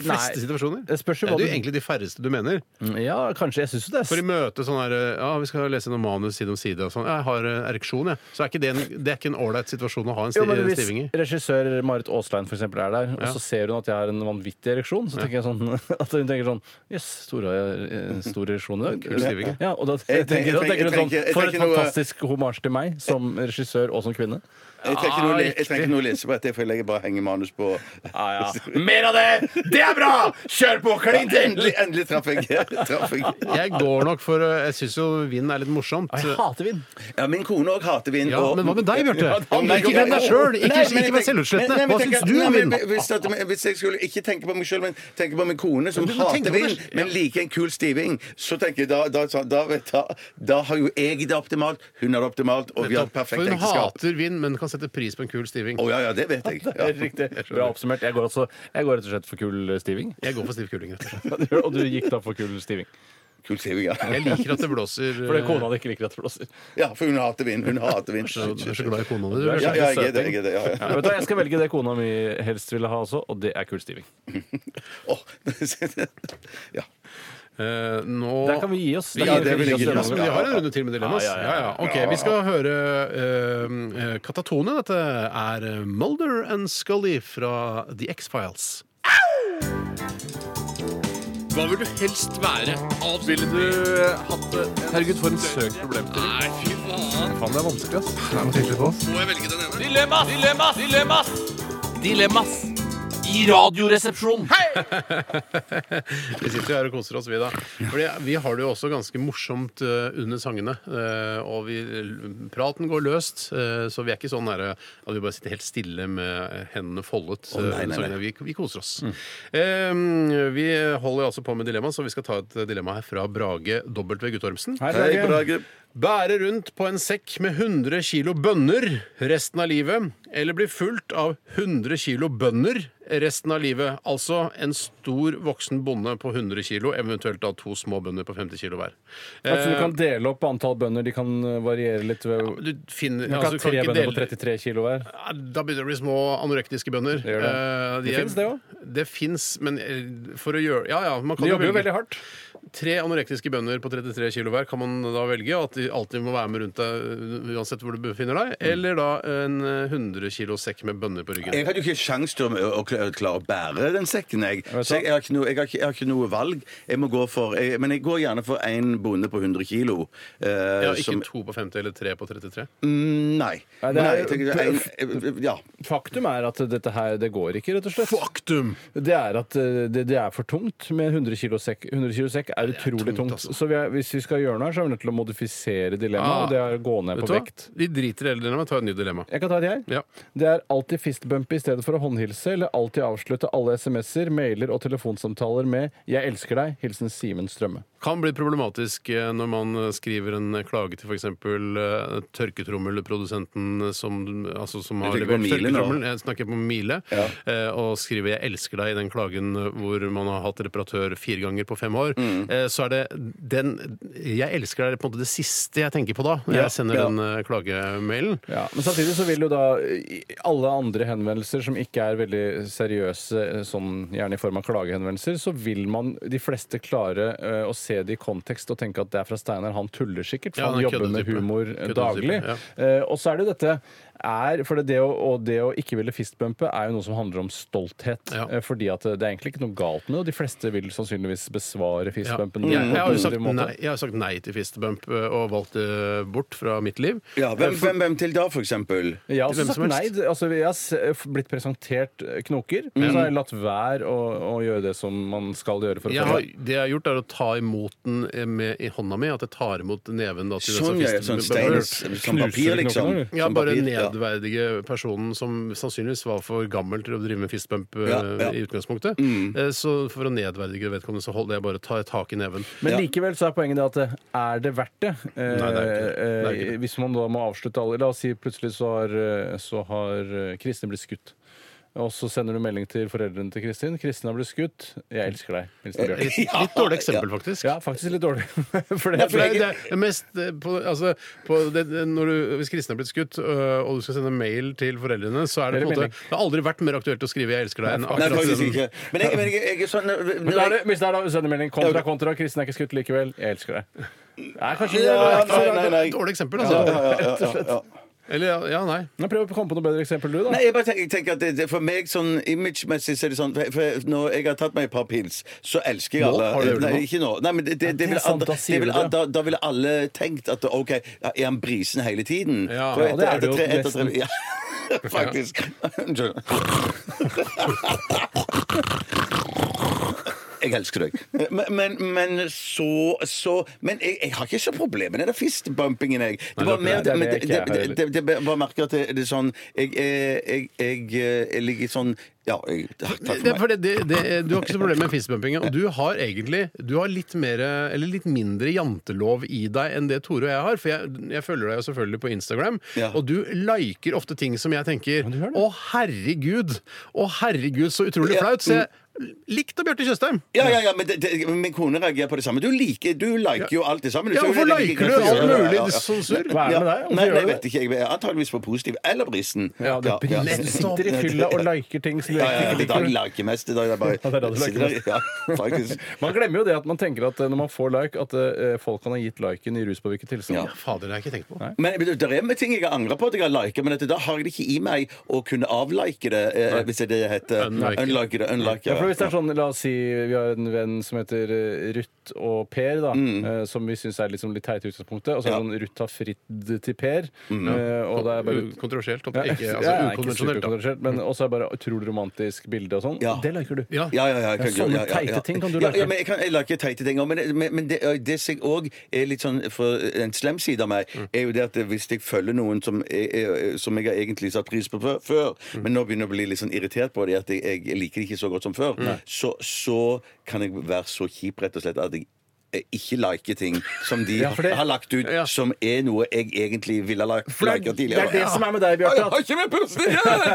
Speaker 2: De fleste situasjoner?
Speaker 3: Det spørs jo
Speaker 2: er
Speaker 3: hva
Speaker 2: det
Speaker 3: du
Speaker 2: jo egentlig de færreste du mener.
Speaker 3: Ja, kanskje. Jeg syns jo det.
Speaker 2: For i
Speaker 3: er
Speaker 2: møte sånn her Ja, vi skal lese noen manus side om side og sånn. Ja, Jeg har eh, ereksjon, jeg. Så er ikke det, en, det er ikke en ålreit situasjon å ha en sti,
Speaker 3: Jo, men hvis
Speaker 2: stiving i.
Speaker 3: regissør Marit Aaslein for eksempel, er der, og så ser hun at jeg har en vanvittig ereksjon, så tenker jeg sånn <laughs> at hun tenker sånn Jøss, stor, eh, stor ereksjon i dag.
Speaker 2: Kul stiving.
Speaker 3: Ja, og da
Speaker 4: Jeg tenker-
Speaker 3: tenker, da tenker hun
Speaker 4: jeg
Speaker 3: sånn
Speaker 4: tenker- jeg
Speaker 3: For et
Speaker 4: tenker noe-
Speaker 3: fantastisk homasj til meg som regissør og som kvinne.
Speaker 4: Jeg trenger ikke noe, å le- jeg trenger ikke noe å lese på dette, for jeg legger bare henger manus på.
Speaker 2: Ah,
Speaker 4: <laughs>
Speaker 3: Mer av det! Det er bra! Kjør på, klin
Speaker 4: Endelig, endelig traff jeg. <laughs> Traff jeg.
Speaker 2: Jeg går nok for eh, Jeg syns jo vind er litt morsomt.
Speaker 3: Jeg hater vind.
Speaker 4: Ja, min kone òg hater vind.
Speaker 2: Ja,
Speaker 4: og-
Speaker 2: men hva med deg, Bjarte?
Speaker 4: Ja,
Speaker 2: Handler
Speaker 4: nei,
Speaker 2: ikke om
Speaker 4: jeg-
Speaker 2: deg selv. Ikke-
Speaker 4: Nei, men
Speaker 2: ikke
Speaker 4: jeg
Speaker 2: vær
Speaker 4: tenker-
Speaker 2: selvutslett.
Speaker 4: men- nei, men
Speaker 2: Hva
Speaker 4: tenker-
Speaker 2: syns du om
Speaker 4: nei, men
Speaker 2: vind?
Speaker 4: Hvis, at- men hvis jeg skulle ikke tenke på meg sjøl, men tenke på min kone, som
Speaker 2: Men du må
Speaker 4: hater
Speaker 2: tenke på deg
Speaker 4: vind, men liker en kul stiving, så tenker jeg da Da, da, da, vet- da, da har jo jeg det optimalt, hun har det optimalt, og vi har et perfekt
Speaker 2: For hun
Speaker 4: ekteskap.
Speaker 2: hater vind, men kan sette pris på en kul stiving.
Speaker 4: Å ja, ja, det vet jeg.
Speaker 2: <laughs>
Speaker 4: Ja.
Speaker 3: Riktig. Bra oppsummert. Jeg går, altså, jeg går rett og slett for kul
Speaker 4: <laughs>
Speaker 3: stiving.
Speaker 2: Jeg går for stiv kuling, rett og slett.
Speaker 3: Og du gikk da for kul stiving.
Speaker 4: Kul stiving, ja.
Speaker 2: Jeg liker at det blåser eh,
Speaker 3: Fordi kona di ikke liker at det blåser.
Speaker 4: ja. For hun hater vind. Hun hater vind.
Speaker 2: så- Du er så glad eh, i kona di, du.
Speaker 4: Ja,
Speaker 2: Bjarte.
Speaker 4: ja, jeg er det. Jeg er det ja, ja.
Speaker 3: Ja, vet du, hva, jeg skal velge det kona mi helst ville ha også, og det er kul stiving.
Speaker 4: <laughs> Åh. ja.
Speaker 2: Eh, Nå
Speaker 3: Der kan vi gi oss. Der
Speaker 4: Ja,
Speaker 3: kan
Speaker 4: det vil jeg
Speaker 3: gi
Speaker 4: gi
Speaker 3: oss
Speaker 4: oss.
Speaker 2: Men vi har en runde til med dilemmas.
Speaker 3: Ja, ja, ja.
Speaker 2: Ok, Vi skal høre eh, eh, Katatone. Dette er eh, Mulder and Scully fra The X-Files.
Speaker 9: Hva vil du helst være? Ville du hatt det? Herregud, for en søk problemstilling. Nei, fy faen. Faen, det er vanskelig, ass. Det er noe tydelig på oss. Må jeg velge den ene? Dilemmas! Dilemmas! Dilemmas! Dilemmas! I radioresepsjonen.
Speaker 2: <laughs> Vi sitter jo her og koser oss, vi, da. Fordi vi har det jo også ganske morsomt eh, under sangene. eh, og vi, praten går løst, eh, så vi er ikke sånn nære at vi bare sitter helt stille med hendene foldet. eh,
Speaker 4: nei, nei,
Speaker 2: under sangene.
Speaker 4: nei.
Speaker 2: Vi, vi koser oss.
Speaker 9: Mm.
Speaker 2: Eh, vi holder altså på med dilemma, så vi skal ta et dilemma her fra Brage W. Guttormsen.
Speaker 4: Hei, Brage.
Speaker 2: Bære rundt på en sekk med 100 kilo bønner resten av livet, eller bli fulgt av 100 kilo bønder resten av livet. Altså en stor voksen bonde på 100 kilo, eventuelt da to små bønder på 50 kilo hver.
Speaker 3: Altså, du kan dele opp antall bønder, de kan eh, variere litt. Ved,
Speaker 2: Du finner
Speaker 3: du kan
Speaker 2: altså,
Speaker 3: ha
Speaker 2: du kan
Speaker 3: tre
Speaker 2: ikke
Speaker 3: bønder på
Speaker 2: dele-
Speaker 3: 33 kilo hver.
Speaker 2: Ja, Da begynner det å bli små anorektiske bønder.
Speaker 3: gjør det.
Speaker 2: Eh, de
Speaker 3: Det
Speaker 2: er-
Speaker 3: finnes det også.
Speaker 2: Det fins, men eh, for å gjøre Ja, ja. Man kan
Speaker 3: De
Speaker 2: jo
Speaker 3: jobber jo
Speaker 2: velge.
Speaker 3: veldig hardt.
Speaker 2: Tre anorektiske bønder på 33 kilo hver kan man da velge, og at de alltid må være med rundt deg uh, uansett hvor du befinner deg. Eller da en uh, 100 kilo sekk med bønner på ryggen.
Speaker 4: Jeg hadde jo ikke sjans til å, å, å klare å bære den sekken, jeg. Så jeg, jeg, har ikke noe, jeg, har ikke, jeg har ikke noe valg. Jeg må gå for, jeg, men jeg går gjerne for én bonde på 100 kilo. eh,
Speaker 2: Ja, ikke
Speaker 4: som-
Speaker 2: to på 50 eller tre på 33.
Speaker 4: Mm, nei.
Speaker 3: Nei, det er
Speaker 4: nei
Speaker 3: jo-
Speaker 4: jeg tenker, en, eh, ja.
Speaker 3: Faktum er at dette her, det går ikke, rett og slett.
Speaker 2: Faktum!
Speaker 3: Det er at eh, det, det er for tungt med 100 kilo sekk. 100 kilo sekk er utrolig
Speaker 2: tungt,
Speaker 3: tungt.
Speaker 2: altså.
Speaker 3: Så vi er, hvis vi skal gjøre noe her, så er vi nødt til å modifisere dilemmaet,
Speaker 2: Ah.
Speaker 3: og det er å gå ned
Speaker 2: Vet
Speaker 3: på
Speaker 2: du hva?
Speaker 3: vekt.
Speaker 2: De driter i hele dilemmaet. Ta et nytt dilemma.
Speaker 3: Jeg kan ta et jeg.
Speaker 2: Ja.
Speaker 3: Det er alltid fistbump i stedet for å håndhilse, eller alltid avslutte alle SMS-er, mailer og telefonsamtaler med 'Jeg elsker deg'. Hilsen Simen Strømme.
Speaker 2: Kan bli problematisk eh, når man eh, skriver en klage til f.eks. tørketrommelprodusenten som, altså, som har
Speaker 4: tenker på
Speaker 2: levert
Speaker 4: Miele nå.
Speaker 2: tørketrommelen. Jeg snakker på Mile. eh, Og skriver 'Jeg elsker deg' i den klagen eh, hvor man har hatt reparatør fire ganger på fem år.
Speaker 4: Mm.
Speaker 2: eh, Så er det den 'Jeg elsker deg' er på en måte det siste jeg tenker på da, når jeg sender
Speaker 4: ja.
Speaker 2: den eh, klagemailen.
Speaker 3: Ja, men samtidig så vil jo da i- alle andre henvendelser som ikke er veldig seriøse, eh, sånn gjerne i form av klagehenvendelser, så vil man de fleste klare eh, å se det i kontekst og tenke at det er fra Steinar. Han tuller sikkert, for
Speaker 2: Ja,
Speaker 3: han
Speaker 2: han er
Speaker 3: jobber med
Speaker 2: køddetype.
Speaker 3: humor eh,
Speaker 2: Køddetype,
Speaker 3: daglig.
Speaker 2: ja.
Speaker 3: Eh, Og så er det jo dette er, for det, det å, og det å ikke ville fistbumpe er jo noe som handler om stolthet.
Speaker 2: Ja.
Speaker 3: Eh, eh, fordi at det er egentlig ikke noe galt med det, og de fleste vil sannsynligvis besvare
Speaker 2: Ja.
Speaker 3: fistbumpen.
Speaker 2: Jeg, jeg, har jo
Speaker 3: på en
Speaker 2: sagt
Speaker 3: positiv måte.
Speaker 2: nei, jeg har sagt nei til fistebump eh, og valgt det bort fra mitt liv. Eh,
Speaker 4: Ja, hvem, hvem, hvem til da, for eksempel?
Speaker 3: Jeg har også
Speaker 2: Hvem
Speaker 3: sagt
Speaker 2: som
Speaker 3: nei.
Speaker 2: helst.
Speaker 3: Altså, jeg har s- f- blitt presentert eh, knoker,
Speaker 2: Mm.
Speaker 3: men så har jeg latt være å, å gjøre det som man skal gjøre for å
Speaker 2: Jeg
Speaker 3: få
Speaker 2: har,
Speaker 3: det.
Speaker 2: det jeg har gjort, er å ta imot den eh, med, i hånda mi. At jeg tar imot neven. Da, til det som
Speaker 4: Sånn, ja.
Speaker 2: fistebump-
Speaker 4: Sånn stein som papir, liksom.
Speaker 3: knokken, eller?
Speaker 2: Ja,
Speaker 4: Som
Speaker 2: bare
Speaker 4: papir, ja.
Speaker 2: nedverdige personen som sannsynligvis var for gammel til å drive med fistbump eh,
Speaker 4: Ja, ja. Mm.
Speaker 2: i utgangspunktet. Eh, Så for å nedverdige vedkommende, så holder jeg bare tar jeg tak i neven.
Speaker 3: Men
Speaker 4: Ja.
Speaker 3: likevel så er poenget det at eh, er det verdt det? Eh,
Speaker 2: Nei, det er ikke det. Det er
Speaker 3: eh,
Speaker 2: ikke det.
Speaker 3: Hvis man da må avslutte alle La oss si plutselig så har, eh, så har eh, Kristin blitt skutt. Og så sender du melding til foreldrene til Kristin. 'Kristin har blitt skutt. Jeg elsker deg.' Hilsen Bjørn.
Speaker 2: Litt, litt dårlig eksempel, faktisk.
Speaker 3: Ja, faktisk litt dårlig. <laughs> For
Speaker 2: eh, Ja,
Speaker 3: det,
Speaker 2: for det, det, er mest, eh, på, altså, på det, det- når du, hvis Kristin er blitt skutt, øh, og du skal sende mail til foreldrene, så er det på en
Speaker 3: Eller
Speaker 2: måte Det har aldri vært mer aktuelt å skrive 'jeg elsker deg' enn
Speaker 4: Nei,
Speaker 2: akkurat sånn.
Speaker 4: faktisk
Speaker 2: den.
Speaker 4: ikke. Men jeg, men jeg, jeg er sånn
Speaker 3: men da er det, hvis det er da sendemelding kontra kontra, Kristin er ikke skutt likevel, jeg elsker deg. Nei, kanskje
Speaker 4: Ja, nei, nei, nei.
Speaker 2: Dårlig eksempel,
Speaker 4: Ja,
Speaker 2: altså.
Speaker 4: ja, ja, ja, ja.
Speaker 2: Eller ja, ja, nei.
Speaker 3: Nå Prøv å komme på noe bedre eksempel, du, da.
Speaker 4: Nei, jeg bare tenker, jeg tenker at det, det, For meg sånn imagemessig så er det sånn for, for Når jeg har tatt meg et par pils, så elsker jeg
Speaker 2: Nå?
Speaker 4: alle.
Speaker 2: Har du gjort det
Speaker 4: Nei,
Speaker 2: nå?
Speaker 4: ikke nå. Nei, men det, det,
Speaker 3: Ja, det
Speaker 4: det
Speaker 3: er
Speaker 4: vil,
Speaker 3: sant,
Speaker 4: andre-
Speaker 3: da sier
Speaker 4: det vil,
Speaker 3: du det.
Speaker 4: da, da ville alle tenkt at OK, er han brisen hele tiden?
Speaker 2: Ja.
Speaker 4: For
Speaker 2: Ja,
Speaker 4: etter-
Speaker 3: det er
Speaker 4: etter
Speaker 3: det jo
Speaker 4: tre- etter tre-
Speaker 3: nesten.
Speaker 4: ja. <laughs> Faktisk. Unnskyld. Jeg elsker deg. Men, men, men så, så Men jeg, jeg har ikke så problemer med den fistbumpingen, jeg. Det var
Speaker 3: det er
Speaker 4: mer
Speaker 3: ikke det.
Speaker 4: men
Speaker 3: Det er
Speaker 4: det,
Speaker 3: ikke
Speaker 4: det,
Speaker 3: jeg heller.
Speaker 4: det, det, det, bare merker at det, det er sånn Jeg, eh, jeg, jeg, eh, jeg ligger sånn Ja, jeg, takk
Speaker 2: Det, er
Speaker 4: for meg.
Speaker 2: fordi det, det, du har ikke så problem med fistbumpingen. Og du har egentlig Du har litt, mer, eller litt mindre jantelov i deg enn det Tore og jeg har. For jeg, jeg følger deg jo selvfølgelig på Instagram,
Speaker 4: Ja.
Speaker 2: og du liker ofte ting som jeg tenker
Speaker 3: du gjør det.
Speaker 2: Å, herregud! Å, herregud, så utrolig
Speaker 4: Ja.
Speaker 2: flaut! Så jeg likte Bjarte Tjøstheim.
Speaker 4: Ja, ja, ja, men det, det, min kone reagerer på det samme. Du liker, du liker jo alt det sammen.
Speaker 2: Ja,
Speaker 4: Så
Speaker 2: hvorfor
Speaker 4: det er like
Speaker 2: liker du
Speaker 4: greit å
Speaker 2: alt
Speaker 4: gjøre det,
Speaker 2: mulig
Speaker 4: ja, ja.
Speaker 2: sensur?
Speaker 3: Hva er det med deg? Hvorfor
Speaker 4: Nei, nei,
Speaker 3: gjør du
Speaker 4: jeg
Speaker 3: det?
Speaker 4: vet ikke. Jeg er antageligvis på positiv eller brisen.
Speaker 3: Ja, det er brisen. Du sitter i fylla og liker ting som du
Speaker 4: Ja, ja, ja,
Speaker 3: egentlig
Speaker 4: det er
Speaker 3: ikke
Speaker 4: da jeg
Speaker 3: liker.
Speaker 4: liker mest. Det er da jeg
Speaker 3: <laughs> Ja, det er da du
Speaker 4: bare
Speaker 3: liker mest.
Speaker 4: <laughs> Ja, faktisk.
Speaker 3: Man glemmer jo det at man tenker at eh, når man får like, at eh, folk kan ha gitt liken i ruspåvirket tilstand.
Speaker 4: Ja.
Speaker 2: Fader, det har jeg ikke tenkt på.
Speaker 4: Men det er med ting jeg angrer på at jeg har liket, men at da har jeg det ikke i meg å kunne avlike det, eh, hvis det er det det heter.
Speaker 2: Unlike.
Speaker 4: Unlike det. Unlike,
Speaker 3: Ja, for hvis det
Speaker 4: ja.
Speaker 3: er sånn, La oss si vi har en venn som heter eh, Ruth og Per, da, eh, som vi syns er liksom litt teite i utgangspunktet. Og så er det
Speaker 4: Mm. Ja. Mm.
Speaker 3: sånn Ruth har fridd til Per. eh, og det er bare
Speaker 2: U- Kontroversielt.
Speaker 3: Ja,
Speaker 2: Ikke,
Speaker 3: ja,
Speaker 2: altså,
Speaker 3: ja, ikke
Speaker 2: ukonvensjonelt. da. Mm.
Speaker 3: superkontroversielt, Men også er bare utrolig romantisk bilde og sånn.
Speaker 4: Ja.
Speaker 3: Det liker du.
Speaker 2: Ja.
Speaker 4: Ja, ja, ja, jeg kan
Speaker 3: Ja, sånne
Speaker 4: gjøre- ja, ja, ja.
Speaker 3: teite ting kan du
Speaker 4: ja,
Speaker 3: like.
Speaker 4: Ja, men jeg, kan, jeg liker teite ting òg. Men, men, men det, det som jeg òg er litt sånn for en slem side av meg,
Speaker 3: Mm.
Speaker 4: er jo det at hvis jeg følger noen som, er, er, som jeg har egentlig satt pris på før, før
Speaker 3: Mm.
Speaker 4: men nå begynner jeg å bli litt sånn irritert på det, at jeg, jeg liker det ikke så godt som før, så, så kan jeg være så kjip, rett og slett, at jeg eh, ikke liker ting som de
Speaker 3: Ja, for det-
Speaker 4: har lagt ut,
Speaker 2: Ja.
Speaker 4: som er noe jeg egentlig ville ha lagt
Speaker 3: det er-
Speaker 4: liket tidligere.
Speaker 3: det er det som er med deg, Bjarte,
Speaker 4: Jeg
Speaker 3: at-
Speaker 4: har ikke med pusten å gjøre!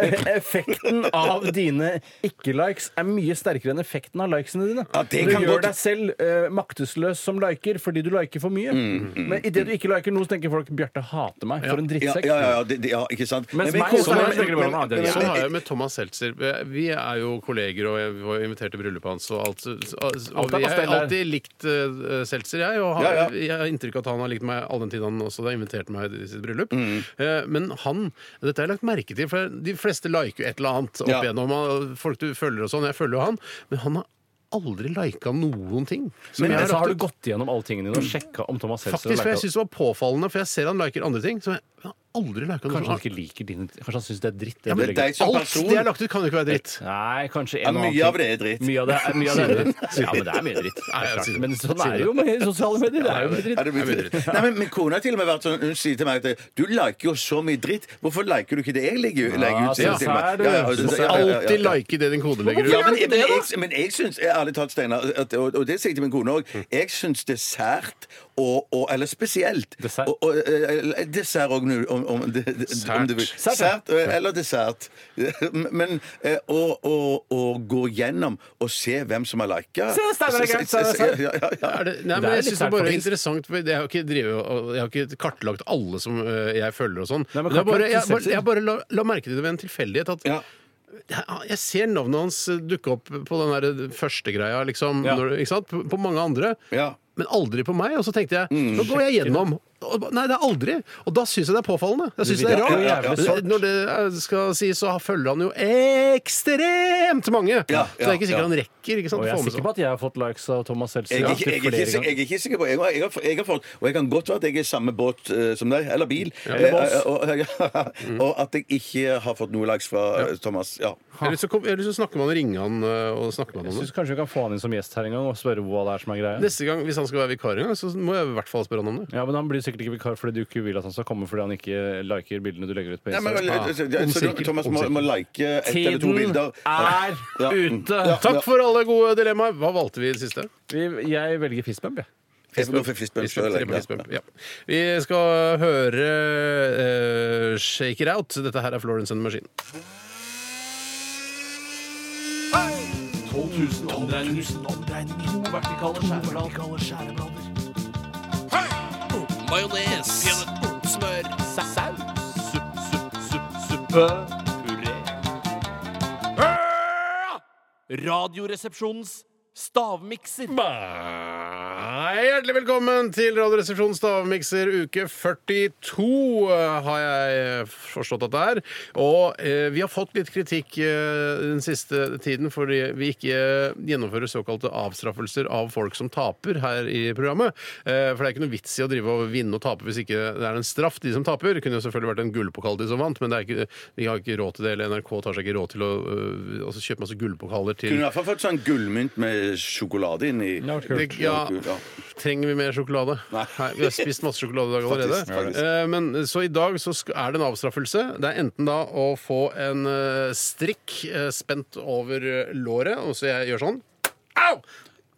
Speaker 3: Eh, Effekten av dine ikke-likes er mye sterkere enn effekten av likesene dine.
Speaker 4: Ja, det
Speaker 3: du
Speaker 4: kan
Speaker 3: gjør
Speaker 4: godt-
Speaker 3: deg selv eh, maktesløs som liker fordi du liker for mye. Men idet du ikke liker noe, så tenker folk Bjarte hater meg. For en
Speaker 4: Mm, Ja,
Speaker 3: drittsekk.
Speaker 4: ja, ja, ja, det, det- ja, ikke sant?
Speaker 3: Mens
Speaker 4: Nei,
Speaker 3: meg
Speaker 4: koser
Speaker 3: så
Speaker 4: meg,
Speaker 3: er det
Speaker 4: men-
Speaker 3: veldig bra med
Speaker 4: men-
Speaker 3: andre.
Speaker 4: men-
Speaker 2: Sånn har jeg med Thomas Seltzer. Vi er jo kolleger, og jeg var jo invitert til bryllupet hans. Og alt, og
Speaker 3: Alt er
Speaker 2: jeg har
Speaker 3: pastell her.
Speaker 2: alltid likt eh, Seltzer, jeg. Og han,
Speaker 4: Ja, ja.
Speaker 2: jeg har inntrykk av at han har likt meg all den tiden han også har invitert meg i sitt bryllup.
Speaker 3: Mm.
Speaker 2: Eh, men han Dette har jeg lagt merke til, for de fleste liker jo et eller annet opp
Speaker 4: Ja.
Speaker 2: igjennom. og Folk du følger og sånn. Jeg følger jo han. Men han har aldri lika noen ting. som
Speaker 3: Men
Speaker 2: jeg
Speaker 3: så
Speaker 2: lagt
Speaker 3: har
Speaker 2: ut.
Speaker 3: du gått gjennom alle tingene dine og sjekka om Thomas Seltzer
Speaker 2: Faktisk, for
Speaker 3: liker
Speaker 2: jeg syns det var påfallende, for jeg ser han liker andre ting. Så jeg, jeg har aldri liket noe.
Speaker 3: Kanskje han ikke liker dine Kanskje han syns det er dritt? Det
Speaker 4: men
Speaker 3: du
Speaker 4: det er
Speaker 3: legger ut.
Speaker 4: ikke- Som
Speaker 2: Alt
Speaker 4: person-
Speaker 2: det jeg har lagt ut, kan jo ikke være dritt.
Speaker 3: Nei, kanskje en
Speaker 4: Ja,
Speaker 3: og annen
Speaker 4: mye av
Speaker 3: ting.
Speaker 4: det er dritt.
Speaker 3: Mye av det er, mye av det er dritt.
Speaker 4: <laughs>
Speaker 3: Ja, men det er mye dritt.
Speaker 2: Nei, jeg sier det.
Speaker 3: Men sånn er det jo med sosiale medier. Det er jo mye dritt.
Speaker 4: Ja, det blir dritt. Nei, men, men kona har til og med vært sånn Hun sier til meg at du liker jo så mye dritt. Hvorfor liker du ikke det jeg legger legger ut?
Speaker 3: Ja,
Speaker 4: sier hun til meg.
Speaker 3: så er det.
Speaker 4: Ja, ja, ja,
Speaker 2: Du
Speaker 4: ja,
Speaker 2: må
Speaker 4: ja, ja, ja.
Speaker 2: alltid like det din kode legger ut.
Speaker 4: Ja, men, men, jeg, men jeg syns ærlig talt, Steinar, at- og, og det sier jeg til min kone òg, jeg syns det er sært og, og Eller spesielt.
Speaker 3: Dessert?
Speaker 4: Og, og, eh, dessert òg, om, om, det- det- om du vil.
Speaker 3: Sært, ja.
Speaker 4: Sært eh, eller dessert. <laughs> Men eh, å å- å gå gjennom og se hvem som har lika
Speaker 3: Se, Steinar er gæren, Steinar er sært.
Speaker 4: Ja, ja, ja.
Speaker 2: Er det, nei,
Speaker 3: Det
Speaker 2: men jeg
Speaker 3: er litt
Speaker 2: synes det
Speaker 3: sært,
Speaker 2: bare er
Speaker 3: faktisk.
Speaker 2: interessant for Jeg har ikke, drevet, og- jeg har ikke kartlagt alle som øh, jeg følger og sånn.
Speaker 3: Nei, men
Speaker 2: Men jeg bare,
Speaker 3: kartlagt
Speaker 2: jeg,
Speaker 3: til
Speaker 2: bare,
Speaker 3: sekser.
Speaker 2: jeg bare la, la merke til det ved en tilfeldighet at
Speaker 4: Ja.
Speaker 2: jeg, jeg ser navnet hans dukke opp på den der første greia, liksom,
Speaker 3: Ja.
Speaker 2: når, ikke sant? På, på mange andre.
Speaker 4: Ja. Mm.
Speaker 2: Men aldri på meg. Og så tenkte jeg nå går jeg gjennom. og ba- Nei, det er aldri. Og da syns jeg det er påfallende. Jeg synes det er
Speaker 4: Ja, ja, ja, ja.
Speaker 2: rart. Når det er- skal sies, så følger han jo ekstremt mange!
Speaker 4: Ja,
Speaker 2: Så det er
Speaker 4: ja,
Speaker 2: ikke sikkert han rekker. ikke sant?
Speaker 3: Og
Speaker 2: å
Speaker 3: jeg er
Speaker 2: få med seg.
Speaker 3: sikker på at jeg har fått likes av Thomas
Speaker 4: Jeg
Speaker 3: Seltzer.
Speaker 4: er, ikke, jeg, er ikke, jeg er ikke sikker på jeg har, jeg, har, jeg har fått Og jeg kan godt være at jeg er i samme båt eh, som deg, eller bil. Eh, og, <laughs> og at jeg ikke har fått noe likes fra eh, Thomas. Ja.
Speaker 2: Eller så, kom, eller så snakker man og ringer han øh, og snakker man
Speaker 3: Jeg
Speaker 2: om det.
Speaker 3: syns kanskje vi kan få han inn som gjest her en gang og spørre hva det er som er greia.
Speaker 2: Neste gang, Hvis han skal være vikar en gang, så må jeg i hvert fall spørre han om det.
Speaker 3: Ja, men Han blir sikkert ikke vikar fordi du ikke vil at han skal komme fordi han ikke liker bildene du legger ut på
Speaker 4: Nei, men,
Speaker 3: Instagram.
Speaker 4: eh, så, så,
Speaker 2: omsirkel,
Speaker 4: Thomas må,
Speaker 2: omsirkel.
Speaker 4: må like ett eller to bilder. Ja. Mm. Ja.
Speaker 2: Takk for alle gode dilemmaer. Hva valgte vi i det siste?
Speaker 3: Vi- Jeg velger fistbump, jeg.
Speaker 4: Jeg må gå for fistbump selv,
Speaker 2: Tre på
Speaker 4: ja.
Speaker 2: Fistbump, ja. Vi skal høre eh, Shake It Out. Dette her er Florence and the Machine. 12 000 omdreininger, Hjertelig velkommen til Radioresepsjonens stavmikser uke 42, eh, har jeg forstått at det er. Og eh, vi har fått litt kritikk eh, den siste tiden fordi vi ikke eh, gjennomfører såkalte avstraffelser av folk som taper her i programmet. Eh, for det er ikke noe vits i å drive og vinne og tape hvis ikke det er en straff, de som taper. Det kunne jo selvfølgelig vært en gullpokal de som vant, men det er ikke, vi har ikke råd til det, eller NRK tar seg ikke råd til å eh, altså kjøpe masse gullpokaler til
Speaker 4: Kunne i hvert fall fått sånn gullmynt med sjokolade inni.
Speaker 2: det, ja, trenger vi mer sjokolade? Nei.
Speaker 4: Nei.
Speaker 2: Vi har spist masse sjokolade i dag allerede.
Speaker 4: Faktisk, faktisk.
Speaker 2: Eh, Men, så i dag så sk- er det en avstraffelse. Det er enten da å få en eh, strikk eh, spent over eh, låret, og så jeg gjør sånn. Au!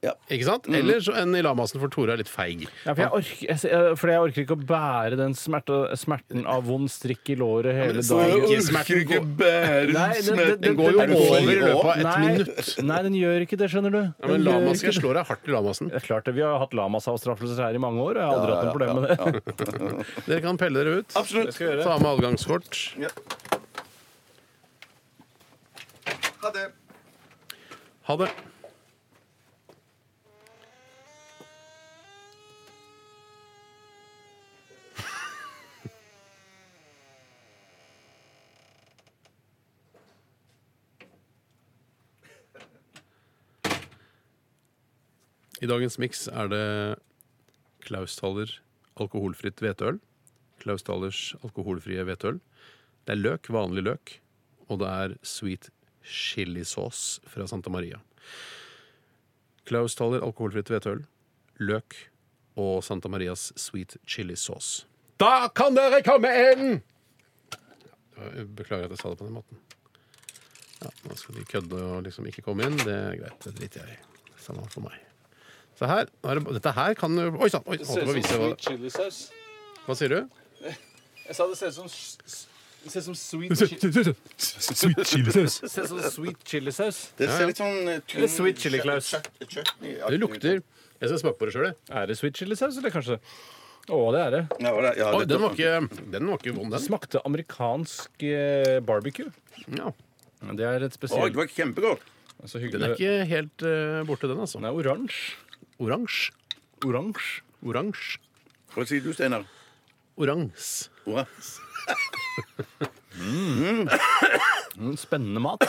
Speaker 4: Ja.
Speaker 2: Ikke sant?
Speaker 4: Mhm.
Speaker 2: Eller så en i lamasen, for Tore er litt feig.
Speaker 3: Ja, for jeg, orker, jeg, jeg- fordi jeg orker ikke å bære den smerte, smerten av vond strikk i låret hele dagen.
Speaker 2: Ikke smerten går-
Speaker 4: bære
Speaker 3: Nei, den- den-
Speaker 2: Den går jo
Speaker 3: den- den-
Speaker 2: over i
Speaker 4: fin
Speaker 2: løpet av ett
Speaker 3: Nei,
Speaker 2: minutt.
Speaker 3: Nei, den gjør ikke det, skjønner du.
Speaker 2: Ja, men
Speaker 3: Den gjør
Speaker 2: lamasen,
Speaker 3: ikke
Speaker 2: jeg
Speaker 3: det.
Speaker 2: slår deg hardt i lamasen.
Speaker 3: Det er klart det, Vi har hatt lamasavstraffelser her i mange år, og jeg har aldri hatt noe problem med det.
Speaker 2: Dere kan pelle dere ut.
Speaker 4: Absolutt.
Speaker 2: Ta med adgangskort.
Speaker 4: Ja. Ha det.
Speaker 2: Ha det. I dagens miks er det Klausthaler alkoholfritt hveteøl. Klausthalers alkoholfrie hveteøl. Det er løk, vanlig løk, og det er sweet chilisaus fra Santa Maria. Klausthaler alkoholfritt hveteøl, løk og Santa Marias sweet chilisaus. Da kan dere komme inn! Jeg Beklager at jeg sa det på den måten. Ja, Nå skal de kødde og liksom ikke komme inn. Det er greit. Det driter jeg i. Samme for meg. Se her. nå er det- Dette her kan jo Oi sann! Oi, holdt på å vise hva
Speaker 11: chilisaus.
Speaker 2: Hva sier du?
Speaker 11: Jeg sa det ser ut som s- s- Det ser ut som sweet chi-
Speaker 2: Sweet chilisaus.
Speaker 3: Se sånn sweet chilisaus.
Speaker 4: Det ser litt sånn eh, tynn-
Speaker 3: sweet chili klaus.
Speaker 2: Det lukter Jeg skal smake på det sjøl, jeg.
Speaker 3: Er det sweet chilisaus, eller kanskje? Å, det er det.
Speaker 4: Ja, det- ja,
Speaker 2: Oi,
Speaker 4: det-
Speaker 2: den var ikke, den var ikke vond,
Speaker 3: Det
Speaker 2: den.
Speaker 3: smakte amerikansk eh, barbecue.
Speaker 2: Ja.
Speaker 3: Det er et
Speaker 4: Oi,
Speaker 3: spesielt
Speaker 4: det var kjempegodt.
Speaker 3: så
Speaker 2: Den er
Speaker 3: hyggelig.
Speaker 2: ikke helt eh, borte, den, altså.
Speaker 3: Den er oransje.
Speaker 2: Oransje.
Speaker 3: Oransje.
Speaker 2: Oransje.
Speaker 4: Hva sier du, Steinar?
Speaker 2: Orangs.
Speaker 4: Hurra.
Speaker 3: Mm, Spennende mat.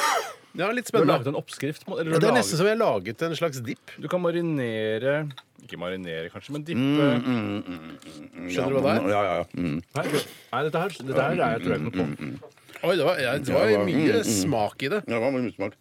Speaker 2: Ja, litt
Speaker 3: Du har laget
Speaker 2: spennende.
Speaker 3: en oppskrift. må- Eller,
Speaker 2: Ja,
Speaker 3: du
Speaker 2: det er
Speaker 3: har
Speaker 2: nesten som jeg har laget en slags dipp.
Speaker 3: Du kan marinere Ikke marinere, kanskje, men dippe mm.
Speaker 2: Skjønner du hva det er?
Speaker 4: Ja, ja, ja. Mm.
Speaker 3: Nei, nei, dette her, dette her er jeg tror jeg ikke noe på.
Speaker 2: Oi, det var, ja, det var mye smak i det.
Speaker 4: Ja, det var mye smak.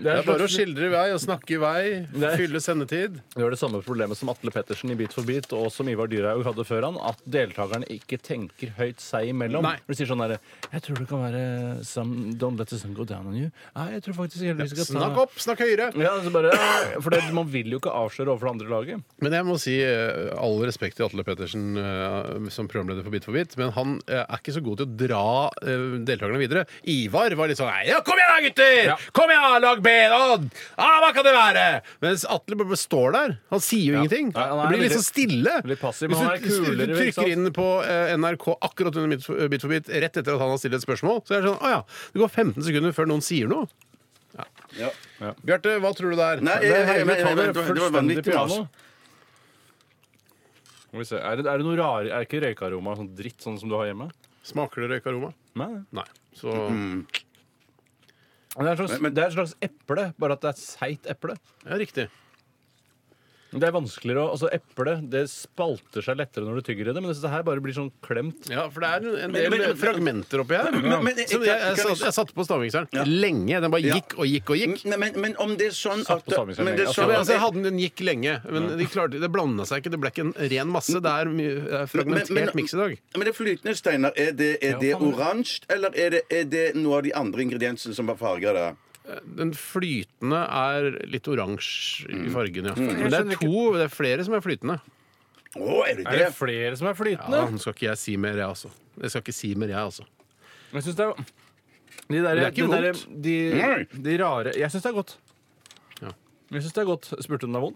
Speaker 3: Det
Speaker 2: Det
Speaker 3: er,
Speaker 2: er bare å
Speaker 3: slags-
Speaker 2: skildre i vei og snakke i vei.
Speaker 3: Nei.
Speaker 2: Fylle sendetid.
Speaker 3: det er det samme problemet som Atle Pettersen i Beat for beat, og som Ivar Dyrhaug hadde før han, at deltakerne ikke tenker høyt seg imellom.
Speaker 2: Nei.
Speaker 3: Du sier sånn derre Jeg tror det kan være some, Don't let the sun go down on you. Nei, jeg tror faktisk heller vi skal ta
Speaker 2: Snakk opp, snakk høyere.
Speaker 3: Ja, så bare, for det, man vil jo ikke avsløre overfor det andre laget.
Speaker 2: Men jeg må si eh, all respekt til Atle Pettersen eh, som programleder for Bit for bit, men han eh, er ikke så god til å dra eh, deltakerne videre. Ivar var litt sånn Nei, ja, kom igjen da, gutter!
Speaker 3: Ja.
Speaker 2: Kom igjen, lag ben! Og, ah, hva kan det være? Mens Atle bare står der. Han sier jo ingenting.
Speaker 3: Nei, han
Speaker 2: det
Speaker 3: er
Speaker 2: blir
Speaker 3: veldig-
Speaker 2: litt sånn stille.
Speaker 3: litt passiv, men
Speaker 2: hvis,
Speaker 3: han er
Speaker 2: du, hvis du-
Speaker 3: kulere,
Speaker 2: du
Speaker 3: ikke sant?
Speaker 2: trykker inn på eh, NRK akkurat under Bit for- eh, Bit for bit, rett etter at han har stilt et spørsmål, så er det sånn Å ja. Det går 15 sekunder før noen sier noe.
Speaker 4: Ja.
Speaker 2: Bjarte,
Speaker 4: eh,
Speaker 2: hva tror du eh, det er?
Speaker 4: Nei, jeg, jeg, jeg, jeg, jeg, jeg, det var vanvittig mas.
Speaker 3: Må vi se. Er det, er det noe rar, er det ikke røykaroma sånn dritt sånn som du har hjemme?
Speaker 2: Smaker det røykaroma?
Speaker 3: Nei.
Speaker 2: Nei. Så
Speaker 3: Men Det er en slags, det er et slags eple, bare at det er et seigt eple.
Speaker 2: Ja, riktig.
Speaker 3: Det er vanskeligere å, altså Eple det spalter seg lettere når du tygger i det, men dette her bare blir sånn klemt.
Speaker 2: Ja, for det er en- en del
Speaker 4: Men- men-
Speaker 2: fragmenter oppi her.
Speaker 4: Men- men-
Speaker 2: som jeg, jeg, satt- jeg satte på stavmikseren lenge. Den bare
Speaker 4: Ja. Mm.
Speaker 2: gikk og gikk og gikk.
Speaker 4: Men, men, men om det er sånn
Speaker 3: Satt
Speaker 4: at
Speaker 3: på samme
Speaker 4: men det er
Speaker 3: sending,
Speaker 2: Så
Speaker 4: sånn,
Speaker 2: jeg, altså, jeg hadde den, den gikk lenge, men de klarte, det blanda seg ikke. Det ble ikke en ren masse. Det er mye det er fragmentert miks i dag.
Speaker 4: men det flytende, Steinar, er det, er det
Speaker 3: faen.
Speaker 4: oransje, eller er det, er det noe av de andre ingrediensene som bare farger det?
Speaker 2: Den flytende er litt oransje i
Speaker 4: Mm.
Speaker 2: fargen, ja. Men det er to, det er flere som er flytende.
Speaker 4: Å, er det
Speaker 3: Er det
Speaker 4: det?
Speaker 3: flere som er flytende?
Speaker 2: Ja, nå skal ikke jeg si mer, jeg altså. Jeg skal ikke si mer, jeg altså.
Speaker 3: Jeg synes det er de der,
Speaker 2: Det er ikke
Speaker 3: de der-
Speaker 2: vondt.
Speaker 3: de, de rare Jeg syns det er godt.
Speaker 2: Ja.
Speaker 3: Jeg syns det er godt. Spurte du om det er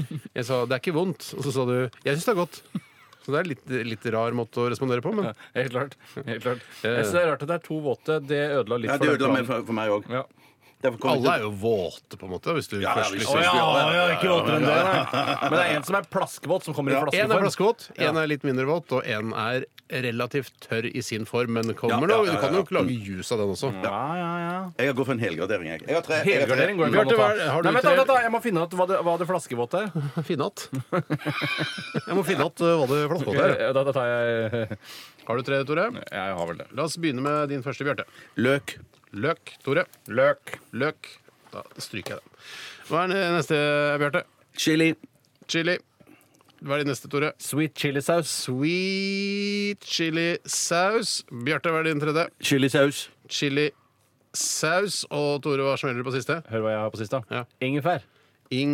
Speaker 3: vondt?
Speaker 2: Jeg sa det er ikke vondt, og så sa du jeg syns det er godt. Så det er litt, litt rar måte å respondere på, men
Speaker 3: Helt klart. Helt klart. Jeg synes det er rart at det er to våte. Det ødela litt
Speaker 4: Ja,
Speaker 3: for
Speaker 4: det ødela meg
Speaker 3: planen.
Speaker 4: for, for meg òg.
Speaker 3: Ja.
Speaker 2: alle er jo våte, på en måte. Hvis du først
Speaker 4: hvis
Speaker 2: liksom.
Speaker 4: du-
Speaker 3: ikke våtere enn det. Men det er en som er plaskvåt, som kommer i
Speaker 2: En er
Speaker 3: flaskeform.
Speaker 2: flaskevåt, en er litt mindre våt, og en er relativt tørr i sin form. Men det
Speaker 4: Ja,
Speaker 2: kommer
Speaker 4: ja,
Speaker 2: nå.
Speaker 4: ja,
Speaker 2: Du kan
Speaker 4: ja.
Speaker 2: jo lage juice av den også.
Speaker 3: Ja, ja, ja.
Speaker 4: Jeg har gått for en helgradering, jeg. jeg har tre, jeg har tre.
Speaker 3: Helgardering går ikke an
Speaker 2: Bjarte,
Speaker 3: å ta.
Speaker 2: hva er- har du
Speaker 3: Nei, vent, da,
Speaker 2: tre-
Speaker 3: vent, da, jeg må finne ut hva det, hva det flaskevåte er.
Speaker 2: Finne
Speaker 4: <laughs>
Speaker 2: igjen. Jeg må finne igjen hva det flaskevåte er.
Speaker 3: Da, da tar jeg
Speaker 2: Har du tre, Tore?
Speaker 3: Jeg har vel det.
Speaker 2: La oss begynne med din første, Bjarte.
Speaker 4: Løk.
Speaker 2: Løk, Tore. Løk. Løk. Da stryker jeg den. Hva er det neste, Bjarte?
Speaker 4: Chili.
Speaker 2: Chili. Hva er din neste, Tore?
Speaker 3: Sweet chilisaus.
Speaker 2: Sweet chili saus. Bjarte, hva er din tredje?
Speaker 4: Chilisaus.
Speaker 2: Chili saus. Og Tore, hva smeller du på siste?
Speaker 3: Hør hva jeg har på sist, da.
Speaker 2: Ja.
Speaker 3: Ingefær.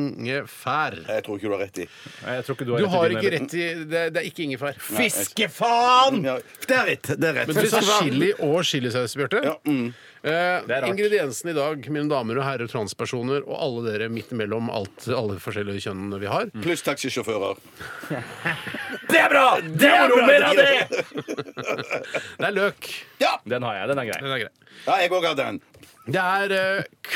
Speaker 2: Ingefær.
Speaker 4: Jeg tror ikke du har rett i.
Speaker 3: Nei, Jeg tror ikke du har,
Speaker 2: Du har
Speaker 3: i din
Speaker 2: ikke
Speaker 3: heller.
Speaker 2: rett i Det, det er ikke ingefær.
Speaker 4: Fiskefaen! Ja, det er rett. Det er rett.
Speaker 2: Men du sa
Speaker 4: Fiskefaen.
Speaker 2: chili og chilisaus, Bjarte.
Speaker 4: Ja, mm.
Speaker 2: Eh,
Speaker 3: rart.
Speaker 2: ingrediensene i dag, mine damer og herrer transpersoner og alle dere midt imellom alt, alle forskjellige kjønnene vi har,
Speaker 4: Pluss taxisjåfører.
Speaker 3: Det er bra! Det er noe mer av det!
Speaker 2: det er løk.
Speaker 3: Den har jeg. Den er grei.
Speaker 2: Den er grei.
Speaker 4: Ja, jeg òg har den.
Speaker 2: Det er eh,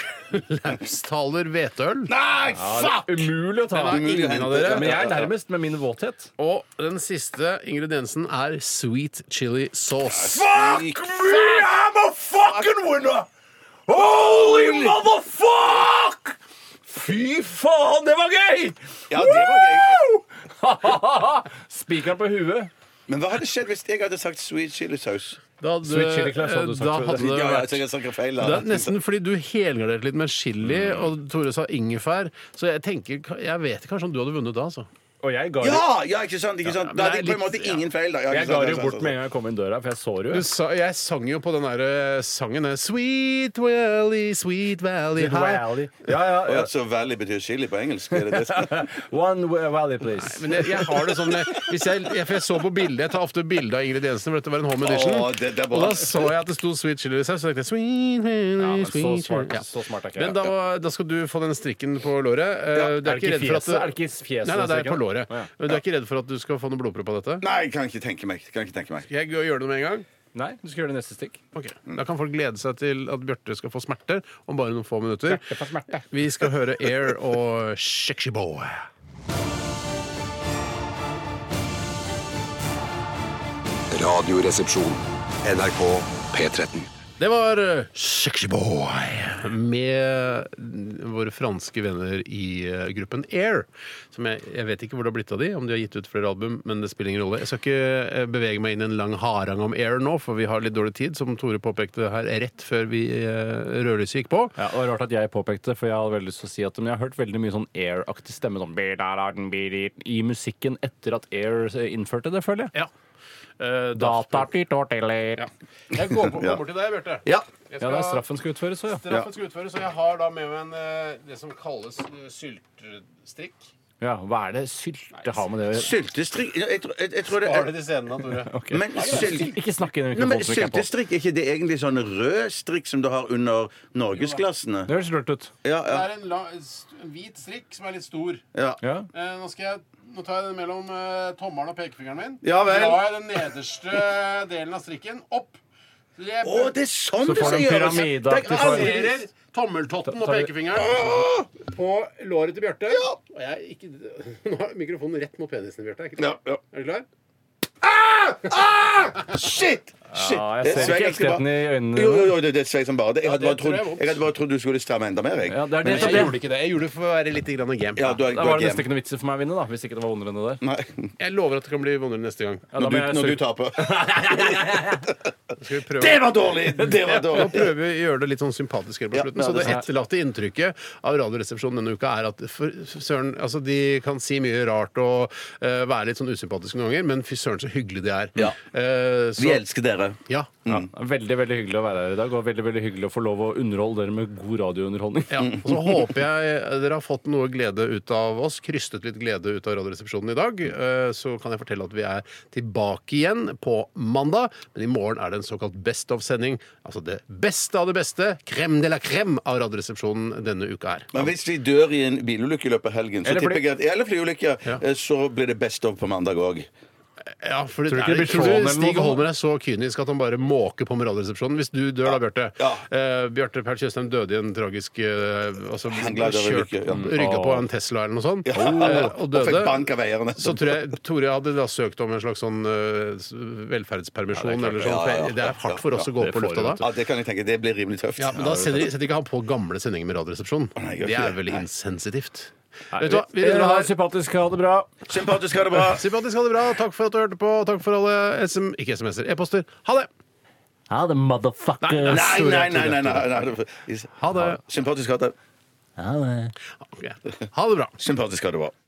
Speaker 2: klaustaler hvetøl.
Speaker 4: Nei, fuck!
Speaker 3: Umulig å ta.
Speaker 2: Den er ingen av dere.
Speaker 3: Men jeg er nærmest med min våthet.
Speaker 2: Og den siste ingrediensen er sweet chili sauce.
Speaker 4: Fuck me! I'm a fucking winner! Holy
Speaker 3: Motherfuck! Fy faen, det var gøy!
Speaker 4: Ja, det var gøy.
Speaker 3: <laughs> Spikeren på huet.
Speaker 4: Men hva hadde skjedd hvis jeg hadde sagt sweet chilisaus?
Speaker 2: Da hadde, eh,
Speaker 3: Sweet chili class hadde du sagt.
Speaker 2: da hadde
Speaker 4: Ja,
Speaker 2: det
Speaker 4: ja,
Speaker 2: vært
Speaker 4: jeg snakker feil
Speaker 2: det
Speaker 4: da.
Speaker 2: er nesten fordi du helgarderte litt med chili, og Tore sa ingefær. Så jeg tenker, jeg vet kanskje om du hadde vunnet da, altså.
Speaker 3: Og jeg ga det.
Speaker 4: Ja, ja, ikke sant? ikke sant? Da hadde jeg på en måte ingen feil. da. Ja,
Speaker 3: Jeg
Speaker 4: ikke
Speaker 3: ga
Speaker 4: sant,
Speaker 3: det jo
Speaker 4: ja, sant,
Speaker 3: bort
Speaker 4: sant,
Speaker 3: med en gang jeg kom inn døra, for jeg så det jo.
Speaker 2: Du sa, jeg sang jo på den der eh, sangen der, Sweet Valley, Sweet Valley High.
Speaker 3: Valley. Ja, ja,
Speaker 4: sant.
Speaker 3: ja.
Speaker 4: Ja, så Valley betyr chili på engelsk? Er det det?
Speaker 3: <laughs> One valley, please.
Speaker 2: Men jeg, jeg har det sånn jeg, hvis jeg, jeg, For jeg så på bildet Jeg tar ofte bilde av ingrediensene, for dette var en home edition.
Speaker 4: Å, det- det er bra.
Speaker 2: og da så jeg at det sto sweet chili saus. Så tenkte jeg sweet, chili,
Speaker 3: Ja, men så
Speaker 2: sweet
Speaker 3: smart-
Speaker 2: chili.
Speaker 3: så smart er ikke jeg.
Speaker 2: Men da, da skal du få den strikken på låret. Eh, Du
Speaker 3: Er det ikke
Speaker 2: redd for at
Speaker 3: fjeset? Er det ikke fjeset
Speaker 2: Nei, nei, det er
Speaker 3: den
Speaker 2: på
Speaker 3: strikken?
Speaker 2: låret.
Speaker 3: Å, ja.
Speaker 2: Men Du er ikke redd for at du skal få noe blodpropp av dette?
Speaker 4: Nei, jeg kan ikke tenke meg. Kan ikke tenke meg.
Speaker 2: Jeg gjør det med en gang.
Speaker 3: Nei, du skal gjøre det neste stikk.
Speaker 2: Ok, Da kan folk glede seg til at Bjarte skal få smerter om bare noen få minutter. Vi skal høre Air og Sexy Boy.
Speaker 6: Radioresepsjon. NRK P13.
Speaker 2: Det var eh, Sexy Boy med våre franske venner i eh, gruppen Air. Som jeg, jeg vet ikke hvor det har blitt av de, om de har gitt ut flere album, men det spiller ingen rolle. Jeg skal ikke eh, bevege meg inn i en lang harang om Air nå, for vi har litt dårlig tid, som Tore påpekte her rett før vi eh, rødlyset gikk på.
Speaker 3: Ja, og det var Rart at jeg påpekte det, for jeg hadde veldig lyst til å si at men jeg har hørt veldig mye sånn Air-aktig stemme sånn, «Bidaraden, bidir», i musikken etter at Air eh, innførte det, føler jeg.
Speaker 2: Ja. Eh, da-
Speaker 3: Data, ja.
Speaker 2: Jeg går, på, går bort til deg, Bjarte.
Speaker 4: Ja.
Speaker 2: Jeg
Speaker 3: ja, det er
Speaker 2: skal-
Speaker 3: straffen skal utføres òg, ja.
Speaker 2: Straffen skal utføres, og jeg har da med meg en, eh, det som kalles eh, syltestrikk.
Speaker 3: ja. Hva er det sylte har med det å gjøre?
Speaker 4: Syltestrikk jeg, tror- jeg, jeg tror det
Speaker 2: Har
Speaker 4: er
Speaker 2: du de scenene, Tore?
Speaker 4: Men sylt...
Speaker 3: Ikke snakk inn i
Speaker 4: Nei, men
Speaker 3: mikrofonen som ikke er på.
Speaker 4: Syltestrikk, er ikke det egentlig sånn rød strikk som du har under norgesglassene?
Speaker 3: Det høres lurt ut.
Speaker 4: Ja,
Speaker 2: Det
Speaker 4: ja,
Speaker 2: er en, la, st- en hvit strikk som er litt stor.
Speaker 4: ja.
Speaker 3: Ja.
Speaker 2: Eh, nå, skal jeg, nå tar jeg den mellom eh, tommelen og pekefingeren min.
Speaker 4: Ja vel.
Speaker 2: Så drar jeg den nederste <laughs> delen av strikken opp. Så Jeg
Speaker 4: Å, det er sånn
Speaker 3: Så
Speaker 4: det skal
Speaker 3: får du en
Speaker 4: gjøres!
Speaker 3: pyramideaktig
Speaker 4: Det er aldri-
Speaker 2: plasserer tommeltotten og
Speaker 3: Ta- tar vi-
Speaker 2: pekefingeren på låret til Bjarte. Og jeg er ikke, <laughs> nå er mikrofonen rett mot penisen til Bjarte. Er, ikke det?
Speaker 4: Ja, ja.
Speaker 2: er du klar?
Speaker 4: Shit! Shit!
Speaker 3: Ja, jeg
Speaker 4: Det svei
Speaker 3: ser ikke
Speaker 4: egentlig bare-
Speaker 3: ektheten i øynene
Speaker 4: Jo, jo,
Speaker 3: dine.
Speaker 4: jo, det, det svei som bare det. Jeg hadde
Speaker 2: Ja,
Speaker 4: bare
Speaker 2: det tror
Speaker 4: trodd,
Speaker 2: jeg var-
Speaker 4: jeg hadde bare trodd du skulle stramme enda mer, jeg.
Speaker 3: Ja,
Speaker 4: Men
Speaker 3: det er det
Speaker 2: Jeg
Speaker 3: som er
Speaker 2: gjorde ikke det. Jeg gjorde det for å være litt grann game.
Speaker 4: Ja, du er,
Speaker 3: Da
Speaker 4: du
Speaker 3: var
Speaker 4: er
Speaker 3: det nesten
Speaker 4: game.
Speaker 3: ikke noe vits i for meg å vinne, da, hvis ikke det var vondere enn det der.
Speaker 4: Nei,
Speaker 2: Jeg lover at det kan bli vondere neste gang.
Speaker 3: Ja,
Speaker 4: når
Speaker 3: da må
Speaker 4: du,
Speaker 3: jeg
Speaker 4: når du
Speaker 3: surre.
Speaker 4: taper.
Speaker 2: Skal vi prøve?
Speaker 4: Det var dårlig! Det
Speaker 2: <laughs>
Speaker 4: var
Speaker 2: Nå
Speaker 4: dårlig.
Speaker 2: prøver vi å gjøre det litt sånn sympatisk her på
Speaker 4: Ja,
Speaker 2: slutten.
Speaker 4: ja,
Speaker 2: så det
Speaker 4: det skal jeg.
Speaker 2: etterlatte inntrykket av Radioresepsjonen denne uka er at for søren, altså de kan si mye rart og eh, være litt sånn usympatiske noen ganger, men fy søren så hyggelig de er.
Speaker 4: Ja.
Speaker 2: Eh, så,
Speaker 4: Vi elsker Mm. dere.
Speaker 2: ja.
Speaker 3: Ja,
Speaker 2: Mm.
Speaker 3: veldig veldig hyggelig å være her i dag, og veldig veldig hyggelig å få lov å underholde dere med god radiounderholdning.
Speaker 2: Ja, og Så håper jeg dere har fått noe glede ut av oss, krystet litt glede ut av Radioresepsjonen i dag. Eh, Så kan jeg fortelle at vi er tilbake igjen på mandag, men i morgen er det en såkalt Best of-sending. Altså det beste av det beste, crème de la crème av Radioresepsjonen denne uka her.
Speaker 4: Men hvis vi dør i en bilulykke i løpet av helgen, så
Speaker 3: Eller
Speaker 4: tipper
Speaker 3: fly.
Speaker 4: jeg at Eller flyulykke. eh, Så blir det Best of på mandag òg.
Speaker 2: Ja, for det,
Speaker 3: Tror du ikke
Speaker 2: er,
Speaker 3: det
Speaker 2: tror
Speaker 3: blir tråden
Speaker 2: du
Speaker 3: eller noe
Speaker 2: Stig
Speaker 3: sånt?
Speaker 2: Holmer er så kynisk at han bare måker på med Radioresepsjonen hvis du dør da, Bjarte.
Speaker 4: Ja.
Speaker 2: Eh, Bjarte Perl Tjøstheim døde i en tragisk eh, altså,
Speaker 4: Han gled over
Speaker 2: kjørt-
Speaker 4: lykke, ja.
Speaker 2: Rygga på en Tesla eller noe sånt.
Speaker 3: Oh.
Speaker 4: Ja.
Speaker 2: eh, Og
Speaker 4: Og fikk
Speaker 2: døde.
Speaker 4: bank av eierne.
Speaker 2: Så tror jeg Tore hadde da søkt om en slags sånn eh, s- velferdspermisjon eller sånn.
Speaker 4: Ja, ja, ja.
Speaker 2: for Det er hardt for oss å gå
Speaker 3: Det
Speaker 2: på
Speaker 3: får
Speaker 2: lufta
Speaker 3: du,
Speaker 2: da.
Speaker 3: vet
Speaker 4: Ja, det kan jeg tenke. Det blir rimelig tøft.
Speaker 2: Ja, men Da sender, setter ikke han på gamle sendinger med Radioresepsjonen.
Speaker 4: nei, gjør
Speaker 2: Det
Speaker 4: ikke
Speaker 2: er
Speaker 4: det.
Speaker 2: vel
Speaker 4: Nei.
Speaker 2: insensitivt.
Speaker 3: Nei,
Speaker 2: Vet du hva, vi
Speaker 3: Eh,
Speaker 2: runder
Speaker 3: ha
Speaker 2: av
Speaker 3: det
Speaker 2: her.
Speaker 3: sympatisk, ha det bra.
Speaker 4: Sympatisk, ha det bra.
Speaker 2: Sympatisk, ha det bra. Takk for at du hørte på. Takk for alle SM, ikke SMS-er, e-poster. Ha det!
Speaker 10: Ha det, motherfuckers.
Speaker 4: Nei, nei, nei. nei, nei, nei, nei.
Speaker 2: Ha det.
Speaker 4: Sympatisk, ha det.
Speaker 10: Ha det.
Speaker 2: Ok. Ha det bra.
Speaker 4: Sympatisk, ha det bra.